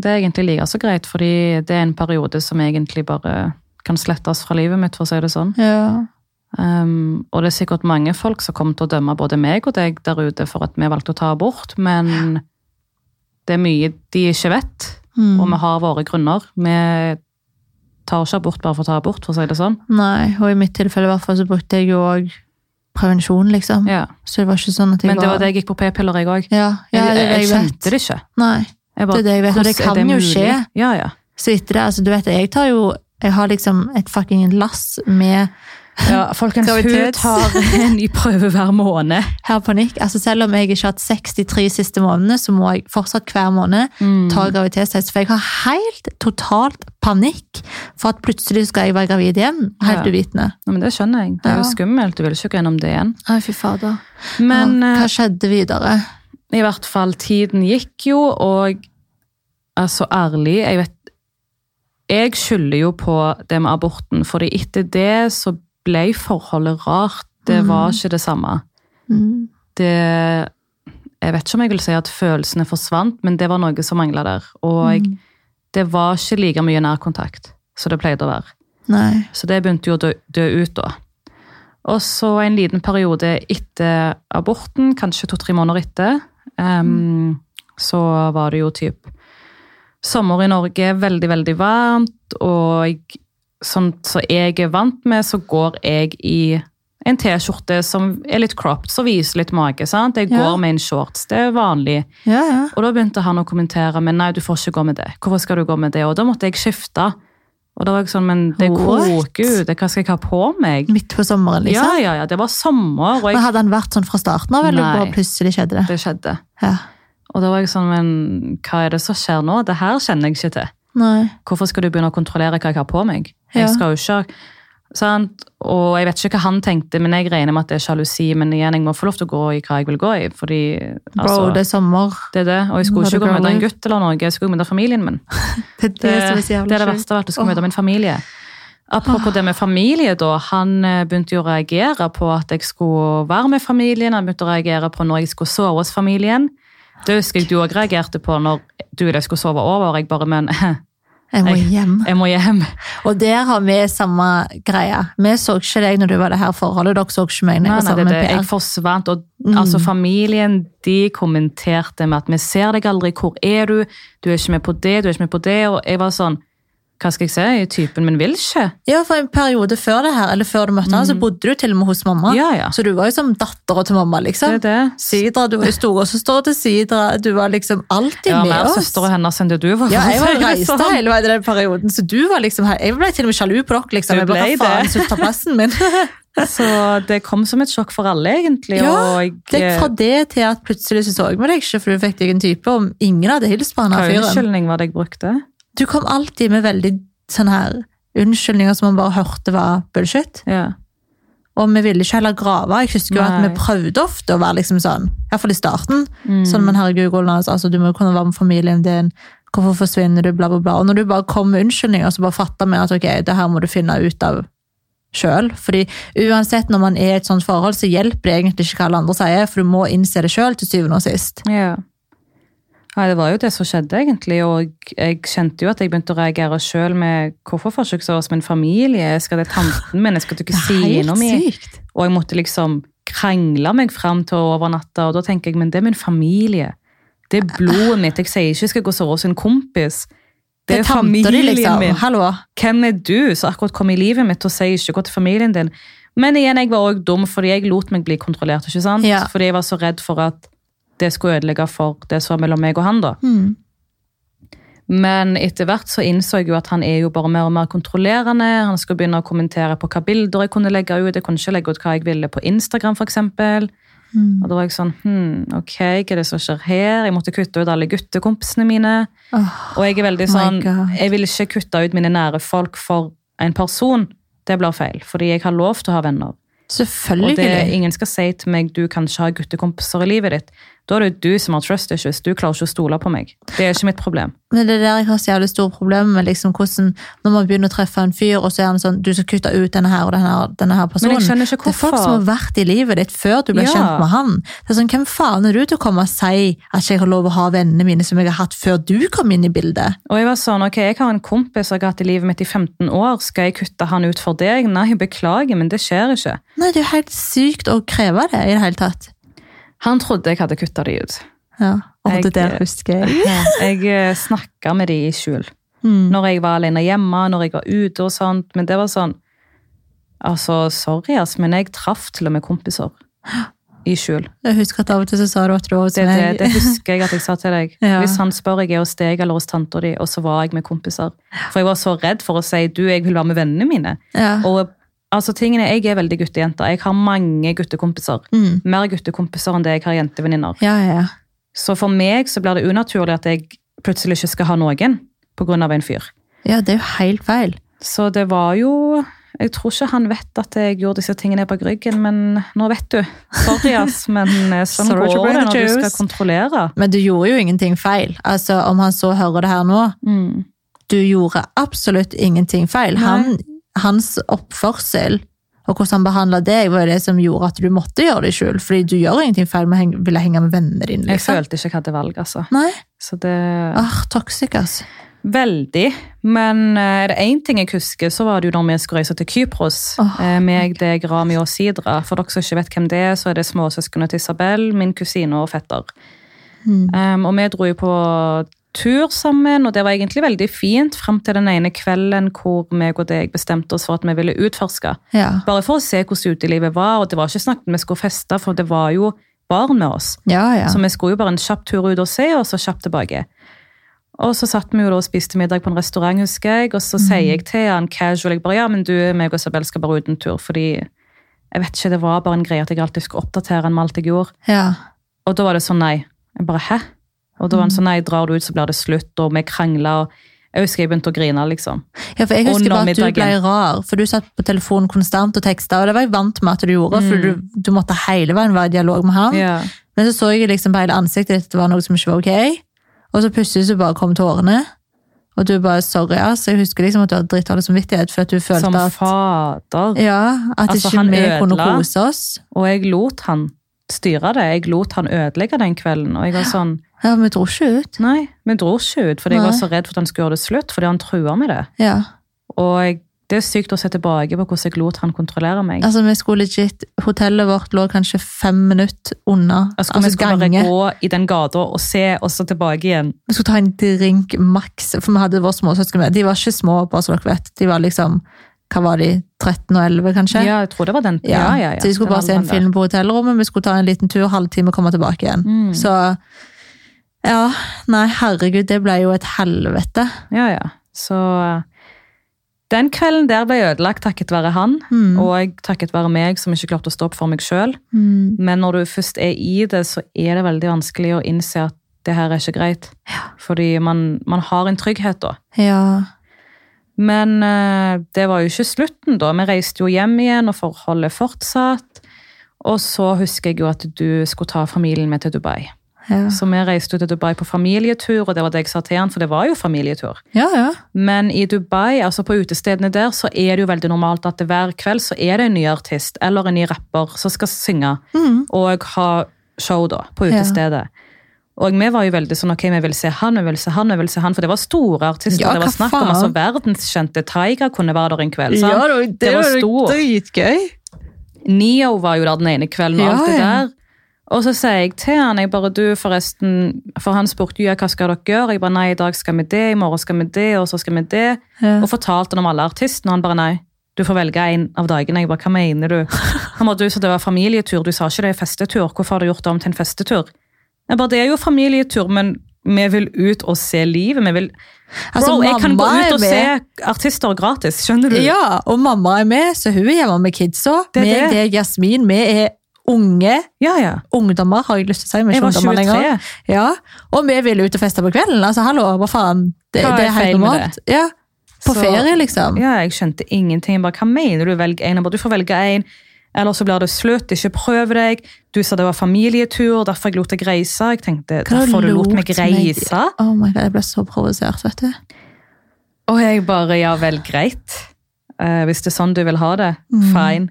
Speaker 1: Det er egentlig like så greit, fordi det er en periode som egentlig bare kan slettes fra livet mitt, for å si det sånn.
Speaker 2: Ja.
Speaker 1: Um, og det er sikkert mange folk som kommer til å dømme både meg og deg der ute for at vi valgte å ta abort, men det er mye de ikke vet,
Speaker 2: Mm.
Speaker 1: og vi har våre grunner. Vi tar ikke abort bare for å ta abort, for å si det
Speaker 2: Mm.
Speaker 1: sånn.
Speaker 2: Nei, og i mitt tilfelle i hvert fall så brukte jeg jo også prevensjon liksom.
Speaker 1: Ja.
Speaker 2: Så det var ikke sånn at jeg
Speaker 1: Men det var det jeg gikk på p-piller, jeg òg.
Speaker 2: Ja, ja
Speaker 1: jeg,
Speaker 2: det,
Speaker 1: jeg,
Speaker 2: jeg vet.
Speaker 1: skjønte det ikke.
Speaker 2: Nei,
Speaker 1: Jeg
Speaker 2: det er det jeg vet. Og det
Speaker 1: hvordan er
Speaker 2: kan jo skje.
Speaker 1: mulig? Ja, ja.
Speaker 2: Så etter det, altså du vet, jeg tar jo jeg har liksom et fucking lass med
Speaker 1: ja folkens, hun
Speaker 2: Graviditets-
Speaker 1: tar en ny prøve hver måned.
Speaker 2: her panikk. Altså Selv om jeg ikke har hatt 63 siste månedene, så må jeg fortsatt hver måned
Speaker 1: Mm.
Speaker 2: ta graviditetstest. For jeg har helt totalt panikk for at plutselig skal jeg være gravid igjen. Helt
Speaker 1: Ja.
Speaker 2: uvitende.
Speaker 1: Ja, men det skjønner jeg. Det er jo
Speaker 2: Ja.
Speaker 1: skummelt. Du vil ikke gå gjennom det igjen.
Speaker 2: Nei, fy fader.
Speaker 1: Men
Speaker 2: ja,
Speaker 1: eh,
Speaker 2: hva skjedde videre?
Speaker 1: i hvert fall, tiden gikk jo, og altså ærlig, jeg vet Jeg skylder jo på det med aborten, fordi etter det så ble forholdet rart. Det var ikke det samme.
Speaker 2: Mm.
Speaker 1: Det Jeg vet ikke om jeg vil si at følelsene forsvant, men det var noe som mangla der.
Speaker 2: Mm.
Speaker 1: Og det var ikke like mye nærkontakt som det pleide å være.
Speaker 2: Nei.
Speaker 1: Så det begynte jo å dø, dø ut da. Og så en liten periode etter aborten, kanskje to-tre måneder etter, em, så var det jo typ sommer i Norge, veldig, veldig varmt, og jeg, sånn som jeg er vant med, så går jeg i en T-skjorte som er litt cropped, som viser litt mage, sant? Jeg
Speaker 2: Ja.
Speaker 1: går med en shorts, det er vanlig.
Speaker 2: Ja, ja.
Speaker 1: Og da begynte han å kommentere, men nei, du får ikke gå med det. Hvorfor skal du gå med det? Og da måtte jeg skifte. Og da var jeg sånn, men det
Speaker 2: What?
Speaker 1: koker jo, det- hva skal jeg ha på meg?
Speaker 2: Midt på sommeren,
Speaker 1: Ja,
Speaker 2: liksom.
Speaker 1: ja, ja, det var sommer, og
Speaker 2: Men
Speaker 1: jeg,
Speaker 2: hadde han vært sånn fra starten av, eller
Speaker 1: Nei.
Speaker 2: bare plutselig skjedde det?
Speaker 1: det skjedde.
Speaker 2: Ja.
Speaker 1: Og da var jeg sånn, men hva er det som skjer nå? Det her kjenner jeg ikke til.
Speaker 2: Nei.
Speaker 1: Hvorfor skal du begynne å kontrollere hva jeg har på meg?
Speaker 2: Ja.
Speaker 1: Jeg skal jo ikke, sant? Og jeg vet ikke hva han tenkte, men jeg regner med at det er sjalusi, men igjen, jeg må få lov til å gå i hva jeg vil gå i, fordi,
Speaker 2: Bro,
Speaker 1: altså,
Speaker 2: det er sommer.
Speaker 1: det er det. Og jeg skulle
Speaker 2: Let
Speaker 1: ikke
Speaker 2: it
Speaker 1: gå
Speaker 2: go
Speaker 1: med en
Speaker 2: live.
Speaker 1: gutt eller noe, jeg skulle gå med familien min. Det,
Speaker 2: Det, som er så
Speaker 1: det
Speaker 2: jævlig
Speaker 1: er det
Speaker 2: sjukt.
Speaker 1: verste av alt. Du skal
Speaker 2: Åh.
Speaker 1: møte min familie. Apropos det med familie, da. Han eh, begynte jo å reagere på at jeg skulle være med familien. Han begynte å reagere på når jeg skulle sove hos familien. Det husker jeg du òg reagerte på når du og jeg skulle sove over. Jeg bare, men jeg
Speaker 2: Jeg må
Speaker 1: Jeg-
Speaker 2: hjem.
Speaker 1: må hjem.
Speaker 2: Og der har vi samme greie. Vi så ikke deg når du var i det her forholdet. Dere så ikke meg når
Speaker 1: Nei, nei, det,
Speaker 2: jeg var sammen
Speaker 1: Altså, det,
Speaker 2: med
Speaker 1: jeg
Speaker 2: Per.
Speaker 1: forsvant, og altså, familien de kommenterte med at vi ser deg aldri, hvor er du? Du er ikke med på det, du er ikke med på det. Og jeg var sånn hva skal jeg si, typen min vil ikke.
Speaker 2: Ja, for en periode før det her, eller før du møtte han, så bodde du til og med hos mamma.
Speaker 1: Ja, ja.
Speaker 2: Så du var jo som dattera til mamma,
Speaker 1: Det
Speaker 2: liksom.
Speaker 1: er det.
Speaker 2: Sidra, du var jo storesøstera til Sidra. Du var liksom alltid
Speaker 1: Jeg var
Speaker 2: med
Speaker 1: mer
Speaker 2: oss.
Speaker 1: søster og hennes enn det du var.
Speaker 2: Ja, jeg
Speaker 1: for å
Speaker 2: var
Speaker 1: si det
Speaker 2: reist
Speaker 1: sånn.
Speaker 2: hele veien i den perioden, så du var liksom her. Jeg ble til og med sjalu på dere, liksom.
Speaker 1: Du
Speaker 2: Jeg ble,
Speaker 1: ble
Speaker 2: hva faen,
Speaker 1: det.
Speaker 2: så ta plassen min.
Speaker 1: Så det kom som et sjokk for alle, egentlig.
Speaker 2: Ja,
Speaker 1: og eh,
Speaker 2: Det er
Speaker 1: jeg,
Speaker 2: fra det til at plutselig så så jeg meg deg ikke, for du fikk deg en type, og ingen hadde hilst på han
Speaker 1: hva
Speaker 2: her fyren.
Speaker 1: unnskyldning var det jeg brukte?
Speaker 2: Du kom alltid med veldig sånn her unnskyldninger som man bare hørte var bullshit.
Speaker 1: Ja.
Speaker 2: Og vi ville ikke heller grave. Jeg husker jo at
Speaker 1: Nei.
Speaker 2: vi prøvde ofte å være liksom sånn, i hvert fall i starten.
Speaker 1: Mm.
Speaker 2: Sånn, men herregud, Olav, altså, du må jo kunne være med familien din. Hvorfor forsvinner du, bla, bla, bla. Og når du bare kom med unnskyldninger, så bare fatter vi at ok, det her må du finne ut av sjøl. Fordi uansett når man er i et sånt forhold, så hjelper det egentlig ikke hva alle andre sier, for du må innse det sjøl til syvende og sist.
Speaker 1: Ja. Nei, det var jo det som skjedde, egentlig. Og jeg kjente jo at jeg begynte å reagere sjøl med hvorfor får ikke så hos min familie? Skal det tanten min? Skal du ikke si noe mer?
Speaker 2: sykt.
Speaker 1: Og jeg måtte liksom krangle meg fram til overnatta, og da tenker jeg, men det er min familie. Det er blodet mitt. Jeg sier ikke jeg skal gå så hos en kompis.
Speaker 2: Det
Speaker 1: Det
Speaker 2: er
Speaker 1: er
Speaker 2: tanta di,
Speaker 1: familien
Speaker 2: liksom.
Speaker 1: min.
Speaker 2: Hallo.
Speaker 1: Hvem er du som akkurat kom i livet mitt og sier ikke gå til familien din? Men igjen, jeg var også dum, fordi jeg lot meg bli kontrollert, ikke sant?
Speaker 2: Ja.
Speaker 1: Fordi jeg var så redd for at det skulle ødelegge for det som var mellom meg og han da.
Speaker 2: Hmm.
Speaker 1: Men etter hvert så innså jeg jo at han er jo bare mer og mer kontrollerende. Han skulle begynne å kommentere på hva bilder jeg kunne legge ut. Jeg kunne ikke legge ut hva jeg ville på Instagram, for eksempel.
Speaker 2: Hmm.
Speaker 1: Og da var jeg sånn, hm, ok, hva er det som skjer her? Jeg måtte kutte ut alle guttekompisene mine.
Speaker 2: Åh,
Speaker 1: Og jeg er veldig
Speaker 2: Oh My
Speaker 1: sånn,
Speaker 2: God.
Speaker 1: jeg vil ikke kutte ut mine nære folk for en person. Det blir feil, fordi jeg har lov til å ha venner. Og det,
Speaker 2: Selvfølgelig.
Speaker 1: ingen skal si til meg, du kan ikke ha guttekompiser i livet ditt. Da er det du som har trust issues. Du klarer ikke å stole på meg. Det er ikke mitt problem.
Speaker 2: Men det er der jeg har så jævlig store problemer med liksom hvordan når man begynner å treffe en fyr, og så er han sånn Du skal kutte ut denne her og denne, her- denne her
Speaker 1: Men
Speaker 2: personen.
Speaker 1: jeg skjønner ikke
Speaker 2: Det er folk som har
Speaker 1: hvorfor.
Speaker 2: vært i livet ditt før du ble
Speaker 1: Ja.
Speaker 2: kjent med han. Det er sånn, Hvem faen er du til å komme og si at ikke jeg har lov å ha vennene mine som jeg har hatt før du kom inn i bildet?
Speaker 1: Og jeg var sånn, ok, jeg har en kompis jeg har hatt i livet mitt i 15 år. Skal jeg kutte han ut for deg? Nei, beklager, men det skjer ikke.
Speaker 2: Nei, Det er jo helt sykt å kreve det i det hele tatt.
Speaker 1: Han trodde jeg hadde kuttet de ut.
Speaker 2: Ja, og
Speaker 1: Jeg-
Speaker 2: det der husker jeg.
Speaker 1: Jeg eh, snakket med de i skjul.
Speaker 2: Mm.
Speaker 1: når jeg var alene hjemme, når jeg var ute og sånt. Men det var sånn Altså, sorry, ass, men jeg traff til og med kompiser i skjul.
Speaker 2: Jeg husker at av og til så sa du at du var sånn hos
Speaker 1: Det, det, det
Speaker 2: meg.
Speaker 1: husker jeg at jeg sa til deg.
Speaker 2: Ja.
Speaker 1: Hvis han spør, jeg er hos deg eller hos tanta di, og så var jeg med kompiser. For jeg var så redd for å si du, jeg vil være med vennene mine.
Speaker 2: Ja.
Speaker 1: Og altså, tingene, Jeg er veldig guttejente. Jeg har mange guttekompiser.
Speaker 2: Mm.
Speaker 1: Mer guttekompiser enn det jeg har jentevenninner.
Speaker 2: ja, ja, ja.
Speaker 1: Så for meg så blir det unaturlig at jeg plutselig ikke skal ha noen pga. en fyr.
Speaker 2: Ja, det er jo helt feil.
Speaker 1: Så det var jo Jeg tror ikke han vet at jeg gjorde disse tingene bak ryggen, men nå vet du. Sorry, ass, men eh, sånn
Speaker 2: Sorry to
Speaker 1: går
Speaker 2: break
Speaker 1: det
Speaker 2: the
Speaker 1: når du skal
Speaker 2: news.
Speaker 1: kontrollere.
Speaker 2: Men du gjorde jo ingenting feil. Altså, Om han så hører det her nå,
Speaker 1: Mm.
Speaker 2: du gjorde absolutt ingenting feil.
Speaker 1: Nei.
Speaker 2: Han, hans oppførsel og hvordan han behandla deg, var jo det som gjorde at du måtte gjøre det i skjul. Fordi du gjør ingenting feil med å henge- ville henge med vennene dine.
Speaker 1: Jeg
Speaker 2: Liksom.
Speaker 1: følte ikke jeg hadde valg, altså.
Speaker 2: Nei,
Speaker 1: Så det
Speaker 2: ah, toxic, altså.
Speaker 1: Veldig. Men eh, er det én ting jeg husker, så var det jo når vi skulle reise til Kypros.
Speaker 2: Åh,
Speaker 1: Eh, meg, deg, Rami og Sidra. For dere som ikke vet hvem det er, så er det småsøsknene til Isabel, min kusine og fetter.
Speaker 2: Mm.
Speaker 1: Um, og vi dro jo på tur sammen, og det var egentlig veldig fint frem til den ene kvelden hvor meg og deg bestemte oss for at vi ville utforske.
Speaker 2: Ja.
Speaker 1: Bare for å se hvordan utelivet var, og det var ikke snakk om vi skulle feste, for det var jo barn med oss.
Speaker 2: ja, ja.
Speaker 1: Så vi skulle jo bare en kjapp tur ut og se, og så kjapt tilbake. Og så satt vi jo da og spiste middag på en restaurant, husker jeg, og så
Speaker 2: Mhm.
Speaker 1: sier jeg til han casual, jeg bare, ja, men du, meg og Isabel skal bare ut en tur, fordi jeg vet ikke, det var bare en greie at jeg alltid skulle oppdatere han med alt jeg gjorde.
Speaker 2: ja.
Speaker 1: Og da var det sånn nei. Jeg bare hæ? Og da
Speaker 2: Mhm.
Speaker 1: var han sånn nei, drar du ut så blir det slutt, og vi krangla. Jeg husker jeg begynte å grine, liksom.
Speaker 2: Ja, for jeg
Speaker 1: Og nå
Speaker 2: husker bare at du ble
Speaker 1: middagen.
Speaker 2: rar, for du satt på telefonen konstant og teksta, og det var jeg vant med at du gjorde,
Speaker 1: Mm.
Speaker 2: for du, du måtte hele veien være i dialog med han.
Speaker 1: Ja.
Speaker 2: Men så så jeg liksom på hele ansiktet ditt at det var noe som ikke var ok. Og så plutselig så bare kom tårene. Og du bare 'sorry, ass'. Jeg husker liksom at du hadde drittdårlig samvittighet for at du følte
Speaker 1: Som
Speaker 2: at
Speaker 1: fader.
Speaker 2: Ja, at
Speaker 1: Altså,
Speaker 2: ikke
Speaker 1: han
Speaker 2: vi kunne
Speaker 1: ødela.
Speaker 2: kose oss.
Speaker 1: Og jeg lot han styre det. Jeg lot han ødelegge den kvelden. Og jeg var sånn
Speaker 2: Ja, vi dro ikke ut.
Speaker 1: Nei, vi dro ikke ut, fordi jeg
Speaker 2: Nei.
Speaker 1: var så redd for at han skulle gjøre det slutt, fordi han trua med det.
Speaker 2: Ja.
Speaker 1: Og jeg Det er jo sykt å se tilbake på hvordan jeg lot han kontrollere meg.
Speaker 2: Altså, vi skulle legit, Hotellet vårt lå kanskje fem minutter unna.
Speaker 1: Altså,
Speaker 2: altså,
Speaker 1: vi skulle bare
Speaker 2: gange.
Speaker 1: gå i den gata og se, og så tilbake igjen.
Speaker 2: Vi skulle ta en drink maks, for vi hadde våre små søsken med. De var ikke små, bare så dere vet. De var liksom, hva var de, 13 og 11 kanskje?
Speaker 1: Ja, jeg tror det var den. Ja, ja, ja.
Speaker 2: Så vi skulle
Speaker 1: Det var
Speaker 2: bare se
Speaker 1: den
Speaker 2: en
Speaker 1: der.
Speaker 2: film på hotellrommet, vi skulle ta en liten tur, halvtime, komme tilbake igjen.
Speaker 1: Mm.
Speaker 2: Så, ja, nei, herregud, det ble jo et helvete.
Speaker 1: Ja, ja. Så eh, den kvelden der ble ødelagt takket være han,
Speaker 2: Mm.
Speaker 1: og takket være meg som ikke klarte å stå opp for meg sjøl.
Speaker 2: Mm.
Speaker 1: Men når du først er i det, så er det veldig vanskelig å innse at det her er ikke greit. Fordi man, man har en trygghet da.
Speaker 2: Ja,
Speaker 1: Men eh, det var jo ikke slutten, da. Vi reiste jo hjem igjen, og forholdet fortsatt. Og så husker jeg jo at du skulle ta familien med til Dubai.
Speaker 2: ja.
Speaker 1: Så vi reiste jo til Dubai på familietur, og det var det jeg sa til han, for det var jo familietur.
Speaker 2: Ja, ja.
Speaker 1: Men i Dubai, altså på utestedene der, så er det jo veldig normalt at det hver kveld så er det en ny artist eller en ny rapper som skal synge
Speaker 2: Mm.
Speaker 1: og ha show da, på
Speaker 2: Ja.
Speaker 1: utestedet. Og vi var jo veldig sånn, ok, vi vil se han, vi vil se han, vi vil se han, for det var store artister.
Speaker 2: Ja,
Speaker 1: det var
Speaker 2: hva
Speaker 1: snakk om altså,
Speaker 2: faen?
Speaker 1: verdenskjente Tiger kunne være der en kveld. sant?
Speaker 2: Ja, det, var- det
Speaker 1: Det var
Speaker 2: var jo
Speaker 1: stor.
Speaker 2: dritgøy.
Speaker 1: Neo var jo der den ene kvelden og
Speaker 2: Ja,
Speaker 1: alt det
Speaker 2: ja.
Speaker 1: der. Og så sier jeg til han, jeg bare du forresten, for han spurte jo ja, hva skal dere gjøre? Jeg bare nei, i dag skal vi det, i morgen skal vi det, og så skal vi det.
Speaker 2: Ja.
Speaker 1: Og fortalte han om alle artistene, og han bare nei, du får velge en av dagene. Jeg bare, hva mener du? Han bare, du sa det var familietur, du sa ikke det er festetur, hvorfor har du gjort det om til en festetur? Jeg bare, det er jo familietur, men vi vil ut og se livet, vi vil...
Speaker 2: Altså,
Speaker 1: Bro, jeg kan gå
Speaker 2: mamma er
Speaker 1: ut og
Speaker 2: med.
Speaker 1: se artister gratis, skjønner du?
Speaker 2: Ja, og mamma er med, så hun er hjemme med kidsa.
Speaker 1: Det er
Speaker 2: Meg,
Speaker 1: det.
Speaker 2: deg, Jasmin, vi er unge
Speaker 1: ja, ja.
Speaker 2: ungdommer, har jeg lyst til å si. Men
Speaker 1: Jeg
Speaker 2: ikke
Speaker 1: var
Speaker 2: ungdommer
Speaker 1: 23.
Speaker 2: lenger. Ja, og vi ville ut og feste på kvelden. Altså, hallo, hva faen? Det,
Speaker 1: Hva er
Speaker 2: det er helt
Speaker 1: feil med
Speaker 2: normalt. Ja, på
Speaker 1: Så-
Speaker 2: ferie, liksom.
Speaker 1: Ja, jeg skjønte ingenting. Jeg bare, hva mener du? Velg en. Jeg bare, du får velge en. Eller så blir det slutt. Ikke prøv deg. Du sa det var familietur, derfor jeg lot deg reise. Jeg tenkte,
Speaker 2: Hva
Speaker 1: derfor du lot
Speaker 2: lot
Speaker 1: meg
Speaker 2: meg-
Speaker 1: reise?
Speaker 2: Oh my god, jeg ble så provosert, vet du.
Speaker 1: Og jeg bare, ja vel, greit. Eh, hvis det er sånn du vil ha det,
Speaker 2: Mm.
Speaker 1: fine.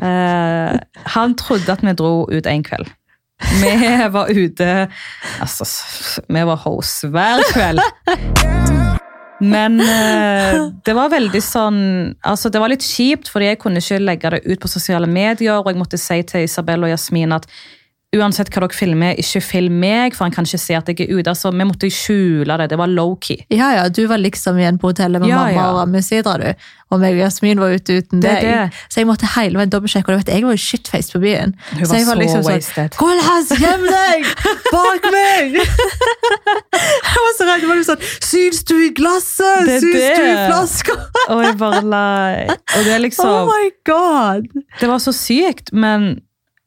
Speaker 1: Eh, han trodde at vi dro ut en kveld. Vi var ute Altså, s- vi var hoes hver kveld. Men eh, det var veldig sånn altså Det var litt kjipt, fordi jeg kunne ikke legge det ut på sosiale medier. Og jeg måtte si til Isabel og Jasmin at uansett hva dere filmer, ikke film meg, for han kan ikke se at jeg er ute. Altså, vi måtte skjule det. Det var low-key.
Speaker 2: Ja, ja, du var liksom igjen på hotellet med
Speaker 1: Ja,
Speaker 2: mamma
Speaker 1: ja.
Speaker 2: og Rami Sidra, du. Og meg og Jasmin var ute uten
Speaker 1: Det er
Speaker 2: deg.
Speaker 1: det.
Speaker 2: Så jeg måtte hele veien dobbeltsjekke, og du vet, jeg var jo shitface på byen.
Speaker 1: Hun var
Speaker 2: jeg
Speaker 1: så
Speaker 2: sånn,
Speaker 1: wasted.
Speaker 2: Kolhas, gjem deg! Bak meg! jeg var så redd, jeg var jo sånn, syns du i glasset?
Speaker 1: Det er
Speaker 2: syns
Speaker 1: det.
Speaker 2: du i flaska?
Speaker 1: Og jeg bare la Og det er
Speaker 2: Oh
Speaker 1: liksom
Speaker 2: my god!
Speaker 1: Det var så sykt, men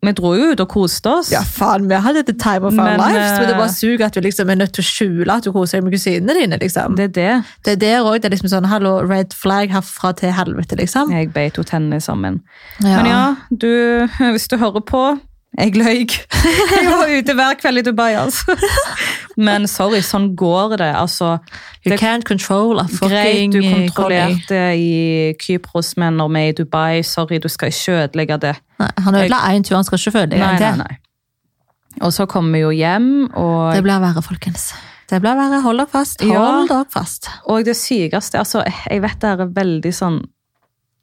Speaker 1: vi dro jo ut og koste oss.
Speaker 2: Ja, faen, vi hadde the time of our
Speaker 1: Men,
Speaker 2: lives, men det
Speaker 1: eh,
Speaker 2: bare suger at du liksom er nødt til å skjule at du koser deg med kusinene dine, liksom. Det,
Speaker 1: Det er det.
Speaker 2: er der også, det er liksom sånn, hallo, red flag herfra til helvete, liksom.
Speaker 1: Jeg beit jo tennene sammen. Men ja, du, hvis du hører på Jeg løy. Jeg var ute hver kveld i Dubai, altså. Men sorry, sånn går det. Altså,
Speaker 2: You
Speaker 1: Det-
Speaker 2: can't control a fucking
Speaker 1: greit du
Speaker 2: eh, collie.
Speaker 1: kontrollerte i Kypros, men når vi er i Dubai, sorry, du skal ikke ødelegge det.
Speaker 2: Nei, han ødela én tur, han skal ikke føle det
Speaker 1: Nei,
Speaker 2: en
Speaker 1: nei,
Speaker 2: til.
Speaker 1: nei. Og så kom vi jo hjem, og
Speaker 2: Det blir verre, folkens. Det blir verre. Hold dere fast. Hold
Speaker 1: Ja.
Speaker 2: dere fast.
Speaker 1: Og det sykeste altså, Jeg vet det er veldig sånn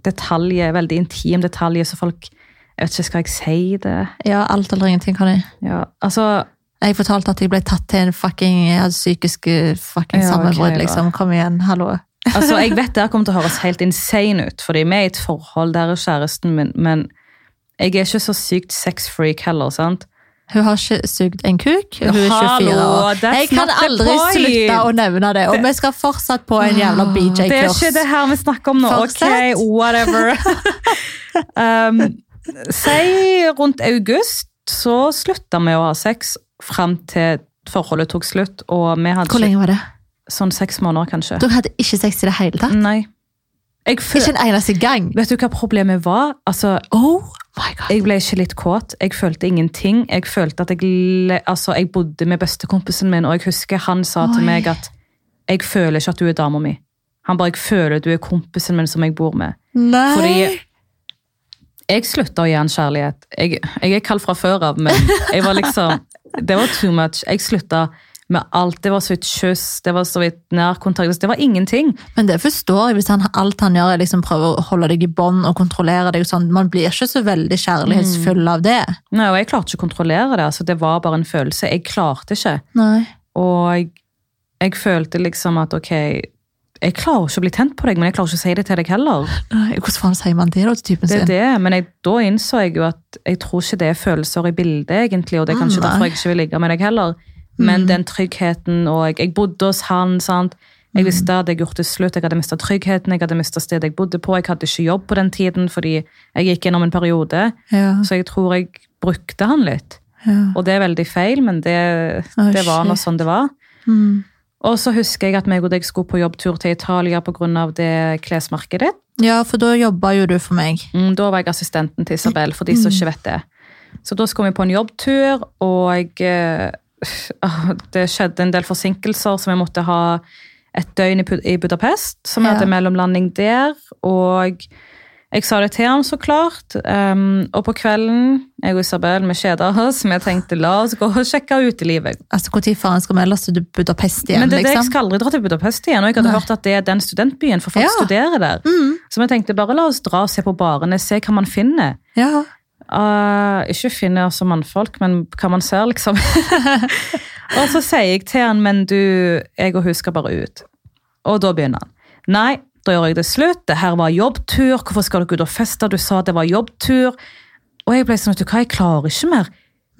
Speaker 1: detaljer, veldig intim detaljer, så folk Jeg vet ikke, skal jeg si det?
Speaker 2: Ja, alt eller ingenting, Conny.
Speaker 1: Ja, altså
Speaker 2: Jeg fortalte at jeg ble tatt til en fucking Jeg hadde psykisk eh, fucking
Speaker 1: Ja, ok,
Speaker 2: sammenbrudd,
Speaker 1: da.
Speaker 2: liksom. Kom igjen, hallo.
Speaker 1: Altså, jeg vet det her kommer til å høres helt insane ut, fordi vi er i et forhold, der er kjæresten min, men jeg er ikke så sykt sexfreak heller, sant?
Speaker 2: Hun har ikke sugd en kuk. Hun er 24
Speaker 1: Hallo,
Speaker 2: år.
Speaker 1: that's
Speaker 2: Jeg kan
Speaker 1: not the
Speaker 2: aldri
Speaker 1: point.
Speaker 2: slutte å nevne det. Og vi skal fortsatt på en jævla
Speaker 1: Ah, Det er ikke det
Speaker 2: BJ-kurs.
Speaker 1: her vi snakker om nå.
Speaker 2: Fortsett.
Speaker 1: Ok, whatever. um, si rundt august så slutta vi å ha sex fram til forholdet tok slutt, og vi hadde
Speaker 2: Hvor
Speaker 1: ikke-
Speaker 2: lenge var det?
Speaker 1: sånn seks måneder, kanskje.
Speaker 2: Dere hadde ikke sex i det hele tatt?
Speaker 1: Nei. Jeg føl...
Speaker 2: Ikke en eneste gang?
Speaker 1: Vet du hva problemet var? Altså,
Speaker 2: Oh my god.
Speaker 1: jeg ble ikke litt kåt. Jeg følte ingenting. Jeg følte at jeg, le- altså, jeg bodde med bestekompisen min, og jeg husker han sa til
Speaker 2: Oi.
Speaker 1: meg at jeg føler ikke at du er dama mi. Han bare, jeg føler du er kompisen min som jeg bor med.
Speaker 2: Nei.
Speaker 1: Fordi- Jeg slutta å gi han kjærlighet. Jeg, jeg er kald fra før av, men jeg var liksom, det var too much. Jeg slutta med alt. Det var så vidt kyss, det var så vidt nærkontakt. Det var ingenting.
Speaker 2: Men det forstår jeg hvis han, alt han gjør er liksom prøve å holde deg i bånd og kontrollere deg. og sånn. Man blir ikke så veldig
Speaker 1: Mm.
Speaker 2: kjærlighetsfull av det.
Speaker 1: Nei, og jeg klarte ikke å kontrollere det. altså Det var bare en følelse. Jeg klarte ikke.
Speaker 2: Nei.
Speaker 1: Og jeg, jeg følte liksom at ok, jeg klarer ikke å bli tent på deg, men jeg klarer ikke å si det til deg heller.
Speaker 2: Nei, Hvordan faen sier man det da til typen
Speaker 1: Det er
Speaker 2: sin?
Speaker 1: det, Men jeg, da innså jeg jo at jeg tror ikke det er følelser i bildet, egentlig. Og det er kanskje
Speaker 2: Nei.
Speaker 1: derfor jeg ikke vil ligge med deg heller. Men den tryggheten og jeg, jeg bodde hos han, sant. Jeg visste at jeg gjort det slutt, jeg hadde mista tryggheten, jeg hadde mista stedet jeg bodde på. Jeg hadde ikke jobb på den tiden fordi jeg gikk gjennom en periode.
Speaker 2: Ja,
Speaker 1: Så jeg tror jeg brukte han litt.
Speaker 2: ja.
Speaker 1: Og det er veldig feil, men det,
Speaker 2: Å,
Speaker 1: det var nå
Speaker 2: shit.
Speaker 1: sånn det var.
Speaker 2: Mm.
Speaker 1: Og så husker jeg at meg og deg skulle på jobbtur til Italia pga. det klesmerket ditt.
Speaker 2: ja, for da jobba jo du for meg.
Speaker 1: Mm, Da var jeg assistenten til Isabel, for de som ikke vet det. Så da skulle vi på en jobbtur, og eh, det skjedde en del forsinkelser, så vi måtte ha et døgn i Bud- i Budapest, så vi
Speaker 2: Ja.
Speaker 1: hadde mellomlanding der. Og jeg sa det til ham, så klart. Um, og på kvelden, jeg og Isabel, vi kjeda oss. Vi tenkte la oss gå og sjekke utelivet.
Speaker 2: Altså, Når faen skal vi ellers til Budapest igjen?
Speaker 1: Men det, er det, jeg
Speaker 2: liksom?
Speaker 1: skal aldri dra til Budapest igjen. Og jeg hadde
Speaker 2: Nei.
Speaker 1: hørt at det er den studentbyen, for folk
Speaker 2: Ja.
Speaker 1: studerer der.
Speaker 2: Mm.
Speaker 1: Så vi tenkte bare la oss dra og se på barene, se hva man finner.
Speaker 2: Ja.
Speaker 1: Eh, ikke finner som mannfolk, men hva man ser, liksom. og så sier jeg til han, men du, jeg og hun skal bare ut. Og da begynner han. Nei, da gjør jeg det slutt. Det her var jobbtur. Hvorfor skal dere ut og feste? Du sa det var jobbtur. Og jeg ble sånn, vet du hva, jeg klarer ikke mer.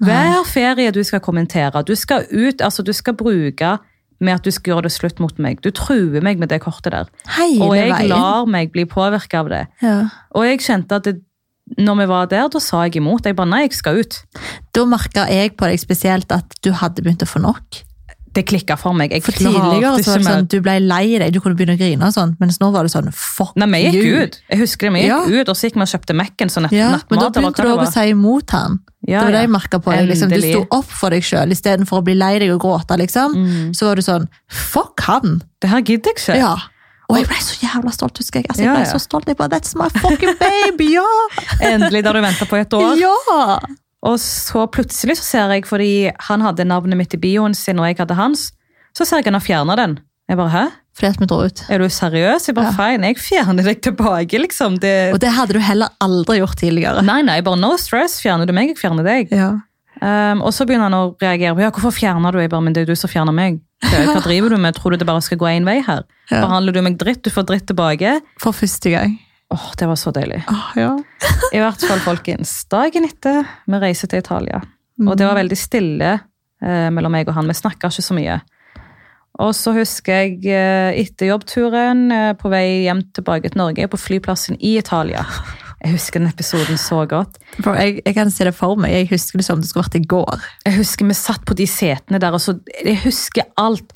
Speaker 1: Hver ferie du skal kommentere, du skal ut, altså du skal bruke med at du skal gjøre det slutt mot meg. Du truer meg med det kortet der.
Speaker 2: Hele
Speaker 1: Og jeg
Speaker 2: veien.
Speaker 1: lar meg bli påvirket av det.
Speaker 2: Ja.
Speaker 1: Og jeg kjente at det, når vi var der, da sa jeg imot. Jeg bare nei, jeg skal ut.
Speaker 2: Da merka jeg på deg spesielt at du hadde begynt å få nok.
Speaker 1: Det klikka for meg. Jeg
Speaker 2: For tidligere
Speaker 1: klarte
Speaker 2: så var
Speaker 1: ikke
Speaker 2: det sånn,
Speaker 1: mer.
Speaker 2: du ble lei deg, du kunne begynne å grine og sånt, mens nå var det sånn, fuck
Speaker 1: Nei, vi gikk
Speaker 2: you.
Speaker 1: ut. Jeg husker det, vi gikk
Speaker 2: Ja.
Speaker 1: ut, og så gikk vi og kjøpte Mac-en som nett,
Speaker 2: Ja, men da
Speaker 1: nattmat. eller hva
Speaker 2: begynte du
Speaker 1: det
Speaker 2: også å
Speaker 1: var.
Speaker 2: si imot han.
Speaker 1: Ja,
Speaker 2: det var det
Speaker 1: ja.
Speaker 2: jeg merket på deg. Liksom. Du
Speaker 1: Endelig.
Speaker 2: sto opp for deg selv, i stedet for å bli lei deg og gråte, liksom.
Speaker 1: Mm.
Speaker 2: Så var du sånn, fuck han!
Speaker 1: Det her gidder jeg ikke.
Speaker 2: Ja. Og jeg ble så jævla stolt, husker jeg. Altså, jeg
Speaker 1: Ja,
Speaker 2: ble
Speaker 1: ja.
Speaker 2: så stolt, jeg bare, that's my fucking baby, ja!
Speaker 1: Endelig, der du venta på i et år.
Speaker 2: Ja!
Speaker 1: Og så plutselig så ser jeg, fordi han hadde navnet mitt i bioen sin, og jeg hadde hans, så ser jeg han har fjerna den. Jeg bare hæ?
Speaker 2: Fordi at vi dro ut.
Speaker 1: Er du seriøs? Jeg bare fine, jeg fjerner deg tilbake, liksom. Det...
Speaker 2: Og det hadde du heller aldri gjort tidligere.
Speaker 1: Nei, nei, bare no stress. Fjerner du meg, jeg fjerner deg.
Speaker 2: Ja.
Speaker 1: Um, og så begynner han å reagere på ja, hvorfor fjerner du Jeg bare, men det er jo du som fjerner meg. Hva driver du med? Tror du det bare skal gå én vei her?
Speaker 2: Ja.
Speaker 1: Behandler du meg dritt, du får dritt tilbake.
Speaker 2: For første gang.
Speaker 1: Åh, Det var så deilig.
Speaker 2: Åh, ja.
Speaker 1: I hvert fall, folkens. Dagen etter vi reiser til Italia. Og det var veldig stille eh, mellom meg og han. Vi snakka ikke så mye. Og så husker jeg eh, etter jobbturen eh, på vei hjem tilbake til Norge, på flyplassen i Italia. Jeg husker den episoden så godt.
Speaker 2: Bro, jeg, jeg kan se det for meg. Jeg husker det som det skulle vært i går.
Speaker 1: Jeg husker vi satt på de setene der, og så Jeg husker alt.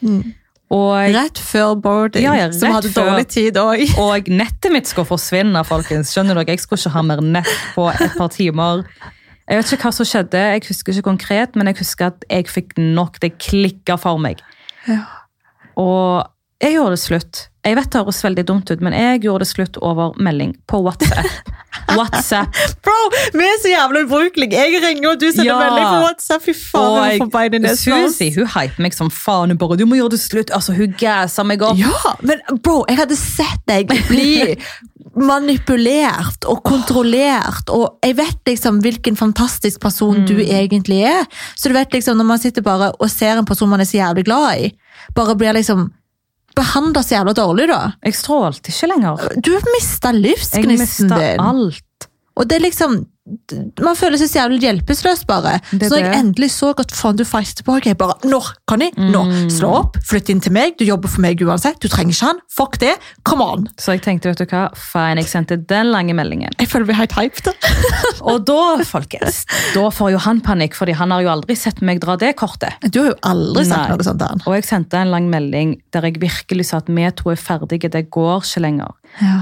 Speaker 1: Og eh,
Speaker 2: Rett før boarding,
Speaker 1: Ja, ja,
Speaker 2: som
Speaker 1: rett
Speaker 2: hadde
Speaker 1: før.
Speaker 2: dårlig tid òg.
Speaker 1: Og nettet mitt skal forsvinne, folkens. Skjønner dere? Jeg skulle ikke ha mer nett på et par timer. Jeg vet ikke hva som skjedde, jeg husker ikke konkret, men jeg husker at jeg fikk nok. Det klikka for meg.
Speaker 2: Ja.
Speaker 1: Og jeg gjorde det slutt. Jeg vet det høres veldig dumt ut, men jeg gjorde det slutt over melding på WhatsApp. WhatsApp.
Speaker 2: Bro, vi er så jævla ubrukelige! Jeg ringer, og du sender
Speaker 1: Ja.
Speaker 2: melding på WhatsApp. Fy faen,
Speaker 1: Og
Speaker 2: jeg får bein i
Speaker 1: jeg,
Speaker 2: nesen. ass.
Speaker 1: Susi hun hyper meg som faen. Hun bare 'du må gjøre det slutt'. Altså, Hun gassa meg opp.
Speaker 2: Ja, men bro, jeg hadde sett deg bli manipulert og kontrollert, og jeg vet liksom hvilken fantastisk person du egentlig er. Så du vet liksom, når man sitter bare og ser en person man er så jævlig glad i, bare blir liksom behandlet så jævla dårlig da.
Speaker 1: Jeg strålte ikke lenger.
Speaker 2: Du har mistet
Speaker 1: Jeg
Speaker 2: livsgnisten
Speaker 1: mista
Speaker 2: din.
Speaker 1: alt.
Speaker 2: Og det er liksom man føler seg så jævlig hjelpeløs, bare.
Speaker 1: Det er
Speaker 2: så når jeg
Speaker 1: det.
Speaker 2: endelig så at faen, du fighter tilbake, jeg bare Når kan jeg? Nå!
Speaker 1: Mm.
Speaker 2: Slå opp, flytt inn til meg, du jobber for meg uansett, du trenger ikke han, fuck det, come on!
Speaker 1: Så jeg tenkte, vet du hva, fine, jeg sendte den lange meldingen.
Speaker 2: Jeg føler vi er helt hyped.
Speaker 1: Og da, folkens, da får jo han panikk, fordi han har jo aldri sett meg dra det kortet.
Speaker 2: Du har jo aldri sagt
Speaker 1: Nei.
Speaker 2: noe sånt til han.
Speaker 1: Og jeg sendte en lang melding der jeg virkelig sa at vi to er ferdige, det går ikke lenger.
Speaker 2: Ja.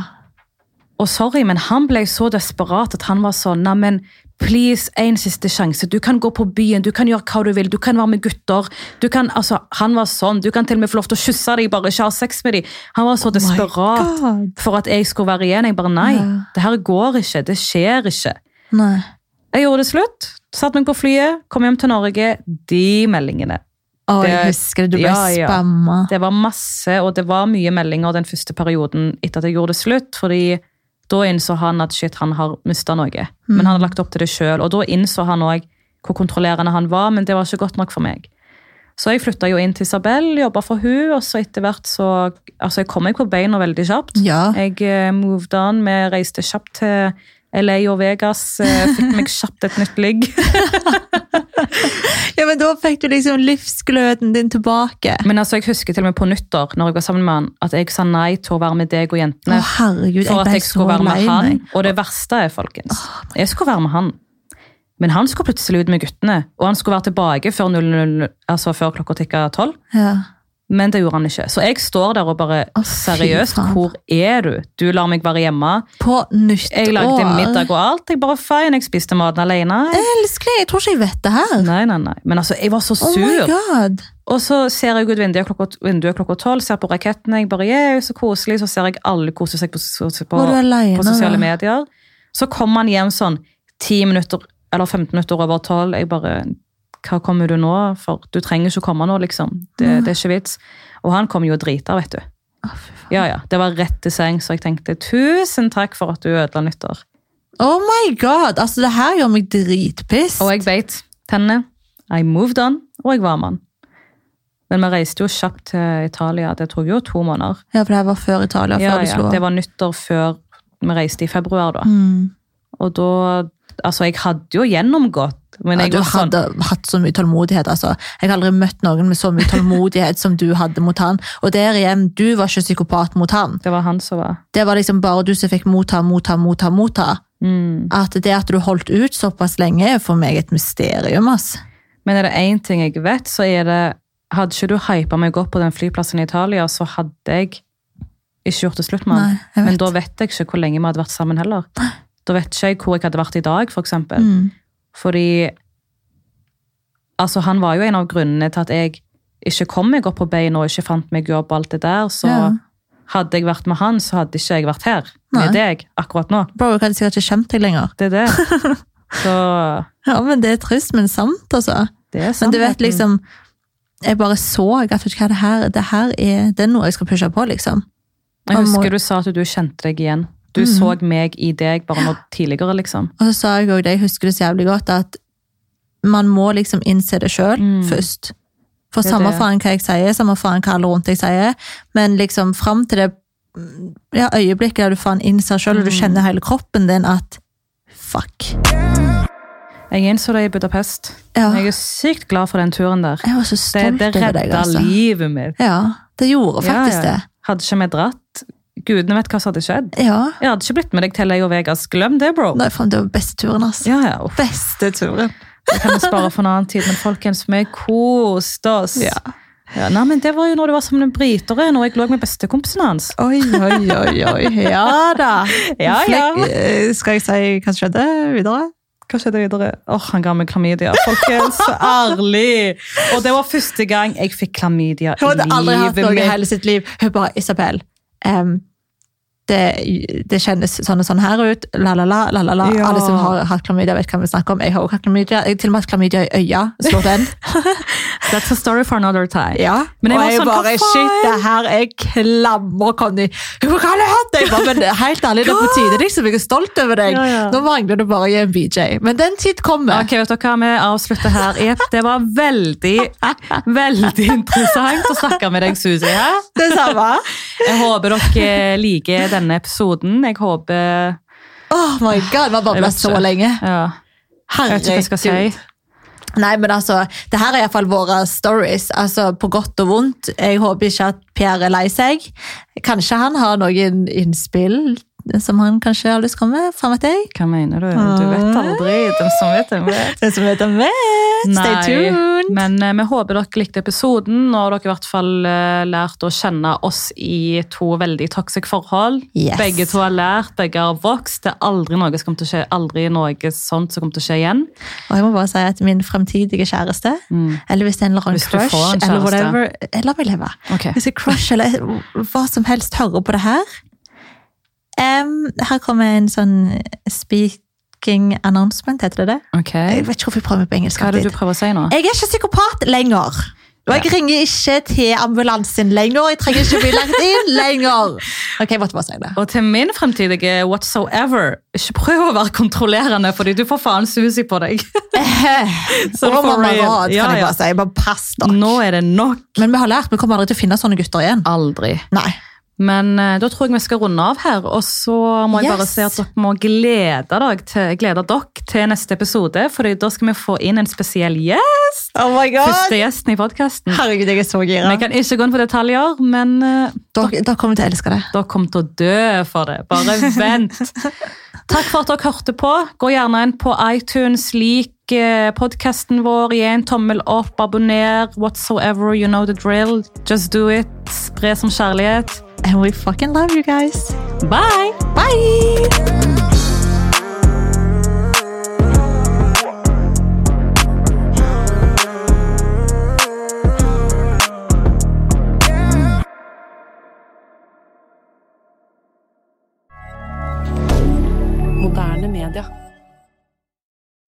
Speaker 1: Og sorry, men han ble så desperat at han var sånn, neimen, please, en siste sjanse. Du kan gå på byen, du kan gjøre hva du vil, du kan være med gutter. Du kan, altså, han var sånn, du kan til og med få lov til å kysse dem, bare ikke ha sex med dem. Han var så desperat
Speaker 2: Oh God.
Speaker 1: for at jeg skulle være igjen. Jeg bare, nei,
Speaker 2: Ja.
Speaker 1: det her går ikke, det skjer ikke.
Speaker 2: Nei.
Speaker 1: Jeg gjorde det slutt. Satt meg på flyet, kom hjem til Norge. De meldingene.
Speaker 2: Å, jeg
Speaker 1: Det-
Speaker 2: husker det. Du ble
Speaker 1: ja, ja.
Speaker 2: spamma.
Speaker 1: Det var masse, og det var mye meldinger den første perioden etter at jeg gjorde det slutt, fordi da innså han at shit, han har mistet noe. Men han hadde lagt opp til det selv, og da innså han også hvor kontrollerende han var, men det var ikke godt nok for meg. Så jeg flyttet jo inn til Isabel, jobbet for hun, og så etter hvert så, altså jeg kom meg på beina veldig kjapt.
Speaker 2: Ja.
Speaker 1: Jeg eh, moved on, vi reiste kjapt til LA og Vegas, eh, fikk meg kjapt et nytt ligg.
Speaker 2: ja, men da fikk du liksom livsgløden din tilbake.
Speaker 1: Men altså, jeg husker til og med på nyttår, når jeg var sammen med han, at jeg sa nei til å være med deg og
Speaker 2: Å,
Speaker 1: jentene.
Speaker 2: herregud, jeg
Speaker 1: for at
Speaker 2: ble
Speaker 1: jeg
Speaker 2: så
Speaker 1: skulle være
Speaker 2: lei
Speaker 1: med han.
Speaker 2: meg.
Speaker 1: Og det verste er, folkens, jeg skulle være med han. Men han skulle plutselig ut med guttene, og han skulle være tilbake før, 00, altså før klokka tikka tolv.
Speaker 2: Ja.
Speaker 1: Men det gjorde han ikke. Så jeg står der og bare
Speaker 2: Å, fy
Speaker 1: Seriøst,
Speaker 2: faen.
Speaker 1: hvor er du? Du lar meg være hjemme.
Speaker 2: På nyttår.
Speaker 1: Jeg lagde middag og alt. Jeg bare fine, jeg spiste maten alene.
Speaker 2: Elskling, jeg tror ikke jeg vet det her.
Speaker 1: Nei, nei, nei. Men altså, jeg var så
Speaker 2: Oh my
Speaker 1: sur.
Speaker 2: god.
Speaker 1: Og så ser jeg ut vinduet klokka, vinduet klokka tolv, ser på rakettene, jeg bare yeah, så koselig, så ser jeg alle kose seg på, på, på,
Speaker 2: Var du alene,
Speaker 1: på sosiale
Speaker 2: da?
Speaker 1: medier. Så kom han hjem sånn 10 minutter, eller 15 minutter over tolv, jeg bare hva kommer du nå for? Du trenger ikke å komme nå, liksom. Det, det er ikke vits. Og han kom jo drita, vet du.
Speaker 2: Å, fy faen.
Speaker 1: Ja, ja. Det var rett til seng, så jeg tenkte tusen takk for at du ødela nyttår.
Speaker 2: Oh my god, altså det her gjør meg dritpiss.
Speaker 1: Og jeg beit tennene. I moved on, og jeg var med han. Men vi reiste jo kjapt til Italia. Det tok jo to måneder.
Speaker 2: Ja, for det her var før Italia, før
Speaker 1: Ja,
Speaker 2: du slo
Speaker 1: ja.
Speaker 2: av.
Speaker 1: Det var nyttår før vi reiste i februar, da.
Speaker 2: Mm.
Speaker 1: Og da Altså, jeg hadde jo gjennomgått, men
Speaker 2: Ja,
Speaker 1: jeg
Speaker 2: du
Speaker 1: var sånn
Speaker 2: hadde hatt så mye tålmodighet, altså. Jeg har aldri møtt noen med så mye tålmodighet som du hadde mot han. Og der igjen, du var ikke psykopat mot han.
Speaker 1: Det var han som var
Speaker 2: Det var liksom bare du som fikk motta, motta, motta, motta.
Speaker 1: mm.
Speaker 2: At det at du holdt ut såpass lenge er for meg et mysterium, ass.
Speaker 1: Men er det én ting jeg vet, så er det Hadde ikke du hypa meg opp på den flyplassen i Italia, så hadde jeg ikke gjort det slutt med
Speaker 2: Nei,
Speaker 1: han.
Speaker 2: jeg vet.
Speaker 1: Men da vet jeg ikke hvor lenge vi hadde vært sammen heller. Da vet ikke jeg hvor jeg hadde vært i dag, for eksempel.
Speaker 2: Mm.
Speaker 1: Fordi Altså, han var jo en av grunnene til at jeg ikke kom meg opp på beina og ikke fant meg jobb og alt det der. Så
Speaker 2: Ja.
Speaker 1: hadde jeg vært med han, så hadde ikke jeg vært her
Speaker 2: Nei.
Speaker 1: med deg akkurat nå.
Speaker 2: Bro, jeg hadde sikkert ikke kjent deg lenger.
Speaker 1: Det er det. Så
Speaker 2: Ja, men det er trist, men sant, altså.
Speaker 1: det er sånn.
Speaker 2: Men
Speaker 1: sant.
Speaker 2: du vet liksom, jeg bare så at vet du hva, det her, det her er, det er noe jeg skal pushe på, liksom.
Speaker 1: Jeg
Speaker 2: Man må-
Speaker 1: husker du sa at du kjente deg igjen. Du
Speaker 2: Mhm.
Speaker 1: så meg i deg bare nå tidligere, liksom.
Speaker 2: Og så sa jeg også det, jeg husker det så jævlig godt, at man må liksom innse det selv først. For
Speaker 1: Mm. Det er
Speaker 2: samme
Speaker 1: det.
Speaker 2: faen hva jeg sier, samme faen hva alle rundt deg sier, men liksom frem til det ja, øyeblikket der du faen innser selv,
Speaker 1: Mm.
Speaker 2: og du kjenner hele kroppen din at, fuck.
Speaker 1: Jeg innså det i Budapest.
Speaker 2: Ja.
Speaker 1: Jeg er sykt glad for den turen der.
Speaker 2: Ah. Jeg var så
Speaker 1: Det,
Speaker 2: stolt
Speaker 1: det
Speaker 2: over deg,
Speaker 1: redda
Speaker 2: altså.
Speaker 1: livet mitt.
Speaker 2: Ja, det gjorde faktisk
Speaker 1: Ja, ja. Hadde ikke vi dratt, gudene vet hva som hadde skjedd.
Speaker 2: det. Ja,
Speaker 1: Jeg hadde ikke blitt med deg til Leo Vegas. Glem det, bro.
Speaker 2: Nei, faen, det var beste turen, altså.
Speaker 1: Ja, ja. uff,
Speaker 2: Beste turen.
Speaker 1: Det kan vi spare for en annen tid, men folkens, vi koste oss.
Speaker 2: Ja.
Speaker 1: Ja, nei, men Det var jo når det var sammen med briteren, når jeg lå med bestekompisen hans.
Speaker 2: Oi, oi, oi, oi. Ja da.
Speaker 1: Ja, ja.
Speaker 2: Flekk- eh, Skal jeg si hva som skjedde videre?
Speaker 1: Hva skjedde videre? Åh, Han ga meg klamydia. Folkens, ærlig! Og det var første gang jeg fikk klamydia i
Speaker 2: Hun hadde aldri hatt
Speaker 1: livet
Speaker 2: noe i
Speaker 1: mitt.
Speaker 2: hele sitt liv. Hun bare, Isabel, em, det, det kjennes sånn og sånn her ut. La, la, la, la, la, la.
Speaker 1: Ja.
Speaker 2: Alle som har hatt klamydia, vet hva vi snakker om. Jeg har også hatt klamydia. Jeg har til og med hatt klamydia i øya. Slå den.
Speaker 1: That's a story for another time.
Speaker 2: Ja.
Speaker 1: Men jeg
Speaker 2: og
Speaker 1: var
Speaker 2: jeg
Speaker 1: sånn, hva
Speaker 2: bare,
Speaker 1: faen?
Speaker 2: shit, det her er klammer, Conny. Hun bare, hva har du hatt? Jeg bare, men helt ærlig, det er på tide, liksom. Jeg er stolt over deg.
Speaker 1: Ja, ja.
Speaker 2: Nå mangler du bare å gi en BJ. Men den tid kommer.
Speaker 1: Ok, vet dere hva? Vi avslutter her. Jep, Det var veldig, veldig interessant å snakke med deg, Susi. her.
Speaker 2: Det samme.
Speaker 1: Jeg håper dere liker denne episoden. Jeg håper
Speaker 2: Oh my god,
Speaker 1: Ah, Jeg
Speaker 2: vi har babla
Speaker 1: vet
Speaker 2: så
Speaker 1: ikke.
Speaker 2: lenge.
Speaker 1: ja, Jeg vet ikke hva jeg skal si.
Speaker 2: Nei, men altså, det her er iallfall våre stories, altså på godt og vondt. Jeg håper ikke at Pierre er lei seg. Kanskje han har noen innspill som han kanskje har lyst til å komme med? Faen vet jeg.
Speaker 1: Hva mener du? Du vet aldri. De som vet, de vet.
Speaker 2: Den som vet, den vet. Ah. Stay tuned.
Speaker 1: men eh, vi håper dere likte episoden, og dere i hvert fall eh, lært å kjenne oss i to veldig toxic forhold.
Speaker 2: Yes.
Speaker 1: Begge to har lært, begge har vokst. Det er aldri noe, som kommer til å skje, aldri noe sånt som kommer til å skje igjen.
Speaker 2: Og jeg må bare si at min fremtidige kjæreste, eller hvis det er en eller
Speaker 1: Mm.
Speaker 2: annen
Speaker 1: Hvis du får en
Speaker 2: crush,
Speaker 1: kjæreste.
Speaker 2: eller whatever, eh, la meg leve.
Speaker 1: Ok.
Speaker 2: Hvis en crush eller hva som helst hører på det her. Em, her kommer en sånn speaking announcement, heter det det?
Speaker 1: Ok.
Speaker 2: Jeg vet ikke hvorfor jeg prøver meg på engelsk.
Speaker 1: Hva er det
Speaker 2: alltid.
Speaker 1: du prøver å si nå?
Speaker 2: Jeg er ikke psykopat lenger. Og jeg ringer ikke til ambulansen lenger. Jeg trenger ikke bli lagt inn lenger. Ok, jeg måtte bare si det.
Speaker 1: Og til min fremtidige whatsoever, ikke prøv å være kontrollerende, fordi du får faen susi på deg. Så for
Speaker 2: Og mamma
Speaker 1: real.
Speaker 2: råd, kan
Speaker 1: Ja,
Speaker 2: jeg
Speaker 1: ja.
Speaker 2: bare si. Bare pass dere.
Speaker 1: Nå er det nok.
Speaker 2: Mm. Men vi har lært, vi kommer aldri til å finne sånne gutter igjen.
Speaker 1: Aldri.
Speaker 2: Nei.
Speaker 1: Men eh, da tror jeg vi skal runde av her, og så må jeg bare
Speaker 2: Yes.
Speaker 1: si at dere må glede, dere til, glede dere til neste episode, for da skal vi få inn en spesiell gjest.
Speaker 2: Oh my
Speaker 1: Første gjesten i podkasten.
Speaker 2: Herregud, jeg er så gira.
Speaker 1: Vi kan ikke gå inn på detaljer, men eh,
Speaker 2: Dere, dere kommer til å elske det.
Speaker 1: dere kommer til å dø for det. Bare vent. Takk for at dere hørte på. Gå gjerne inn på iTunes, lik eh, podcasten vår, gi en tommel opp, abonner, whatsoever, you know the drill. Just do it. Spre som kjærlighet.
Speaker 2: And we fucking love you guys.
Speaker 1: Bye!
Speaker 2: Bye!